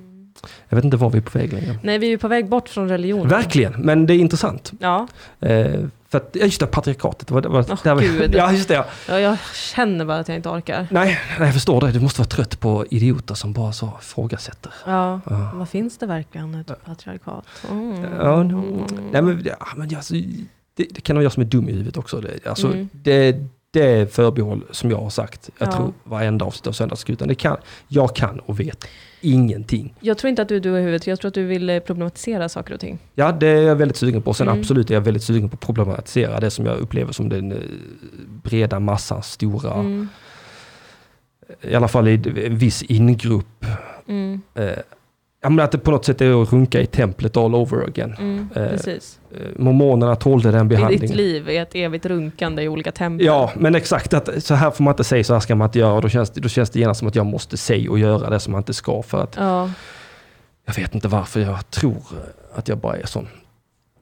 B: Jag vet inte var vi är på väg längre.
A: Nej, vi är ju på väg bort från religionen.
B: Verkligen, men det är intressant.
A: Ja,
B: Eh, för att, ja, just det, patriarkatet. Var, var,
A: Åh,
B: där var,
A: gud.
B: ja, just det. ja.
A: Ja, jag känner bara att jag inte orkar.
B: Nej, nej, jag förstår det. Du måste vara trött på idioter som bara så ifrågasätter.
A: Ja.
B: Ja.
A: Vad finns det verkligen ett patriarkat? Mm.
B: Ja, no. Nej, men, ja, men alltså, det, det kan vara jag som är dum i huvudet också. Det, alltså,
A: Mm.
B: det, det är förbehåll som jag har sagt, jag
A: Ja.
B: tror varenda avsnitt av Söndagsskutan. Det kan, jag kan och vet ingenting.
A: Jag tror inte att du är du i huvudet, jag tror att du vill eh, problematisera saker och ting.
B: Ja, det är jag väldigt sugen på. Sen
A: Mm.
B: absolut är jag väldigt sugen på att problematisera det som jag upplever som den eh, breda massans stora,
A: Mm.
B: i alla fall i en viss ingrupp.
A: Mm.
B: Eh, ja, men att det på något sätt är att runka i templet all over again.
A: Mm.
B: Eh,
A: Precis.
B: Eh, mormonerna tålde den
A: I
B: behandlingen.
A: ditt liv är ett evigt runkande i olika tempel.
B: Ja, men exakt. Att så här får man inte säga, så här ska man inte göra. Och Då känns, det- då känns det genast som att jag måste säga och göra det som man inte ska. För att
A: Ja.
B: jag vet inte varför jag tror att jag bara är sån.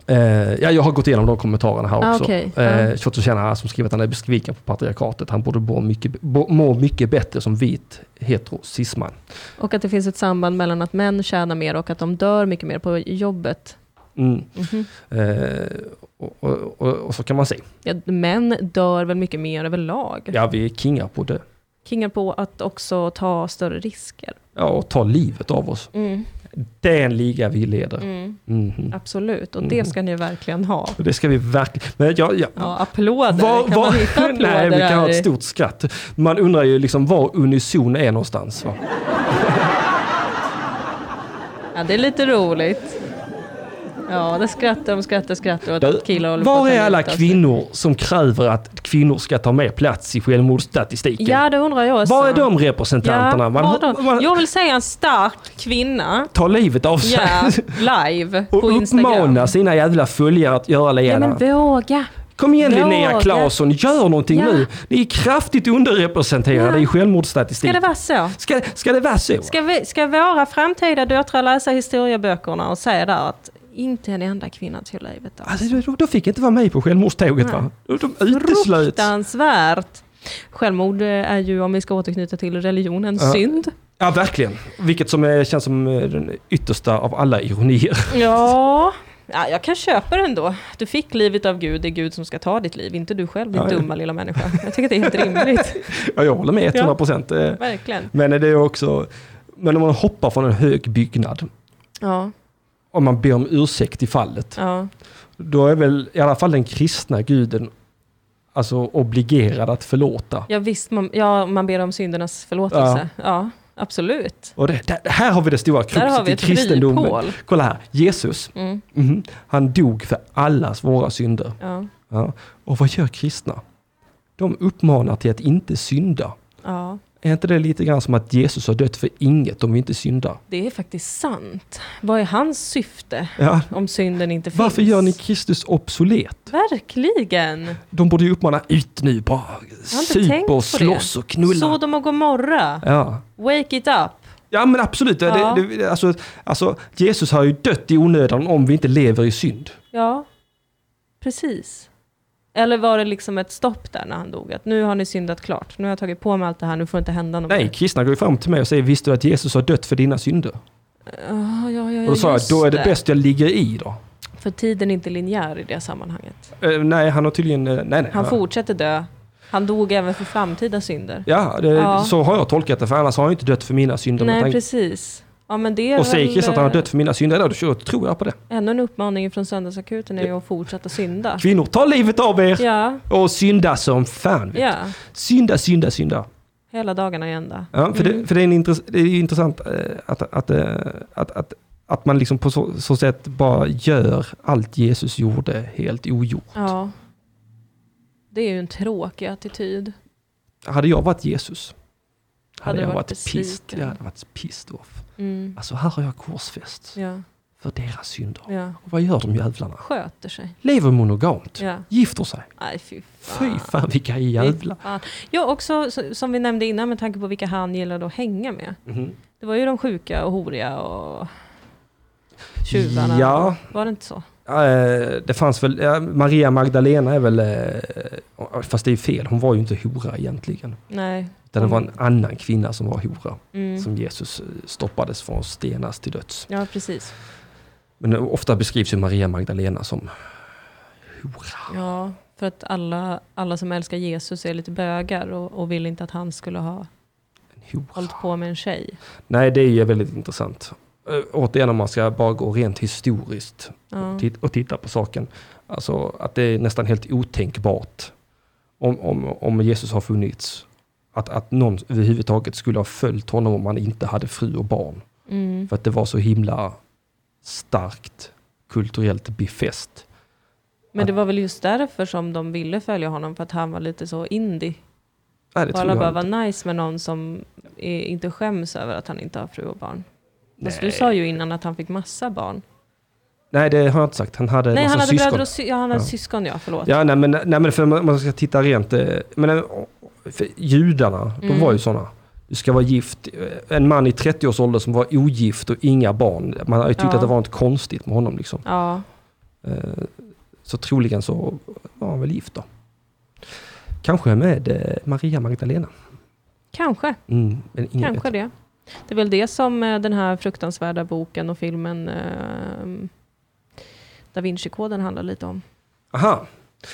B: Eh, ja, jag har gått igenom de kommentarerna här
A: Ah,
B: också.
A: okej.
B: Eh, Shots och tjänare som skriver att han är besviken på patriarkatet. Han borde må mycket, bo, må mycket bättre som vit hetero cisman.
A: Och att det finns ett samband mellan att män tjänar mer och att de dör mycket mer på jobbet.
B: Mm.
A: Mhm.
B: Eh, och, och, och, och så kan man se.
A: Ja, män dör väl mycket mer överlag?
B: Ja, vi är kingar på det.
A: Kingar på att också ta större risker.
B: Ja, och ta livet av oss. Det är en liga vi leder.
A: Mm,
B: Mhm.
A: Absolut, och
B: Mm.
A: det ska ni verkligen ha.
B: Och Det ska vi verkligen... Men jag, jag,
A: Ja, applåder.
B: Var-
A: kan
B: var-
A: man hitta applåder
B: Nej, vi kan ha
A: här i-
B: ett stort skratt. Man undrar ju liksom var Unison är någonstans. Va?
A: Ja, det är lite roligt. Ja, det skrattar de skrattar skrattar och att killar håller på
B: Var
A: att alltså. ta
B: är alla
A: livet av sig.
B: kvinnor som kräver att kvinnor ska ta mer plats i självmordsstatistiken?
A: Ja, det undrar jag också.
B: var är de
A: Ja, var
B: representanterna? man,
A: de?
B: man
A: Jag vill säga en stark kvinna.
B: tar livet av sig
A: Ja, live på
B: och uppmanar
A: Instagram.
B: sina jävla följare att göra
A: Ja,
B: lena.
A: men våga.
B: Kom igen Linnea
A: våga.
B: Claesson, gör någonting
A: Ja.
B: nu. Ni är kraftigt underrepresenterade
A: Ja.
B: i
A: Ska det
B: självmordsstatistiken.
A: vara så?
B: Ska, ska det vara så?
A: Ska, vi, ska våra framtida döttrar läsa historieböckerna och säga där att inte en enda kvinna tog livet av
B: Alltså, då, då fick jag inte vara med på självmordståget va? De de uteslöt.
A: Fruktansvärt. Självmord eh, är ju, om vi ska återknyta till religionen,
B: Ja.
A: synd.
B: Ja, verkligen. Vilket som är, känns som eh, den yttersta av alla ironier.
A: Ja. ja, jag kan köpa den då. Du fick livet av Gud, det är Gud som ska ta ditt liv, inte du själv din
B: Ja, ja.
A: dumma lilla människa. Jag tycker att det är helt rimligt.
B: Ja, jag håller med 100 procent. Eh,
A: Verkligen.
B: Men det är också, men om man hoppar från en hög byggnad,
A: Ja,
B: om man ber om ursäkt i fallet,
A: ja.
B: då är väl i alla fall den kristna guden alltså obligerad att förlåta.
A: ja visst, man, ja, man ber om syndernas förlåtelse. Ja, absolut.
B: Och det, det, här har vi det stora
A: Där har
B: kruxet
A: vi
B: i
A: ett
B: kristendomen.
A: kryphål.
B: Kolla här, Jesus,
A: Mm,
B: mhm, han dog för allas våra synder.
A: ja,
B: Ja. Och vad gör kristna? De uppmanar till att inte synda.
A: ja.
B: Är inte det lite grann som att Jesus har dött för inget om vi inte syndar?
A: Det är faktiskt sant. Vad är hans syfte
B: Ja.
A: om synden inte finns?
B: Varför gör ni Kristus obsolet?
A: Verkligen!
B: De borde ju uppmana ut nu, bara
A: inte
B: sup
A: tänkt på
B: och slåss och knulla.
A: Sodom och Gomorra,
B: Ja.
A: wake it up!
B: ja men absolut, Det-
A: Ja.
B: Det, det, alltså, alltså, Jesus har ju dött i onödan om vi inte lever i synd.
A: Ja, precis. Eller var det liksom ett stopp där när han dog? Att nu har ni syndat klart, nu har jag tagit på mig allt det här, nu får inte hända något
B: Nej,
A: mer.
B: kristna går ju fram till mig och säger visste du att Jesus har dött för dina synder?
A: Ah, Ja, ja, ja,
B: Och då sa jag,
A: just
B: då är det bäst jag ligger i då.
A: För tiden är inte linjär i det sammanhanget.
B: Eh, nej, han har tydligen... eh, nej, nej,
A: Han
B: ja.
A: fortsätter dö. Han dog även för framtida synder.
B: Ja, det,
A: Ja.
B: så har jag tolkat det, för annars har han ju inte dött för mina synder.
A: Nej,
B: Men tänk-
A: precis. Ja, men det är
B: och säger
A: väl,
B: Kristus att han har
A: eh,
B: dött för mina synder, då då tror jag på det.
A: Ännu en uppmaning från Söndagsakuten är ju att fortsätta synda.
B: Kvinnor, ta livet av er!
A: Ja,
B: Och synda som fan. vet
A: ja.
B: du. Synda, synda, synda.
A: Hela dagarna i ända.
B: Ja, för
A: Mm.
B: det, för det, är en intress- det är ju intressant eh, att, att, eh, att, att, att man liksom på så, så sätt bara gör allt Jesus gjorde helt ogjort.
A: Ja. Det är ju en tråkig attityd.
B: Hade jag varit Jesus, hade,
A: Hade du
B: jag
A: varit
B: varit pissed.
A: besviken?
B: Jag hade varit pissed off.
A: Mm.
B: Alltså här har jag korsfäst
A: Ja,
B: för deras synder.
A: ja.
B: Och vad gör de jävlarna?
A: Sköter sig.
B: Lever monogamt,
A: Ja.
B: gifter sig.
A: Nej, fy
B: Fy
A: fan.
B: fan vilka jävlar.
A: Fan. Ja, också så- som vi nämnde innan med tanke på vilka han gillade att hänga med.
B: Mhm.
A: Det var ju de sjuka och horiga och tjuvarna.
B: Ja.
A: Var det inte så?
B: Eh, det fanns väl, ja, Maria Magdalena är väl, eh, fast det är fel, hon var ju inte hora egentligen.
A: Nej.
B: Utan det var en annan kvinna som var hora,
A: Mm.
B: som Jesus eh, stoppades från att stenas till döds.
A: Ja, precis.
B: Men eh, ofta beskrivs ju Maria Magdalena som hora.
A: Ja, för att alla, alla som älskar Jesus är lite bögar och, och vill inte att han skulle ha
B: En hora.
A: hållit på med en tjej.
B: Nej, det är ju väldigt intressant. Eh, återigen om man ska bara gå rent historiskt
A: Ja.
B: och, tit- och titta på saken. Alltså att det är nästan helt otänkbart om, om, om Jesus har funnits. Att, att någon överhuvudtaget skulle ha följt honom om han inte hade fru och barn.
A: Mm.
B: För att det var så himla starkt kulturellt befäst.
A: Men det var väl just därför som de ville följa honom, för att han var lite så indie.
B: Nej, det
A: Och
B: tror
A: alla
B: jag
A: bara
B: inte.
A: var nice med någon som är, inte skäms över att han inte har fru och barn. Fast du
B: Nej.
A: sa ju innan att han fick massa barn.
B: Nej, det har jag inte sagt. Han hade
A: Nej,
B: massa
A: han hade
B: syskon.
A: bröder och sy- ja, han hade
B: Ja.
A: syskon, ja, förlåt.
B: Ja, nej men, nej, men för om man ska titta rent. eh, Men, eh, för judarna,
A: Mm.
B: de var ju sådana. Du ska vara gift. Eh, En man i 30-årsåldern som var ogift och inga barn. Man har ju tyckt
A: Ja.
B: att det var något konstigt med honom. Liksom.
A: Ja,
B: Eh, Så troligen så var han väl gift då. Kanske med eh, Maria Magdalena.
A: Kanske.
B: Mm, men ingen
A: Kanske det.
B: vet.
A: Det är väl det som eh, den här fruktansvärda boken och filmen eh, Da Vinci-koden handlar lite om.
B: Aha,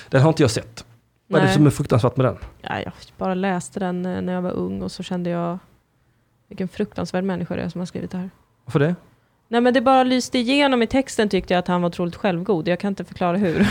B: den har inte jag sett. Vad är det
A: Nej.
B: som är fruktansvärt med den?
A: Ja, jag bara läste den eh, när jag var ung och så kände jag vilken fruktansvärd människa det är som har skrivit det här.
B: Varför det?
A: Nej men det bara lyste igenom i texten tyckte jag att han var otroligt självgod. Jag kan inte förklara hur.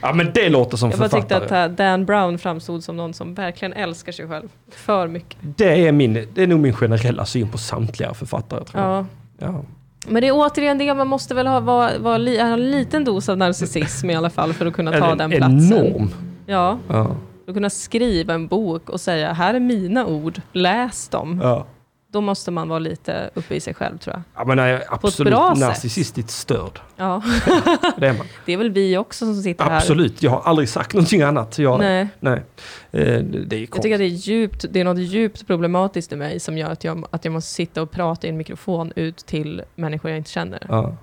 B: Ja men det låter som
A: Jag bara tyckte
B: författare.
A: att eh, Dan Brown framstod som någon som verkligen älskar sig själv. För mycket.
B: Det är, min, det är nog min generella syn på samtliga författare. Tror jag.
A: Ja.
B: Ja.
A: Men det är återigen det, man måste väl ha, vara, vara, li- ha en liten dos av narcissism i alla fall för att kunna ta
B: Eller
A: den
B: en
A: platsen.
B: Enorm. Mm.
A: Ja,
B: Ja.
A: för att kunna skriva en bok och säga här är mina ord, läs dem.
B: Ja.
A: Då måste man vara lite uppe i sig själv tror jag.
B: Ja, men jag är absolut
A: bra sätt.
B: narcissistiskt störd.
A: Ja,
B: Det är man.
A: det är väl vi också som sitter här.
B: Absolut, jag har aldrig sagt någonting annat. Jag, nej.
A: Nej,
B: Eh, det- Det är
A: jag
B: konstigt.
A: tycker att det är, djupt, det är något djupt problematiskt i mig som gör att jag, att jag måste sitta och prata i en mikrofon ut till människor jag inte känner.
B: Ja.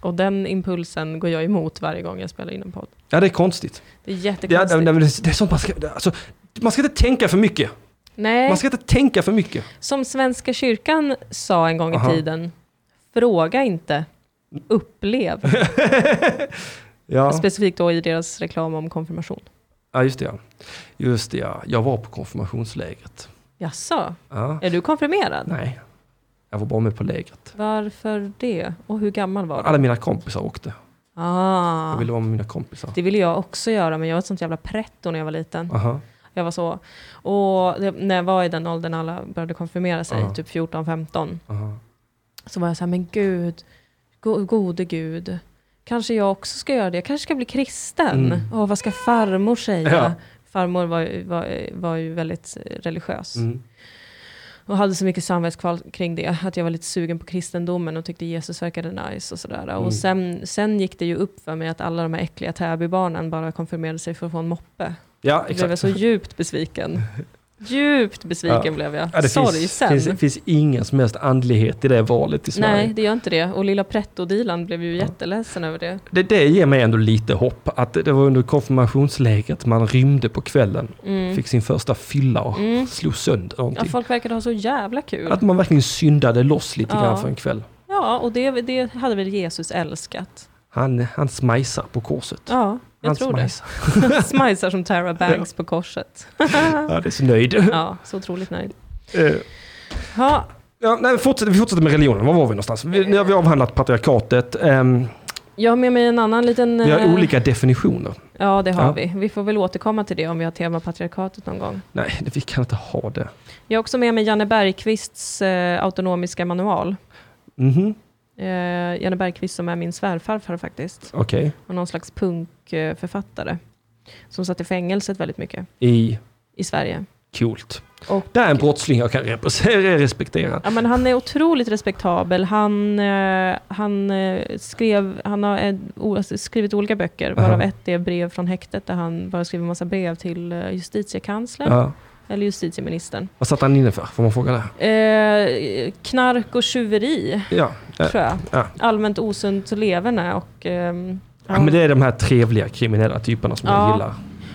A: Och den impulsen går jag emot varje gång jag spelar in en podd.
B: ja, det är konstigt.
A: Det är
B: Det är,
A: jättekonstigt.
B: det, det, det är sånt man ska... Alltså, man ska inte tänka för mycket.
A: Nej.
B: Man ska inte tänka för mycket.
A: Som Svenska kyrkan sa en gång i
B: Aha.
A: tiden, fråga inte, upplev.
B: Ja,
A: Specifikt då i deras reklam om konfirmation.
B: ja just det ja. Just det ja. Jag var på konfirmationslägret.
A: Jaså,
B: Ja.
A: är du konfirmerad?
B: Nej, jag var bara med på lägret.
A: Varför det? Och hur gammal var du?
B: Alla mina kompisar åkte. Jag
A: Ah,
B: ville vara med mina kompisar.
A: det ville jag också göra, men jag var ett sånt jävla pretto när jag var liten.
B: Aha.
A: Jag var så. Och det, när jag var i den åldern alla började konfirmera sig,
B: Ja.
A: typ 14-15,
B: Aha.
A: så var jag så här, men gud, go- gode gud, kanske jag också ska göra det, jag kanske ska bli kristen.
B: Mm.
A: Åh, vad ska farmor säga?
B: Ja.
A: Farmor var, ju- var, var ju väldigt eh, religiös
B: Mm.
A: och hade så mycket samvetskval kring det, att jag var lite sugen på kristendomen och tyckte Jesus verkade nice och sådär.
B: Mm.
A: Och sen, sen gick det ju upp för mig att alla de här äckliga Täbybarnen bara konfirmerade sig för att få en moppe.
B: Ja,
A: Då blev jag
B: exakt.
A: så djupt besviken. Djupt besviken
B: Ja.
A: blev jag.
B: Ja, det finns,
A: Sorgsen.
B: finns, finns ingen som helst andlighet i det valet i Sverige.
A: Nej, det gör inte det. Och lilla Pretto-Dilan blev ju jätteledsen över det.
B: Det, det ger mig ändå lite hopp att det var under konfirmationslägret man rymde på kvällen,
A: Mm.
B: fick sin första fylla och
A: Mm.
B: slog sönder
A: Ja,
B: någonting.
A: folk verkade ha så jävla kul.
B: Att man verkligen syndade loss lite
A: Ja.
B: grann för en kväll.
A: Ja, och det, det hade väl Jesus älskat.
B: Han, han smajsar på korset.
A: Ja, jag
B: han
A: tror
B: smajsar.
A: det. Smajsar som Tara Banks på korset.
B: Ja, det är så nöjd.
A: Ja, så otroligt nöjd.
B: Eh,
A: Ja,
B: ja, nej, fortsätt, vi fortsätter med religionen. Var var vi någonstans? Vi, nu har vi avhandlat patriarkatet. ehm,
A: jag har med mig en annan liten...
B: vi har
A: eh,
B: olika definitioner.
A: Ja, det har
B: Ja.
A: vi. Vi får väl återkomma till det om vi har tema patriarkatet någon gång.
B: Nej, det- vi kan inte ha det.
A: Jag har också med mig Janne Bergqvists eh, autonomiska manual.
B: Mhm,
A: Eh, Janne Bergqvist som är min svärfarfar faktiskt.
B: okej.
A: Och någon slags punkförfattare. Som satt i fängelset väldigt mycket
B: I
A: i Sverige.
B: coolt.
A: Och-
B: det är en brottsling jag kan repre- respektera.
A: Ja, men han är otroligt respektabel. Han, eh, han, eh, skrev, han har eh, o- alltså, skrivit olika böcker, varav
B: Aha.
A: ett är brev från häktet där han bara skriver massa brev till eh, justitiekanslern
B: Ja.
A: eller justitieministern.
B: Vad satt han inne för? Får man fråga det?
A: Eh, knark och tjuveri,
B: Ja. Ja.
A: tror jag.
B: Ja.
A: Allmänt osunt leverne. Och, ehm,
B: ja, men det är de här trevliga kriminella typerna som jag
A: Ja.
B: gillar.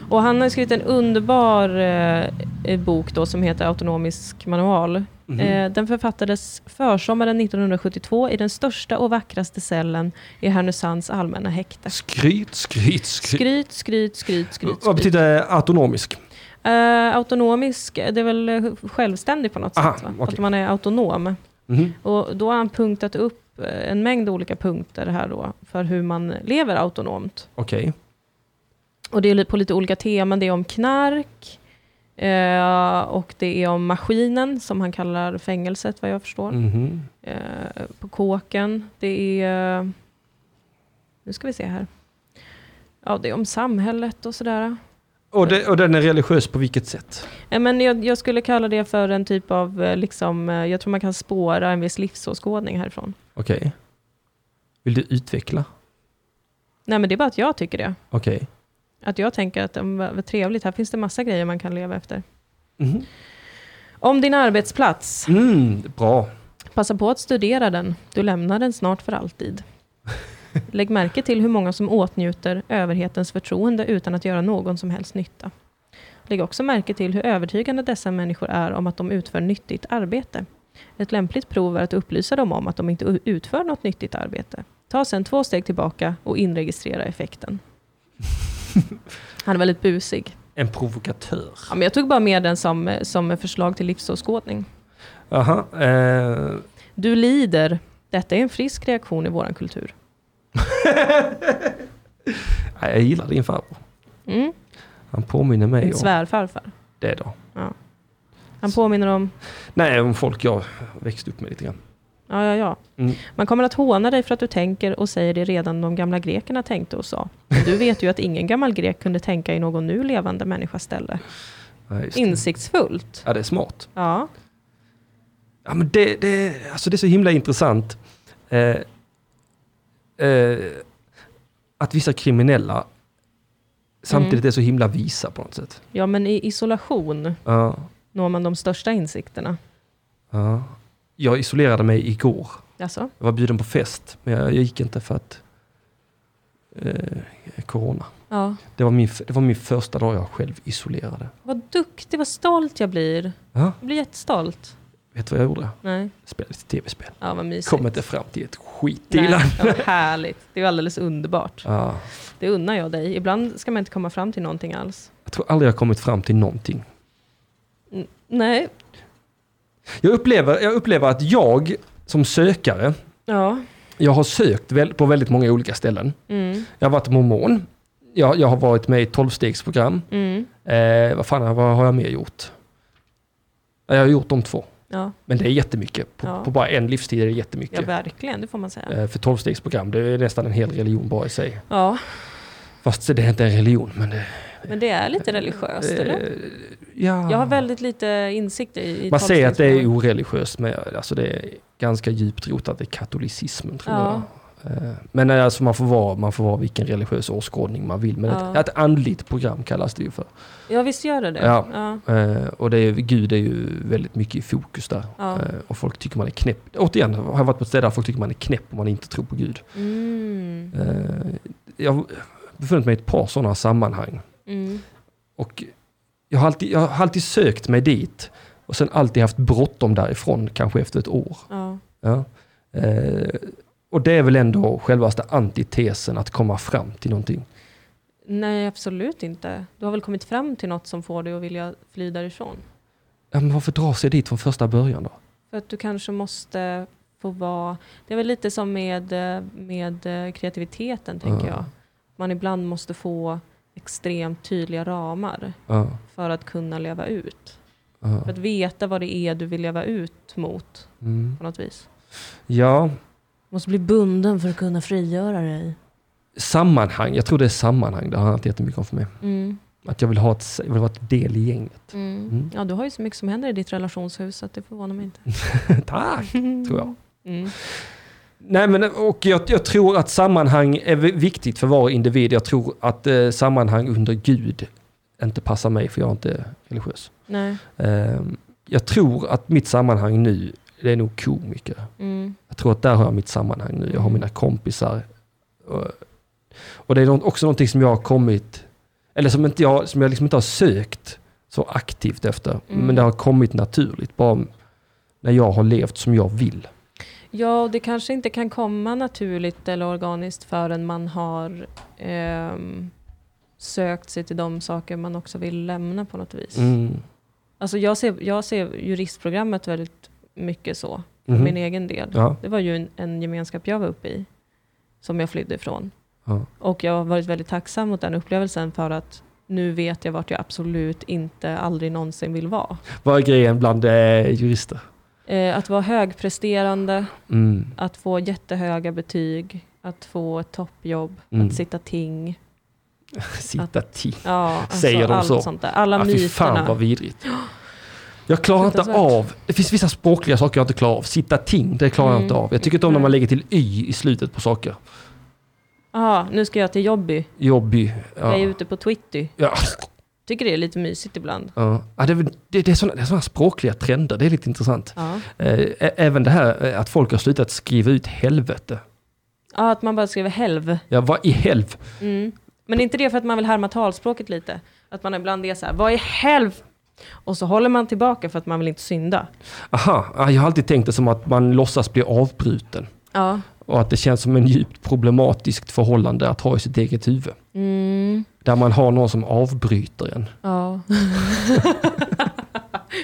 A: och han har ju skrivit en underbar eh, eh, bok då, som heter Autonomisk manual.
B: Mhm.
A: Eh, den författades försommaren 1972 i den största och vackraste cellen i Härnösands allmänna häkte.
B: Skryt, skryt, skryt.
A: Skryt, skryt, skryt, skryt.
B: Vad
A: skryt.
B: betyder autonomisk?
A: Eh, autonomisk, det är väl eh, självständig på något
B: Aha,
A: sätt? Va?
B: okej.
A: Att man är autonom.
B: Mhm.
A: Och då har han punktat upp eh, en mängd olika punkter här då, för hur man lever autonomt.
B: Okej.
A: Och det är li- på lite olika teman, det är om knark, eh, och det är om maskinen, som han kallar fängelset vad jag förstår,
B: Mhm.
A: eh, på kåken. Det är, eh, nu ska vi se här, ja det är om samhället och sådär.
B: Och, det, och den är religiös på vilket sätt?
A: Eh, Men jag, jag skulle kalla det för en typ av, eh, liksom, eh, jag tror man kan spåra en viss livsåskådning härifrån.
B: Okej. Vill du utveckla?
A: Nej men det är bara att jag tycker det.
B: Okej.
A: Att jag tänker att mm, vad vad trevligt, här finns det massa grejer man kan leva efter.
B: Mhm.
A: Om din arbetsplats,
B: Mm, bra.
A: passa på att studera den. Du lämnar den snart för alltid. Lägg märke till hur många som åtnjuter överhetens förtroende utan att göra någon som helst nytta. Lägg också märke till hur övertygande dessa människor är om att de utför nyttigt arbete. Ett lämpligt prov är att upplysa dem om att de inte u- utför något nyttigt arbete. Ta sedan två steg tillbaka och inregistrera effekten. Han är väldigt busig.
B: En provokatör.
A: Ja, men jag tog bara med den som, som förslag till livsåskådning.
B: Aha, eh,
A: Du lider. Detta är en frisk reaktion i vår kultur.
B: nej, jag gillar din farbror.
A: Mm.
B: Han påminner mig
A: Din
B: om
A: svärfarfar.
B: det då.
A: Han påminner om...
B: Nej, om folk jag växte upp med lite grann.
A: Ja, ja, ja.
B: Mm.
A: Man kommer att håna dig för att du tänker och säger det redan de gamla grekerna tänkte och sa. Men du vet ju att ingen gammal grek kunde tänka i någon nu levande människas ställe.
B: Ja, just det.
A: Insiktsfullt.
B: ja, det är smart.
A: Ja.
B: Ja, men det, det, alltså det är så himla intressant. Eh, eh, att vissa kriminella samtidigt är så himla visa på något sätt.
A: ja, men i isolation
B: Ja,
A: når man de största insikterna.
B: ja. Jag isolerade mig igår.
A: Alltså,
B: Jag var bjuden på fest, men jag, jag gick inte för att eh, corona.
A: ja.
B: Det var, min, f- det var min första dag jag själv isolerade.
A: Vad duktig, vad stolt jag blir.
B: Ja,
A: Jag blir jättestolt.
B: vet du vad jag gjorde?
A: Nej.
B: Spelade lite tv-spel.
A: Ja, vad mysigt.
B: Kom inte fram till ett skit
A: Nej,
B: Dilan.
A: ja, vad härligt. Det är ju alldeles underbart.
B: Ja,
A: Det unnar jag dig. Ibland ska man inte komma fram till någonting alls.
B: jag tror aldrig jag kommit fram till någonting.
A: Nej,
B: Jag upplever, jag upplever att jag som sökare,
A: ja.
B: jag har sökt väl, på väldigt många olika ställen.
A: Mm.
B: Jag har varit mormon, jag, jag har varit med i ett tolvstegsprogram.
A: Mm.
B: Eh, vad fan vad har jag mer gjort? Ja, Jag har gjort de två,
A: Ja.
B: men det är jättemycket. På,
A: Ja.
B: på bara en livstid är det
A: ja,
B: jättemycket.
A: verkligen. Det får man säga.
B: Eh, för tolvstegsprogram, det är nästan en hel religion bara i sig.
A: Ja,
B: Fast det är inte en religion, men det...
A: men det är lite religiöst, eller?
B: Eh, ja.
A: Jag har väldigt lite insikt i... i
B: Man säger att det är
A: tolvstegsprogram.
B: oreligiöst, men alltså det är ganska djupt rotat i katolicismen tror
A: Ja.
B: jag. Eh, Men eh, alltså man, får vara, man får vara vilken religiös åskådning man vill. Men
A: Ja.
B: ett, ett andligt program kallas det ju för.
A: Ja, visst gör det det.
B: Ja.
A: Ja.
B: Eh, Och det är, Gud är ju väldigt mycket i fokus där.
A: Ja.
B: Eh, Och folk tycker man är knäpp. Återigen, har jag varit på ett ställe där folk tycker man är knäpp om man inte tror på Gud.
A: Mm.
B: Eh, Jag har befunnit mig i ett par sådana sammanhang.
A: Mm.
B: Och jag har, alltid, jag har alltid sökt mig dit. Och sen alltid haft bråttom därifrån, kanske efter ett år.
A: Ja.
B: Ja. Eh, och det är väl ändå självaste antitesen att komma fram till någonting.
A: Nej, absolut inte. Du har väl kommit fram till något som får dig att vilja fly därifrån?
B: Ja, men varför dra sig dit från första början då?
A: För att du kanske måste få vara... Det är väl lite som med, eh, med eh, kreativiteten, tänker
B: Ja.
A: jag. Man ibland måste få extremt tydliga ramar
B: Ja,
A: för att kunna leva ut.
B: ja.
A: För att veta vad det är du vill leva ut mot,
B: Mm.
A: på något vis.
B: ja,
A: Du måste bli bunden för att kunna frigöra dig.
B: sammanhang. Jag tror det är sammanhang. Det har inte jättemycket om för mig.
A: Mm.
B: Att jag vill, ha ett, jag vill vara ett del i gänget. Mm.
A: Ja, du har ju så mycket som händer i ditt relationshus, så att det förvånar mig inte.
B: Tack, tror jag.
A: Mm.
B: Nej, men, och jag, jag tror att sammanhang är vi- viktigt för varje individ. Jag tror att eh, sammanhang under Gud inte passar mig för jag är inte religiös.
A: Nej.
B: Eh, jag tror att mitt sammanhang nu, det är nog komiker.
A: Mm.
B: Jag tror att där har jag mitt sammanhang nu. Jag har mina kompisar. Och- Och det är nå- också någonting som jag har kommit, eller som, inte jag, som jag liksom inte har sökt så aktivt efter.
A: Mm.
B: Men det har kommit naturligt, bara när jag har levt som jag vill.
A: Ja, och det kanske inte kan komma naturligt eller organiskt förrän man har ehm, sökt sig till de saker man också vill lämna på något vis.
B: Mm.
A: Alltså jag, ser, jag ser juristprogrammet väldigt mycket så, för
B: Mhm.
A: min egen del.
B: Ja.
A: Det var ju en, en gemenskap jag var uppe i, som jag flydde ifrån.
B: Ja.
A: Och jag har varit väldigt tacksam mot den upplevelsen för att nu vet jag vart jag absolut inte, aldrig någonsin vill vara.
B: Vad är grejen bland eh, jurister?
A: Eh, att vara högpresterande,
B: Mm.
A: att få jättehöga betyg, att få ett toppjobb,
B: Mm.
A: att sitta ting.
B: Sitta till.
A: Ja, alltså
B: Säger de
A: allt
B: så?
A: sånt där. Alla
B: Ja, fy fan
A: myterna.
B: vad vidrigt. Jag klarar inte
A: Fruktansvärt.
B: av, det finns vissa språkliga saker jag inte klarar av. Sitta ting, det klarar jag
A: Mm.
B: inte av. Jag tycker inte om när man
A: Nej.
B: lägger till y i slutet på saker.
A: Ja, nu ska jag till Jobby.
B: Jobbig.
A: Jag är
B: Ja.
A: ute på Twitter.
B: Ja.
A: Tycker det är lite mysigt ibland.
B: Ja, ja, det, är väl- det, det är sådana såna språkliga trender, det är lite intressant.
A: Ja,
B: Eh, ä- även det här eh, att folk har slutat skriva ut helvete.
A: Ja, att man bara skriver helv. Mm.
B: Ja, vad i helv?
A: Men är inte det för att man vill härma talspråket lite? Att man ibland är så här, vad i helv? Och så håller man tillbaka för att man vill inte synda.
B: Aha, ah, jag har alltid tänkt det som att man låtsas bli avbruten.
A: Ja.
B: Och att det känns som en djupt problematiskt förhållande att ha i sitt eget huvud.
A: Mm.
B: Där man har någon som avbryter en.
A: Ja.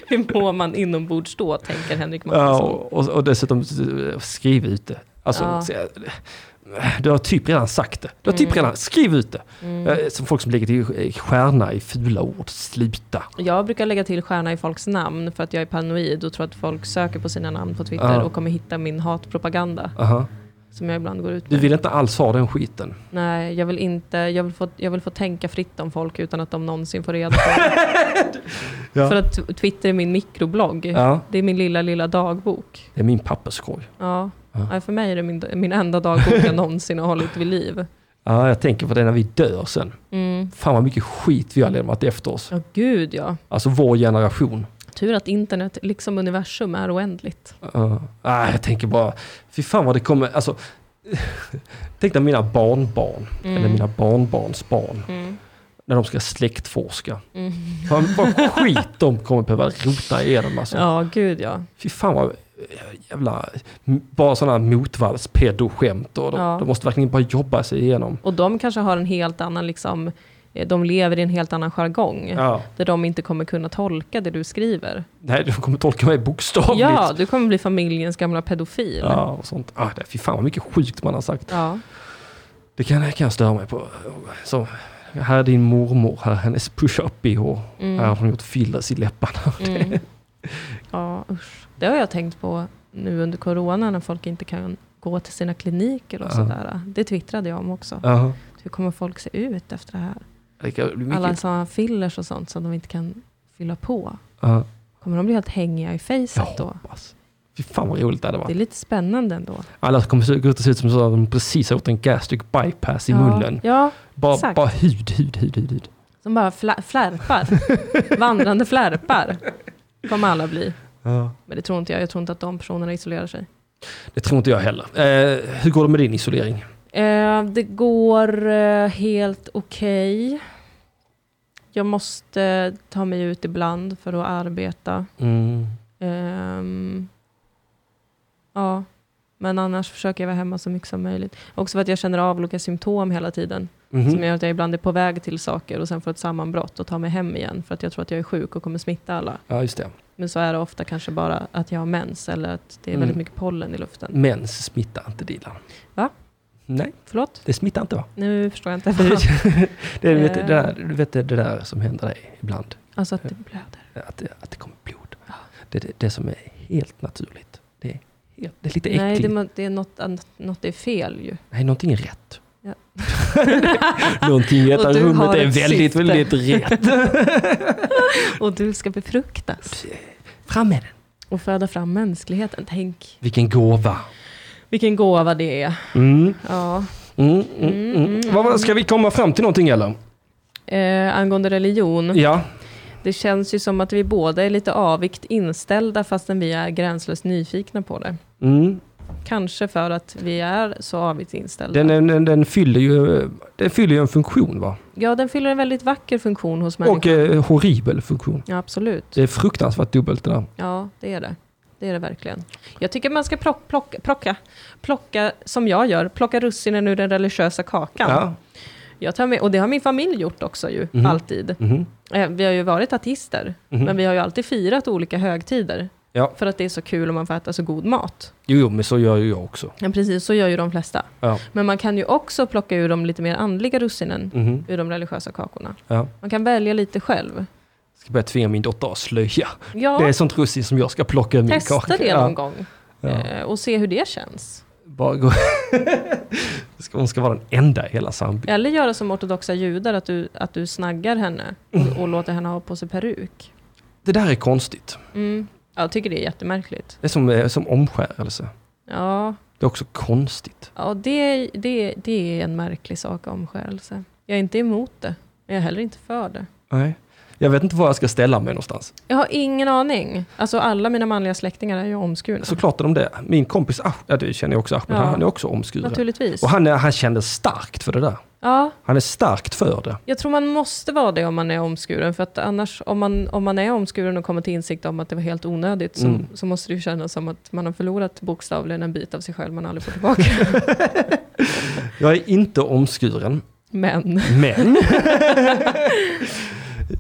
A: Hur mår man inombords då, tänker Henrik
B: Ja,
A: Mattisson.
B: och, och- och dessutom eh, skriv ut det. Alltså,
A: Ja.
B: se- Du har typ redan sagt det. Du har typ redan, skriv ut det.
A: Mm.
B: Eh, Som folk som lägger till stjärna i fula ord. Sluta.
A: Jag brukar lägga till stjärna i folks namn för att jag är paranoid och tror att folk söker på sina namn på Twitter
B: Ja.
A: och kommer hitta min hatpropaganda
B: Aha.
A: som jag ibland går ut
B: Du
A: med.
B: vill inte alls ha den skiten.
A: Nej, jag vill inte. Jag vill, få, jag vill få tänka fritt om folk utan att de någonsin får reda på det.
B: Ja.
A: För att t- Twitter är min mikroblogg.
B: Ja.
A: Det är min lilla, lilla dagbok.
B: Det är min papperskorg.
A: Ja.
B: Ja.
A: Nej, för mig är det min, min enda dagbok jag någonsin har hållit vid liv.
B: Ja, jag tänker på det när vi dör sen.
A: Mm.
B: Fan vad mycket skit vi har lämnat efter oss.
A: Ja, gud ja.
B: Alltså vår generation.
A: Tur att internet, liksom universum, är oändligt.
B: Ja. Ah, jag tänker bara, fy fan vad det kommer, alltså. Tänk när mina barnbarn,
A: Mm.
B: eller mina barnbarns barn, när de ska släktforska. Fan vad skit de kommer behöva rota igenom alltså.
A: Ja, gud ja.
B: Fy fan vad jävla, bara sådana motvalls-pedoskämt. Och de,
A: Ja.
B: de måste verkligen bara jobba sig igenom.
A: Och de kanske har en helt annan, liksom, eh, de lever i en helt annan jargong.
B: Ja.
A: Där de inte kommer kunna tolka det du skriver.
B: Nej, de kommer tolka mig bokstavligt.
A: Ja, du kommer bli familjens gamla pedofil.
B: Ja, och sånt. Ah, det, fy fan vad mycket sjukt man har sagt.
A: Ja.
B: Det kan, kan jag störa mig på. Så, här är din mormor, här är hennes push-up-bh. Här har hon gjort fillers i läpparna.
A: Mm. ja, usch. Det har jag tänkt på nu under corona när folk inte kan gå till sina kliniker och
B: Ja.
A: sådär. Det twittrade jag om också.
B: Ja.
A: Hur kommer folk se ut efter det här?
B: Det kan bli
A: Alla
B: mycket.
A: sådana fillers och sånt som de inte kan fylla på.
B: Ja,
A: Kommer de bli helt hängiga i
B: jag
A: facet då?
B: hoppas. Fy fan vad roligt det hade
A: Det är
B: varit.
A: lite spännande ändå.
B: Alla kommer se- gå ut och se ut som så att de precis har gjort en gastric bypass i
A: ja.
B: munnen.
A: Ja,
B: Bara,
A: exakt.
B: bara hud, hud, hud, hud, hud.
A: som bara fla- flärpar. Vandrande flärpar kommer alla bli. Men det tror inte jag. Jag tror inte att de personerna isolerar sig.
B: Det tror inte jag heller. Eh, hur går det med din isolering?
A: Eh, det går eh, helt okej. Jag måste ta mig ut ibland för att arbeta.
B: Mm.
A: Ehm, ja, men annars försöker jag vara hemma så mycket som möjligt. Också för att jag känner av olika symptom hela tiden.
B: Mhm.
A: Som gör att jag ibland är på väg till saker och sen får ett sammanbrott och tar mig hem igen för att jag tror att jag är sjuk och kommer smitta alla.
B: Ja, just det.
A: Men så är det ofta kanske bara att jag har mens eller att det är
B: Mm.
A: väldigt mycket pollen i luften.
B: Mens smittar inte Dilan.
A: Va?
B: Nej,
A: Förlåt?
B: det smittar inte va?
A: Nu förstår jag inte.
B: det, det, vet, det,
A: Eh.
B: där, du vet det där som händer dig ibland.
A: Alltså att det blöder.
B: Att, det- att det kommer blod. Det är det, det som är helt naturligt. Det är, helt, det är lite
A: Nej,
B: äckligt.
A: det,
B: Nej,
A: må- det är något, an- något är fel ju.
B: någonting är rätt.
A: Ja.
B: någonting i detta
A: Och du
B: rummet
A: har
B: är
A: ett
B: väldigt,
A: syfte.
B: väldigt rätt.
A: Och du ska befruktas
B: Fram med den.
A: och föda fram mänskligheten. Tänk
B: Vilken gåva.
A: vilken gåva det är.
B: Mm,
A: Ja.
B: mm, mm, mm. Vad- vad- Ska vi komma fram till någonting eller?
A: Mm. Eh, angående religion.
B: Ja.
A: Det känns ju som att vi båda är lite avvikt inställda fastän vi är gränslöst nyfikna på det.
B: Mm.
A: Kanske för att vi är så avigt inställda.
B: Den, den, den, fyller ju, den fyller ju en funktion va?
A: Ja, den fyller en väldigt vacker funktion hos människan.
B: Och eh, horribel funktion.
A: Ja, absolut.
B: Det är fruktansvärt dubbelt det där.
A: Ja, det är det. Det är det verkligen. Jag tycker man ska plock, plocka, plocka, plocka, som jag gör, plocka russinen ur den religiösa kakan.
B: Ja.
A: Jag tar med, och det har min familj gjort också ju,
B: Mhm.
A: alltid.
B: Mhm.
A: Eh, Vi har ju varit artister,
B: Mhm.
A: men vi har ju alltid firat olika högtider.
B: Ja.
A: För att det är så kul om man får äta så god mat.
B: Jo, jo, men så gör ju jag också.
A: Men precis så gör ju de flesta.
B: Ja.
A: Men man kan ju också plocka ur de lite mer andliga russinen
B: Mhm.
A: ur de religiösa kakorna.
B: ja.
A: Man kan välja lite själv.
B: Ska börja tvinga min dotter att slöja.
A: Ja,
B: Det är sånt russin som jag ska plocka ur min
A: testa
B: kaka.
A: det någon
B: Ja.
A: gång
B: Ja.
A: eh, och se hur det känns.
B: Bara gå. Ska- Hon ska vara den enda i hela sambyn.
A: Eller göra som ortodoxa judar, att du, att du snaggar henne och, och låter henne ha på sig peruk.
B: Det där är konstigt.
A: Mm. Jag tycker det är jättemärkligt.
B: Det är som, eh, som omskärelse.
A: Ja,
B: Det är också konstigt.
A: Ja, det, det, det är en märklig sak, omskärelse. Jag är inte emot det, men jag är heller inte för det.
B: Nej. Jag vet inte var jag ska ställa mig någonstans.
A: Jag har ingen aning. Alltså alla mina manliga släktingar är ju omskurna.
B: Såklart är de det. Min kompis, ah, ja, det känner jag också, Ahmed,
A: Ja.
B: han är också omskuren.
A: Naturligtvis.
B: Och han, är, han kände starkt för det där.
A: Ja,
B: Han är starkt för det.
A: jag tror man måste vara det om man är omskuren. För att annars, om man, om man är omskuren och kommer till insikt om att det var helt onödigt, så,
B: Mm.
A: så måste det ju kännas som att man har förlorat bokstavligen en bit av sig själv man aldrig får tillbaka.
B: Jag är inte omskuren,
A: Men,
B: men...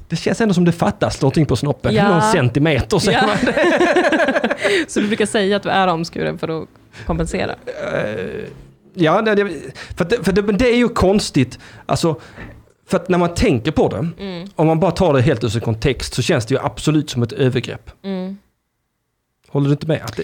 B: det känns ändå som det fattas någonting på snoppen.
A: Ja.
B: Någon centimeter säger
A: Ja.
B: man.
A: så vi brukar säga att vi är omskuren för att kompensera.
B: Eh, ja, det, det, för, att det, för det, men det är ju konstigt. Alltså, för att när man tänker på det, om man bara tar det helt ur sin kontext, så känns det ju absolut som ett övergrepp.
A: Mm.
B: Håller du inte med? Att det,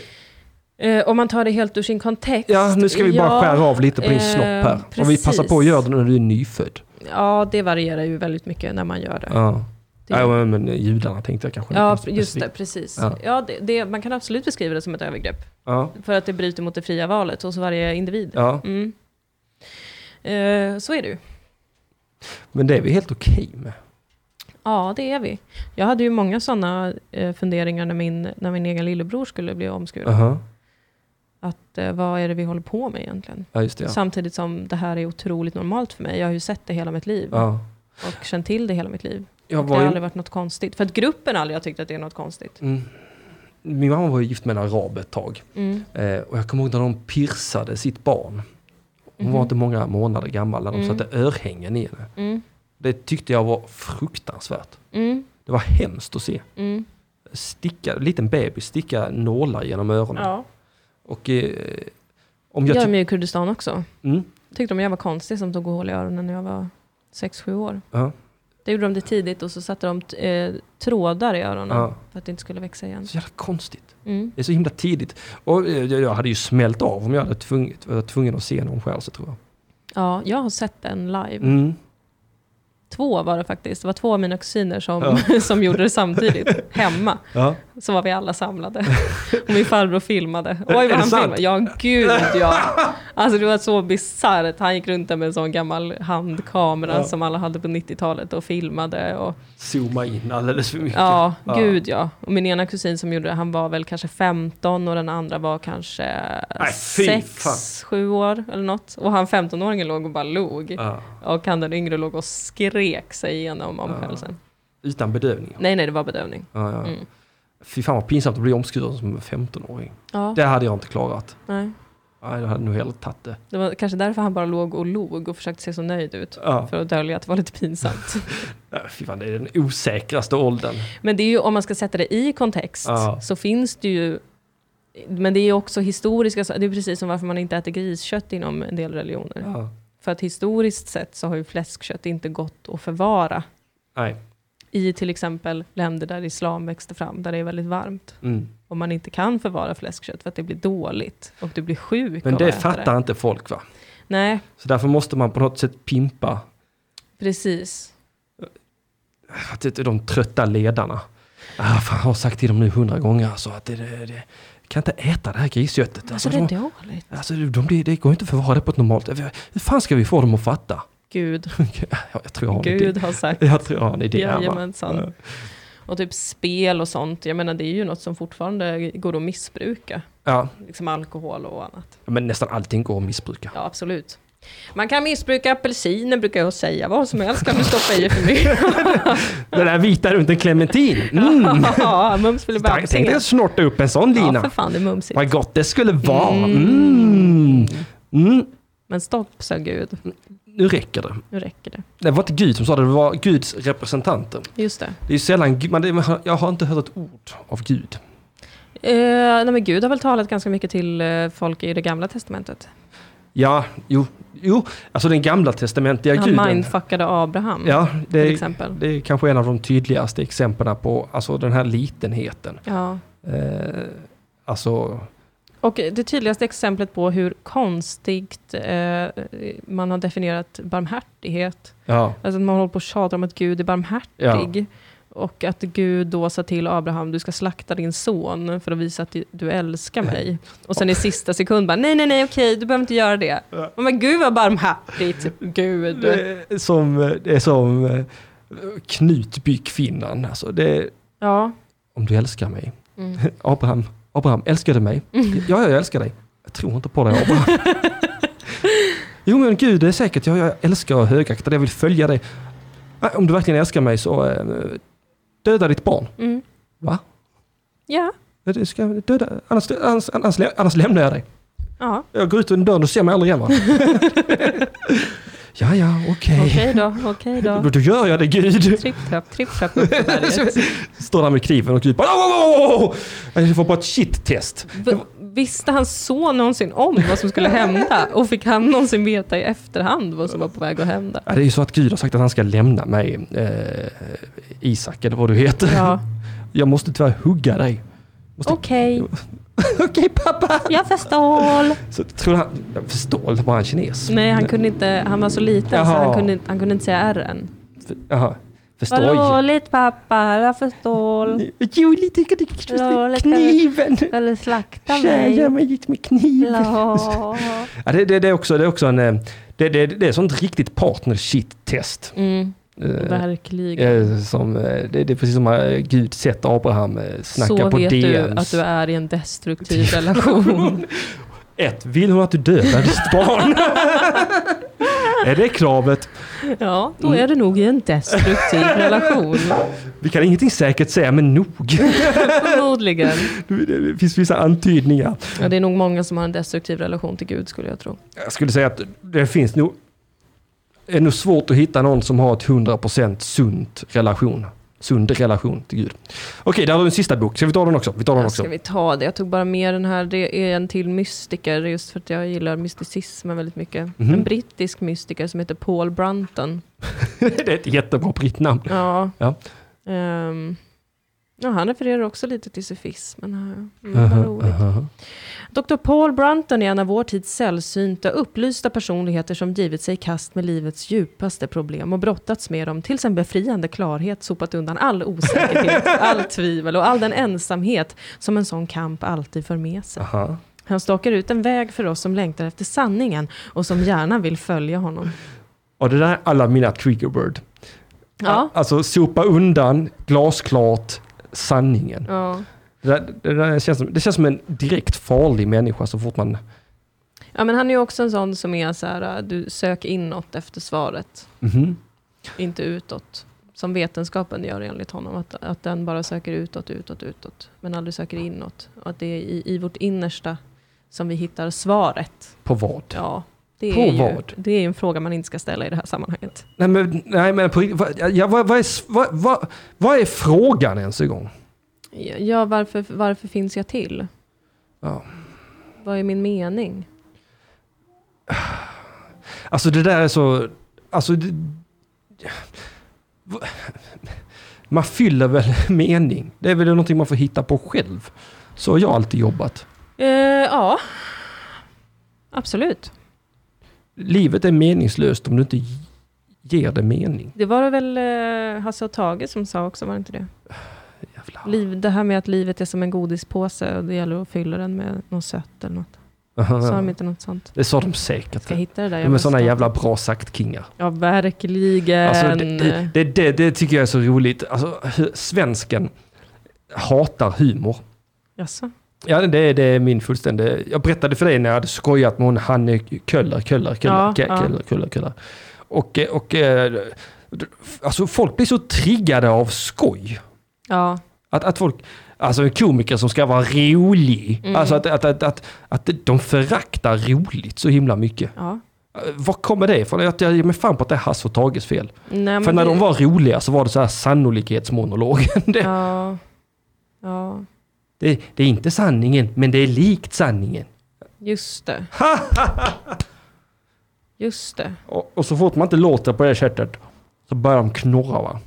A: Eh, om man tar det helt ur sin kontext.
B: ja, nu ska vi bara
A: Ja,
B: skära av lite på din
A: eh,
B: snopp här. Och vi passar på att göra det när du är nyfödd.
A: Ja, det varierar ju väldigt mycket när man gör det.
B: Ja,
A: Det gör
B: ja men, men judarna tänkte jag kanske.
A: Ja,
B: inte
A: just det,
B: specifikt.
A: precis. Ja.
B: Ja.
A: det, det, man kan absolut beskriva det som ett övergrepp,
B: Ja,
A: för att det bryter mot det fria valet hos varje individ.
B: ja,
A: Mm. Eh, så är det ju.
B: men det är vi helt okej med.
A: Ja, det är vi. Jag hade ju många sådana eh, funderingar när min, när min egen lillebror skulle bli omskuren.
B: Aha,
A: Att, eh, vad är det vi håller på med egentligen?
B: Ja, just det. Ja.
A: Samtidigt som det här är otroligt normalt för mig. Jag har ju sett det hela mitt liv
B: Ja.
A: och känt till det hela mitt liv.
B: Jag
A: Det har
B: var ju,
A: aldrig varit något konstigt. För att gruppen aldrig har tyckt att det är något konstigt.
B: mm, min mamma var ju gift med en arab ett tag.
A: Mm.
B: Eh, och jag kommer ihåg när de pirsade sitt barn. Hon
A: Mhm.
B: var inte många månader gammal när de
A: Mm.
B: satte örhängen i henne.
A: Mm.
B: Det tyckte jag var fruktansvärt.
A: Mm.
B: Det var hemskt att se.
A: Mm.
B: Sticka, liten bebis sticka nålar genom öronen.
A: Ja.
B: Och eh, om
A: Det
B: jag...
A: gör
B: tyck-
A: de ju i Kurdistan också.
B: mm,
A: Tyckte de jag var konstig som tog hål i öronen när jag var 6-7 år.
B: ja,
A: Det gjorde de det tidigt och så satte de t- eh, trådar i öronen
B: ja.
A: för att det inte skulle växa igen.
B: Så jävla konstigt.
A: Mm.
B: Det är så himla tidigt. Och eh, jag jag hade ju smält av om jag hade tvung, var tvungen att se någon själv så tror jag.
A: Ja, jag har sett den live.
B: Mm.
A: Två var det faktiskt. Det var två av mina kusiner som,
B: Ja.
A: som gjorde det samtidigt. Hemma
B: Ja.
A: så var vi alla samlade. Och min farbror filmade. Oj,
B: det
A: vad han
B: sant?
A: filmade. Ja, gud ja. Alltså det var så bisarrt. Han gick runt där med en sån gammal handkamera
B: Ja.
A: som alla hade på 90-talet och filmade. Och,
B: Zooma in alldeles för mycket.
A: Ja,
B: Ja.
A: gud ja. Och min ena kusin som gjorde det, han var väl kanske 15 och den andra var kanske
B: Nej, fy fan.
A: 6-7 år eller något. Och han 15-åringen låg och bara log.
B: Ja.
A: Och han den yngre låg och skrek sig igenom omskärelsen.
B: Utan bedövning.
A: Nej, nej, det var bedövning.
B: Ja, ja.
A: Mm.
B: Fy fan vad pinsamt att bli omskuren som en 15-åring.
A: Ja,
B: Det hade jag inte klarat.
A: nej.
B: Nej, jag hade nog hellre tagit det.
A: Det var kanske därför han bara låg och log och försökte se så nöjd ut.
B: Ja.
A: För att dölja att det var lite pinsamt.
B: Nej, Fy fan, det är den osäkraste åldern.
A: Men det är ju, om man ska sätta det i kontext,
B: Ja.
A: så finns det ju men det är ju också historiska, det är precis som varför man inte äter griskött inom en del religioner.
B: Ja.
A: För att historiskt sett så har ju fläskkött inte gått att förvara
B: Nej.
A: i till exempel länder där islam växte fram, där det är väldigt varmt.
B: Mm.
A: Och man inte kan förvara fläskkött för att det blir dåligt och du blir sjuk
B: Men
A: av
B: det
A: att äta
B: fattar inte folk va?
A: Nej,
B: Så därför måste man på något sätt pimpa
A: precis.
B: att det är de trötta ledarna. Ah, fan, jag har sagt till dem nu hundra gånger alltså, att det, det, det kan inte äta det här grisköttet.
A: Alltså
B: Alltså,
A: det är
B: de,
A: dåligt.
B: alltså, de, det, det går inte att förvara det på ett normalt... Hur fan ska vi få dem att fatta?
A: Gud,
B: Jag, jag tror jag har en
A: Gud
B: idé.
A: har sagt.
B: Jag tror jag har en idé. här, va?
A: Jajamensan. Och typ spel och sånt, jag menar det är ju något som fortfarande går att missbruka.
B: Ja,
A: Liksom alkohol och annat.
B: men nästan allting går att missbruka.
A: Ja, absolut. Man kan missbruka apelsiner brukar jag säga, vad som helst kan du stoppa i för mycket.
B: Den där vita runt en clementin. Mm.
A: Ja, mums ville bara
B: Tänk- Tänk dig
A: apelsiner.
B: att snorta upp en sån
A: Ja, för
B: lina.
A: fan, det är mumsigt.
B: Vad gott det skulle vara. Mm. Mm.
A: Men stopp, sa Gud.
B: Nu räcker det.
A: Nu räcker det.
B: Det var inte Gud som sa det, det var Guds representanter.
A: Just det.
B: Det är ju sällan, Gud- man, det- man, har- jag har inte hört ett ord av Gud.
A: Eh, nej, men Gud har väl talat ganska mycket till eh, folk i det gamla testamentet.
B: Ja, jo, jo, alltså den gamla testamentiga
A: Han
B: guden.
A: mindfuckade Abraham,
B: Ja, det
A: till
B: är,
A: exempel.
B: det är kanske en av de tydligaste exemplen på alltså, den här litenheten.
A: Ja.
B: Eh, alltså,
A: Och det tydligaste exemplet på hur konstigt eh, man har definierat barmhärtighet,
B: ja,
A: alltså att man håller på och tjatar om att Gud är barmhärtig, och att Gud då sa till Abraham, du ska slakta din son för att visa att du älskar mig. Och sen i sista sekund bara, nej, nej, nej, okej, du behöver inte göra det.
B: Ja.
A: typ. Men gud vad barmhärtigt, Gud.
B: Det är som, det är som eh, Knut Byckfinnan, alltså det...
A: Ja.
B: Om du älskar mig.
A: Mm.
B: Abraham, Abraham, älskar du mig? Ja, jag älskar dig. Jag tror inte på dig Abraham. jo men gud, det är säkert. Jag, jag älskar och högaktar dig. Jag vill följa dig. Nej, Om du verkligen älskar mig så eh, döda ditt barn.
A: Mm.
B: Va?
A: Ja.
B: Ja, Du ska döda, annars, annars, annars, lä- annars lämnar jag dig.
A: Ja,
B: Jag går ut genom dörren och ser mig aldrig igen va? ja, ja, okej.
A: okej då, okej
B: Då,
A: då.
B: då gör jag det gud.
A: Tripptrapp, tripptrapp upp på berget.
B: Står där med kniven och gud bara, "Åh, åh, åh, åh." Jag får bara ett shit-test.
A: V- Visste hans son någonsin om vad som skulle hända? Och fick han någonsin veta i efterhand vad som var på väg att hända?
B: Ja, det är ju så att Gud har sagt att han ska lämna mig, eh, Isak eller vad du heter.
A: Ja.
B: Jag måste tyvärr hugga dig.
A: Okej,
B: Okej pappa!
A: jag förstår.
B: Så tror han, jag förstår, var han kines?
A: Nej, han kunde inte, han var så liten så
B: Jaha.
A: han kunde, inte- han kunde inte säga R än.
B: För- Jaha, förstår.
A: Vad roligt pappa, jag förstår.
B: Julie, tycker du
A: Roligt.
B: kniven?
A: Eller slakta
B: Kär mig gick med kniven.
A: Ja.
B: Ja, det, det, det är också, det är också en, eh, det, det, det är sånt riktigt partner shit-test.
A: Mm,
B: Eh,
A: verkligen.
B: eh, som, eh, det, det är precis som eh, Gud sett Abraham eh, snacka
A: Så
B: på
A: vet du
B: DMs.
A: att du är i en destruktiv relation.
B: Ett, vill hon att du dödar ditt barn? är det kravet?
A: Ja, då är du nog i en destruktiv relation.
B: Vi kan ingenting säkert säga, men nog.
A: Förmodligen.
B: det finns vissa antydningar.
A: Ja, det är nog många som har en destruktiv relation till Gud skulle jag tro.
B: Jag skulle säga att det finns nog... Det är nog svårt att hitta någon som har ett 100% sunt relation. Sund relation till Gud. Okej, där har du en sista bok. Ska vi ta den också? Vi tar den
A: Ja,
B: också.
A: ska vi ta det? Jag tog bara med den här. Det är en till mystiker just för att jag gillar mysticismen väldigt mycket.
B: Mhm.
A: En brittisk mystiker som heter Paul Brunton.
B: det är ett jättebra brittnamn.
A: Ja.
B: Ja.
A: Ehm, ja, han refererar också lite till sufismen. Här. Mm, vad
B: Aha,
A: roligt.
B: aha.
A: Dr. Paul Brunton är en av vår tids sällsynta upplysta personligheter som givit sig i kast med livets djupaste problem och brottats med dem tills en befriande klarhet sopat undan all osäkerhet, all tvivel och all den ensamhet som en sån kamp alltid för med sig.
B: Aha.
A: Han stakar ut en väg för oss som längtar efter sanningen och som gärna vill följa honom.
B: Och det där är alla mina trigger word.
A: Ja.
B: Alltså sopa undan, glasklart, sanningen.
A: Ja.
B: Det, där, det, där känns som, det känns som en direkt farlig människa så fort man...
A: ja, men han är ju också en sån som är så här, äh, du sök inåt efter svaret.
B: Mhm.
A: inte utåt. Som vetenskapen gör enligt honom, att, att den bara söker utåt, utåt, utåt. Men aldrig söker inåt. Och att det är i, i vårt innersta som vi hittar svaret.
B: På vad?
A: Ja, det
B: På
A: är, ju,
B: vad?
A: det är en fråga man inte ska ställa i det här sammanhanget.
B: Nej men, nej, men på, riktigt, vad, ja, vad, vad, är, s- vad, vad, vad är frågan ens en gång?
A: Ja, varför, varför finns jag till?
B: Ja.
A: Vad är min mening?
B: Alltså det där är så... Alltså, det, va- man fyller väl mening? Det är väl någonting man får hitta på själv. Så har jag alltid jobbat.
A: Eh, ja, absolut.
B: Livet är meningslöst om du inte ger det mening.
A: Det var det väl eh, Hasse och Tage som sa också, var det inte det?
B: Jävlar.
A: Liv, det här med att livet är som en godispåse och det gäller att fylla den med något sött eller något. Sa de inte något sånt?
B: Det sa de
A: Ska
B: säkert.
A: jag hitta det där?
B: De
A: Jag
B: är
A: måste
B: sådana
A: ta-
B: jävla bra sagt-kingar.
A: Ja, verkligen.
B: Alltså, det,
A: eh,
B: det, det, det, det tycker jag är så roligt. Alltså, hu- svensken hatar humor.
A: Jaså?
B: Ja, det är, det är min fullständiga... Jag berättade för dig när jag hade skojat med hon Hanne Köller, Köller, Köller,
A: Ja,
B: Kö-
A: ja.
B: Köller, Köller, Köller. Och, eh, och... eh, d- Alltså folk blir så triggade av skoj.
A: Ja,
B: Att, att folk... Alltså en komiker som ska vara rolig.
A: Mm.
B: Alltså att, att, att, att, att de föraktar roligt så himla mycket.
A: ja.
B: Eh, Var kommer det ifrån? Jag jag ger mig fan på att det är Hasse och Tages fel.
A: Nej, men
B: för när
A: det-
B: de var roliga så var det så här sannolikhetsmonologen. Det,
A: Ja. ja,
B: det, det är inte sanningen, men det är likt sanningen.
A: just det. just det.
B: Och, och så fort man inte låter på det sättet så börjar de knorra va.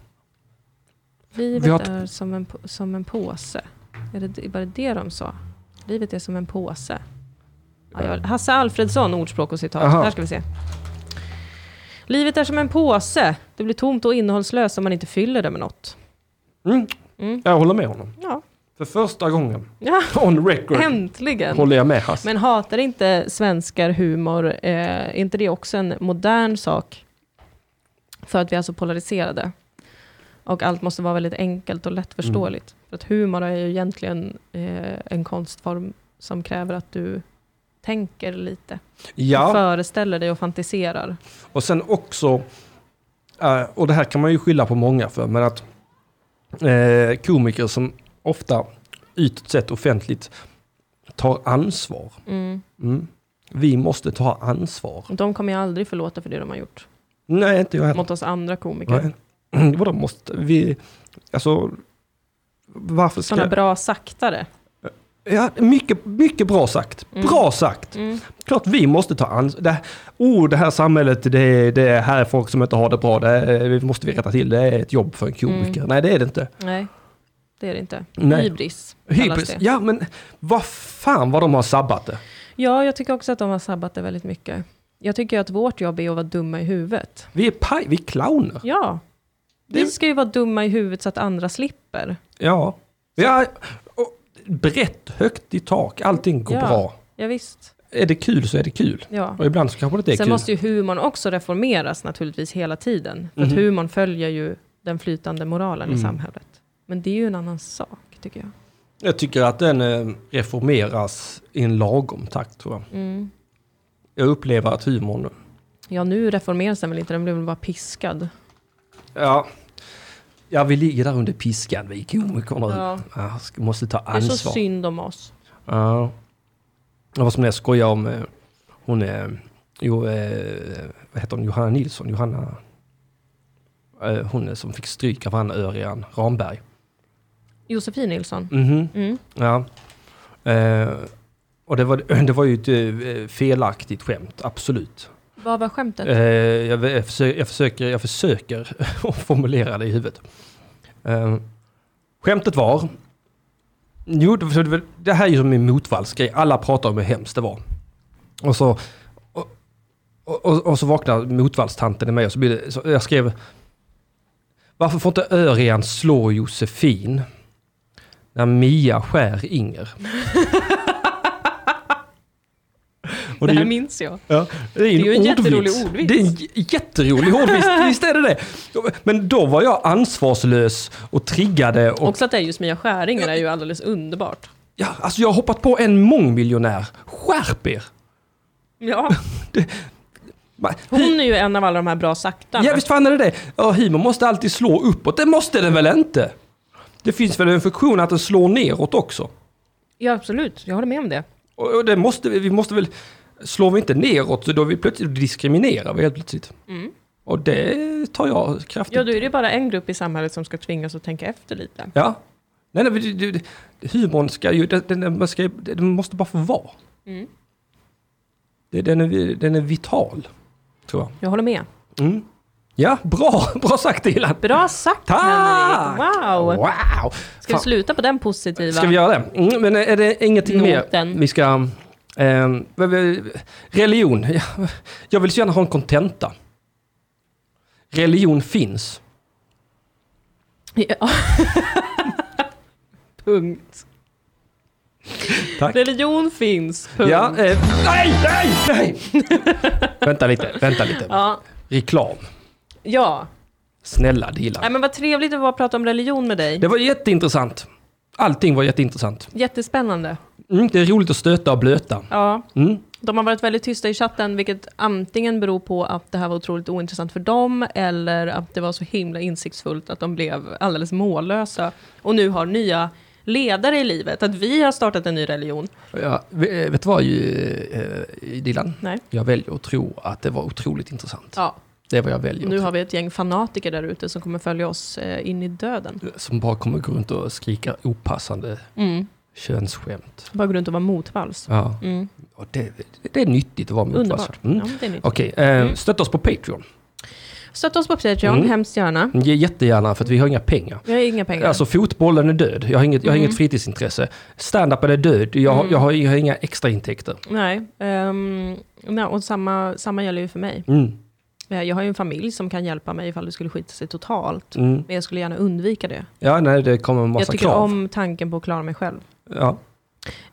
A: Livet
B: Vi har t-
A: är som en, på- som en påse. Är det, det- var det det de sa? Livet är som en påse. Ja,
B: Mm.
A: jag, Hasse Alfredsson, ordspråk och citat.
B: Aha.
A: Här ska vi se. Livet är som en påse. Det blir tomt och innehållslöst om man inte fyller det med något.
B: Mm.
A: Mm.
B: Jag håller med honom.
A: Ja,
B: För första gången
A: ja
B: on record
A: äntligen.
B: håller jag med Hasse.
A: Men hatar inte svenskar humor? Eh, är inte det också en modern sak? För att vi är så polariserade. Och allt måste vara väldigt enkelt och
B: Mm.
A: lättförståeligt. För att humor är ju egentligen eh, en konstform som kräver att du tänker lite. Och
B: Ja,
A: föreställer dig och fantiserar.
B: och sen också, eh, och det här kan man ju skylla på många för, men att eh, komiker som ofta ytligt sett offentligt tar ansvar.
A: Mm.
B: Mm. Vi måste ta ansvar.
A: De kommer jag aldrig förlåta för det de har gjort.
B: Nej, inte jag heller.
A: Mot oss andra komiker.
B: Nej. Vadå måste vi? Alltså, varför ska...
A: Sådana bra saktare.
B: Ja, mycket, mycket bra sagt.
A: Mm.
B: Bra sagt.
A: Mm.
B: Klart vi måste ta ansvar. Det, oh, det här samhället, det, är- det är här är folk som inte har det bra. Det är, vi måste vi rätta till. Det är ett jobb för en komiker.
A: Mm.
B: Nej, det är det inte.
A: Nej, det är det inte.
B: Nej.
A: Hybris kallas
B: Hybris.
A: det.
B: Ja, men vad fan vad de har sabbat det.
A: Ja, jag tycker också att de har sabbat det väldigt mycket. Jag tycker ju att vårt jobb är att vara dumma i huvudet.
B: Vi är paj, vi är clowner.
A: Ja.
B: Det-
A: Vi ska ju vara dumma i huvudet så att andra slipper.
B: Ja. ja och, brett, högt i tak. Allting går
A: Ja.
B: bra.
A: Ja, visst.
B: Är det kul så är det kul.
A: Ja.
B: Och ibland så kanske det inte är
A: Sen
B: kul.
A: måste ju humorn också reformeras naturligtvis hela tiden. För
B: Mhm.
A: att humorn följer ju den flytande moralen
B: Mm.
A: i samhället. Men det är ju en annan sak, tycker jag.
B: Jag tycker att den eh, reformeras i en lagom takt tror jag.
A: Mm.
B: Jag upplever att humorn...
A: Ja, nu reformeras den väl inte, den blir väl bara piskad.
B: Ja, ja vi ligger där under piskan, vi komiker nu. Ja.
A: Ja.
B: ska- måste ta
A: Det är så
B: ansvar.
A: synd om oss.
B: Ja. Det var som när jag skojade om eh, hon... eh, Jo, eh, vad heter hon? Johanna Nilsson? Johanna... eh, Hon som fick stryk av han Örjan Ramberg.
A: Josefin Nilsson.
B: Mhm.
A: Mm.
B: Ja. Eh, och det var, det var ju ett eh, felaktigt skämt, absolut.
A: Vad var skämtet?
B: Eh, jag, jag, försöker, jag, försöker, jag försöker att formulera det i huvudet. Eh, skämtet var... Jo, det, för det- det här är ju som en motvallsgrej. Alla pratar om hur hemskt det var. Och så, och, och, och, och så vaknar motvallstanten i mig och så blir det, så jag skrev... Varför får inte Örjan slå Josefin när Mia skär Inger? Och
A: det
B: är
A: här
B: ju-
A: minns jag.
B: Ja, det är
A: Det är ju en jätterolig
B: ordvits.
A: ordvits.
B: Det är en j- jätterolig ordvits, visst är det det. Men då var jag ansvarslös och triggade och...
A: Också att det är just Mia Skäringer är ju alldeles underbart.
B: ja, alltså jag har hoppat på en mångmiljonär. Skärp er!
A: Ja,
B: Ma-
A: hon är ju en av alla de här bra saktarna.
B: Ja, visst fan är det det. Ja, humor måste alltid slå uppåt. Det måste den väl inte? Det finns väl en funktion att den slår neråt också?
A: Ja, absolut. Jag håller med om det.
B: Och, och det måste vi, vi måste väl... Slår vi inte neråt, så då är vi plötsligt diskriminerar vi helt plötsligt. Och det tar jag kraftigt
A: Mm. Ja, då är det ju bara en grupp i samhället som ska tvingas att tänka efter lite.
B: Ja. Nej, nej, men det- det- det- humorn ska ju, den, den- den, ska, den måste bara få vara.
A: Mm.
B: Det- Den är, den är vital, tror jag.
A: Jag håller med.
B: Mm. Ja, bra, bra sagt Dilan!
A: Bra sagt,
B: Tack!
A: Henrik! Wow!
B: Wow!
A: Ska vi
B: Fan,
A: sluta på den positiva?
B: ska vi göra det? Mm, men är det ingenting mer
A: Noten.
B: vi ska... ehm, vad- vad- religion. Jag vill så gärna ha en kontenta. Religion finns.
A: Ja. punkt.
B: Tack.
A: Religion finns, punkt.
B: Ja, eh, nej, nej, nej! vänta lite, vänta lite.
A: ja.
B: Reklam.
A: ja.
B: Snälla Dilan.
A: Nej, men vad trevligt att vara och prata om religion med dig.
B: Det var jätteintressant. Allting var jätteintressant.
A: Jättespännande.
B: Mm, det är roligt att stöta och blöta.
A: Ja.
B: Mm.
A: De har varit väldigt tysta i chatten, vilket antingen beror på att det här var otroligt ointressant för dem, eller att det var så himla insiktsfullt att de blev alldeles mållösa och nu har nya ledare i livet. Att vi har startat en ny religion.
B: Ja, v- eh, vet du vad ju, eh, Dilan?
A: Nej.
B: Jag väljer att tro att det var otroligt intressant.
A: Ja,
B: Det är vad jag väljer
A: nu
B: att
A: har vi ett gäng fanatiker där ute som kommer följa oss eh, in i döden.
B: tro. Som bara kommer gå runt och skrika opassande
A: Mm.
B: könsskämt.
A: Bara gå runt och vara motvalls.
B: Ja.
A: Mm.
B: Och det, det är nyttigt att vara med
A: Underbart.
B: opassad. Mm.
A: Ja, Mm. det är nytt.
B: Okej, eh, stötta oss på Patreon.
A: Stötta oss på Patreon,
B: Mm.
A: hemskt gärna.
B: Ge jättegärna för att vi har inga pengar.
A: Vi har inga pengar. Mm.
B: Alltså fotbollen är död, jag har inget, jag har inget fritidsintresse. Standupen är död, jag, har- jag, har, jag har inga extra intäkter.
A: Nej, ehm, nej, och samma, samma gäller ju för mig.
B: Mm.
A: Eh, Jag har ju en familj som kan hjälpa mig ifall det skulle skita sig totalt.
B: Mm.
A: Men jag skulle gärna undvika det.
B: Ja, nej, det kommer en
A: Jag
B: massa
A: tycker
B: krav.
A: om tanken på att klara mig själv.
B: Ja.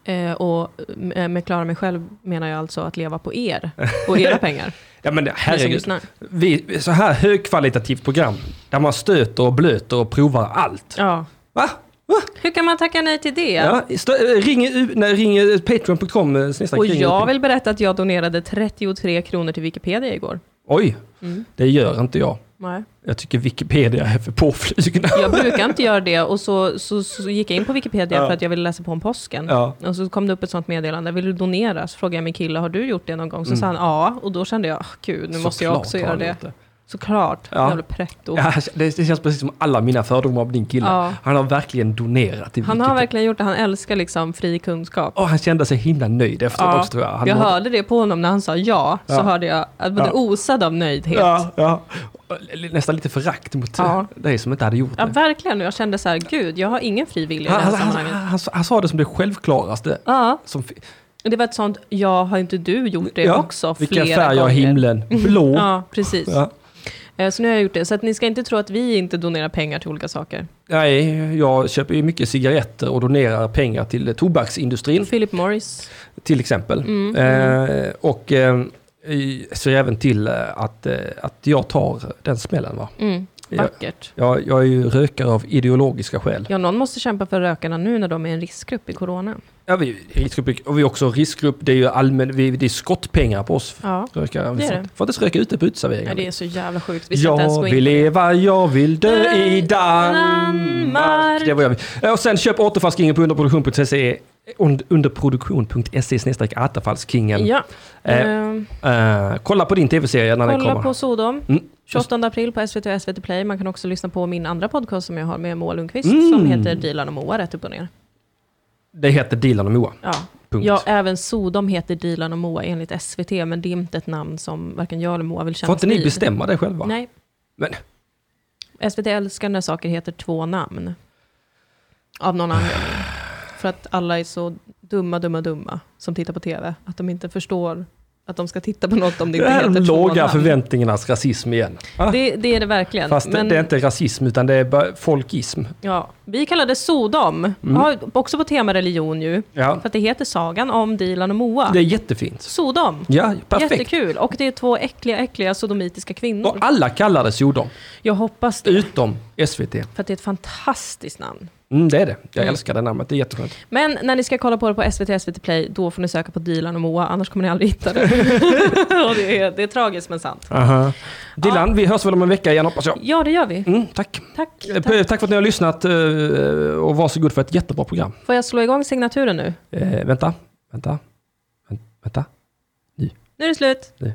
A: Eh, och med, med klara mig själv menar jag alltså att leva på er och era pengar.
B: Ja, men
A: ni som
B: herregud.
A: lyssnar.
B: Vi, så här högkvalitativt program, där man stöter och blöter och provar allt.
A: Ja.
B: Va?
A: Hur kan man tacka nej till det?
B: Ja, stö- eh, ring, u- nej, ring eh, patreon.com eh, snedstreck
A: och
B: ring-
A: jag vill berätta att jag donerade 33 kronor till Wikipedia igår.
B: Oj, det gör inte jag.
A: Nej.
B: Jag tycker Wikipedia är för påflugna.
A: Jag brukar inte göra det och så, så, så gick jag in på Wikipedia
B: Ja.
A: för att jag ville läsa på om påsken.
B: Ja.
A: Och så kom det upp ett sånt meddelande, vill du donera? Så frågade jag min kille, har du gjort det någon gång? Så sa han ja, och då kände jag, "Ah, gud, nu måste jag
B: Mm. Såklart
A: också
B: har
A: göra
B: han
A: det.
B: gjort det.
A: Såklart,
B: Ja.
A: jävla pretto.
B: Ja, det, det känns precis som alla mina fördomar om din kille.
A: Ja.
B: Han har verkligen donerat till
A: Han har
B: Wikipedia.
A: verkligen gjort det, han älskar liksom fri kunskap.
B: Åh, han kände sig himla nöjd efteråt
A: Ja.
B: också tror jag. Han
A: jag
B: mådde-
A: hörde det på honom när han sa ja, så
B: Ja.
A: hörde jag att både
B: Ja.
A: osad av nöjdhet. Ja.
B: ja, ja. Nästan lite förakt mot
A: Ja.
B: dig som inte hade gjort det.
A: verkligen. Och jag kände så här, gud, jag har ingen fri vilja i det
B: Han,
A: här
B: han, han,
A: sammanhanget.
B: han, han sa det som det självklaraste.
A: Ja,
B: Som, fi-
A: och det var ett sånt, ja, har inte du gjort det också
B: vilken
A: flera
B: färg har
A: gånger?
B: himlen? Blå.
A: Ja, precis.
B: Ja.
A: Eh, Så nu har jag gjort det. Så att ni ska inte tro att vi inte donerar pengar till olika saker.
B: Nej, jag köper ju mycket cigaretter och donerar pengar till tobaksindustrin
A: Philip Morris.
B: till exempel.
A: Mm,
B: Eh, och eh, i- ser även till eh, att, eh, att jag tar den smällen. Va?
A: Mm,
B: Ja.
A: vackert.
B: Jag, jag är ju rökare av ideologiska skäl.
A: Ja, någon måste kämpa för rökarna nu när de är en riskgrupp i corona.
B: Ja, vi, är riskgrupp, och vi är också riskgrupp, det är ju allmän, vi, det är skottpengar på oss
A: Ja.
B: rökare.
A: Det
B: Vi
A: är
B: får,
A: det.
B: får inte ens röka ute på
A: ja,
B: uteserveringar.
A: det är så jävla sjukt. Vi ska inte ens
B: jag
A: gå in
B: vill
A: på det.
B: leva, jag vill dö i
A: Danmark.
B: Danmark. Det var jag vill. Och sen köp återfallskingen på underproduktion.se E, und- underproduktion.se E snedstreck attefallskingen.
A: Ja.
B: Eh,
A: Ehm,
B: eh, kolla på din tv-serie när den
A: kolla
B: kommer.
A: på Sodom.
B: Mm.
A: 28 april på SVT och SVT Play. Man kan också lyssna på min andra podcast som jag har med Moa Lundqvist
B: Mm.
A: som heter Dilan och Moa rätt upp och ner.
B: Det heter Dilan och Moa.
A: Ja.
B: Punkt.
A: ja, även Sodom heter Dilan och Moa enligt SVT, men det är inte ett namn som varken jag eller Moa vill
B: Får
A: kännas
B: inte ni
A: vid.
B: bestämma det själva?
A: Nej.
B: Men,
A: SVT älskar när saker heter två namn. Av någon anledning. För att alla är så dumma, dumma, dumma som tittar på tv. Att de inte förstår att de ska titta på något om det
B: det
A: inte
B: här är
A: heter
B: de
A: två
B: låga
A: namn.
B: förväntningarnas rasism igen. Ah,
A: Det, det är det verkligen.
B: Fast det-
A: Men,
B: det är inte rasism utan det är bara folkism.
A: ja, vi kallar det Sodom.
B: Mm.
A: Ja, också på tema religion ju.
B: Ja.
A: För att det heter Sagan om Dilan och Moa.
B: Det är jättefint.
A: Sodom.
B: Ja, perfekt.
A: Jättekul. Och det är två äckliga, äckliga sodomitiska
B: Och Mm.
A: kvinnor.
B: alla kallar det Sodom,
A: Jag hoppas det.
B: utom SVT.
A: För att det är ett fantastiskt namn.
B: Mm, det är det. Jag
A: Mm.
B: älskar det namnet, det är jätteskönt.
A: Men när ni ska kolla på det på SVT, SVT Play, då får ni söka på Dilan och Moa, annars kommer ni aldrig hitta det. och det, är, det är tragiskt men sant.
B: Dilan, vi hörs väl om en vecka igen hoppas jag.
A: Ja, det gör vi.
B: Mm, tack.
A: Tack.
B: Eh,
A: tack.
B: p- Tack för att ni har lyssnat eh, och varsågod för ett jättebra program.
A: Får jag slå igång signaturen nu?
B: Eh, vänta, vänta, Vän- vänta.
A: Nu är det slut.
B: Nu.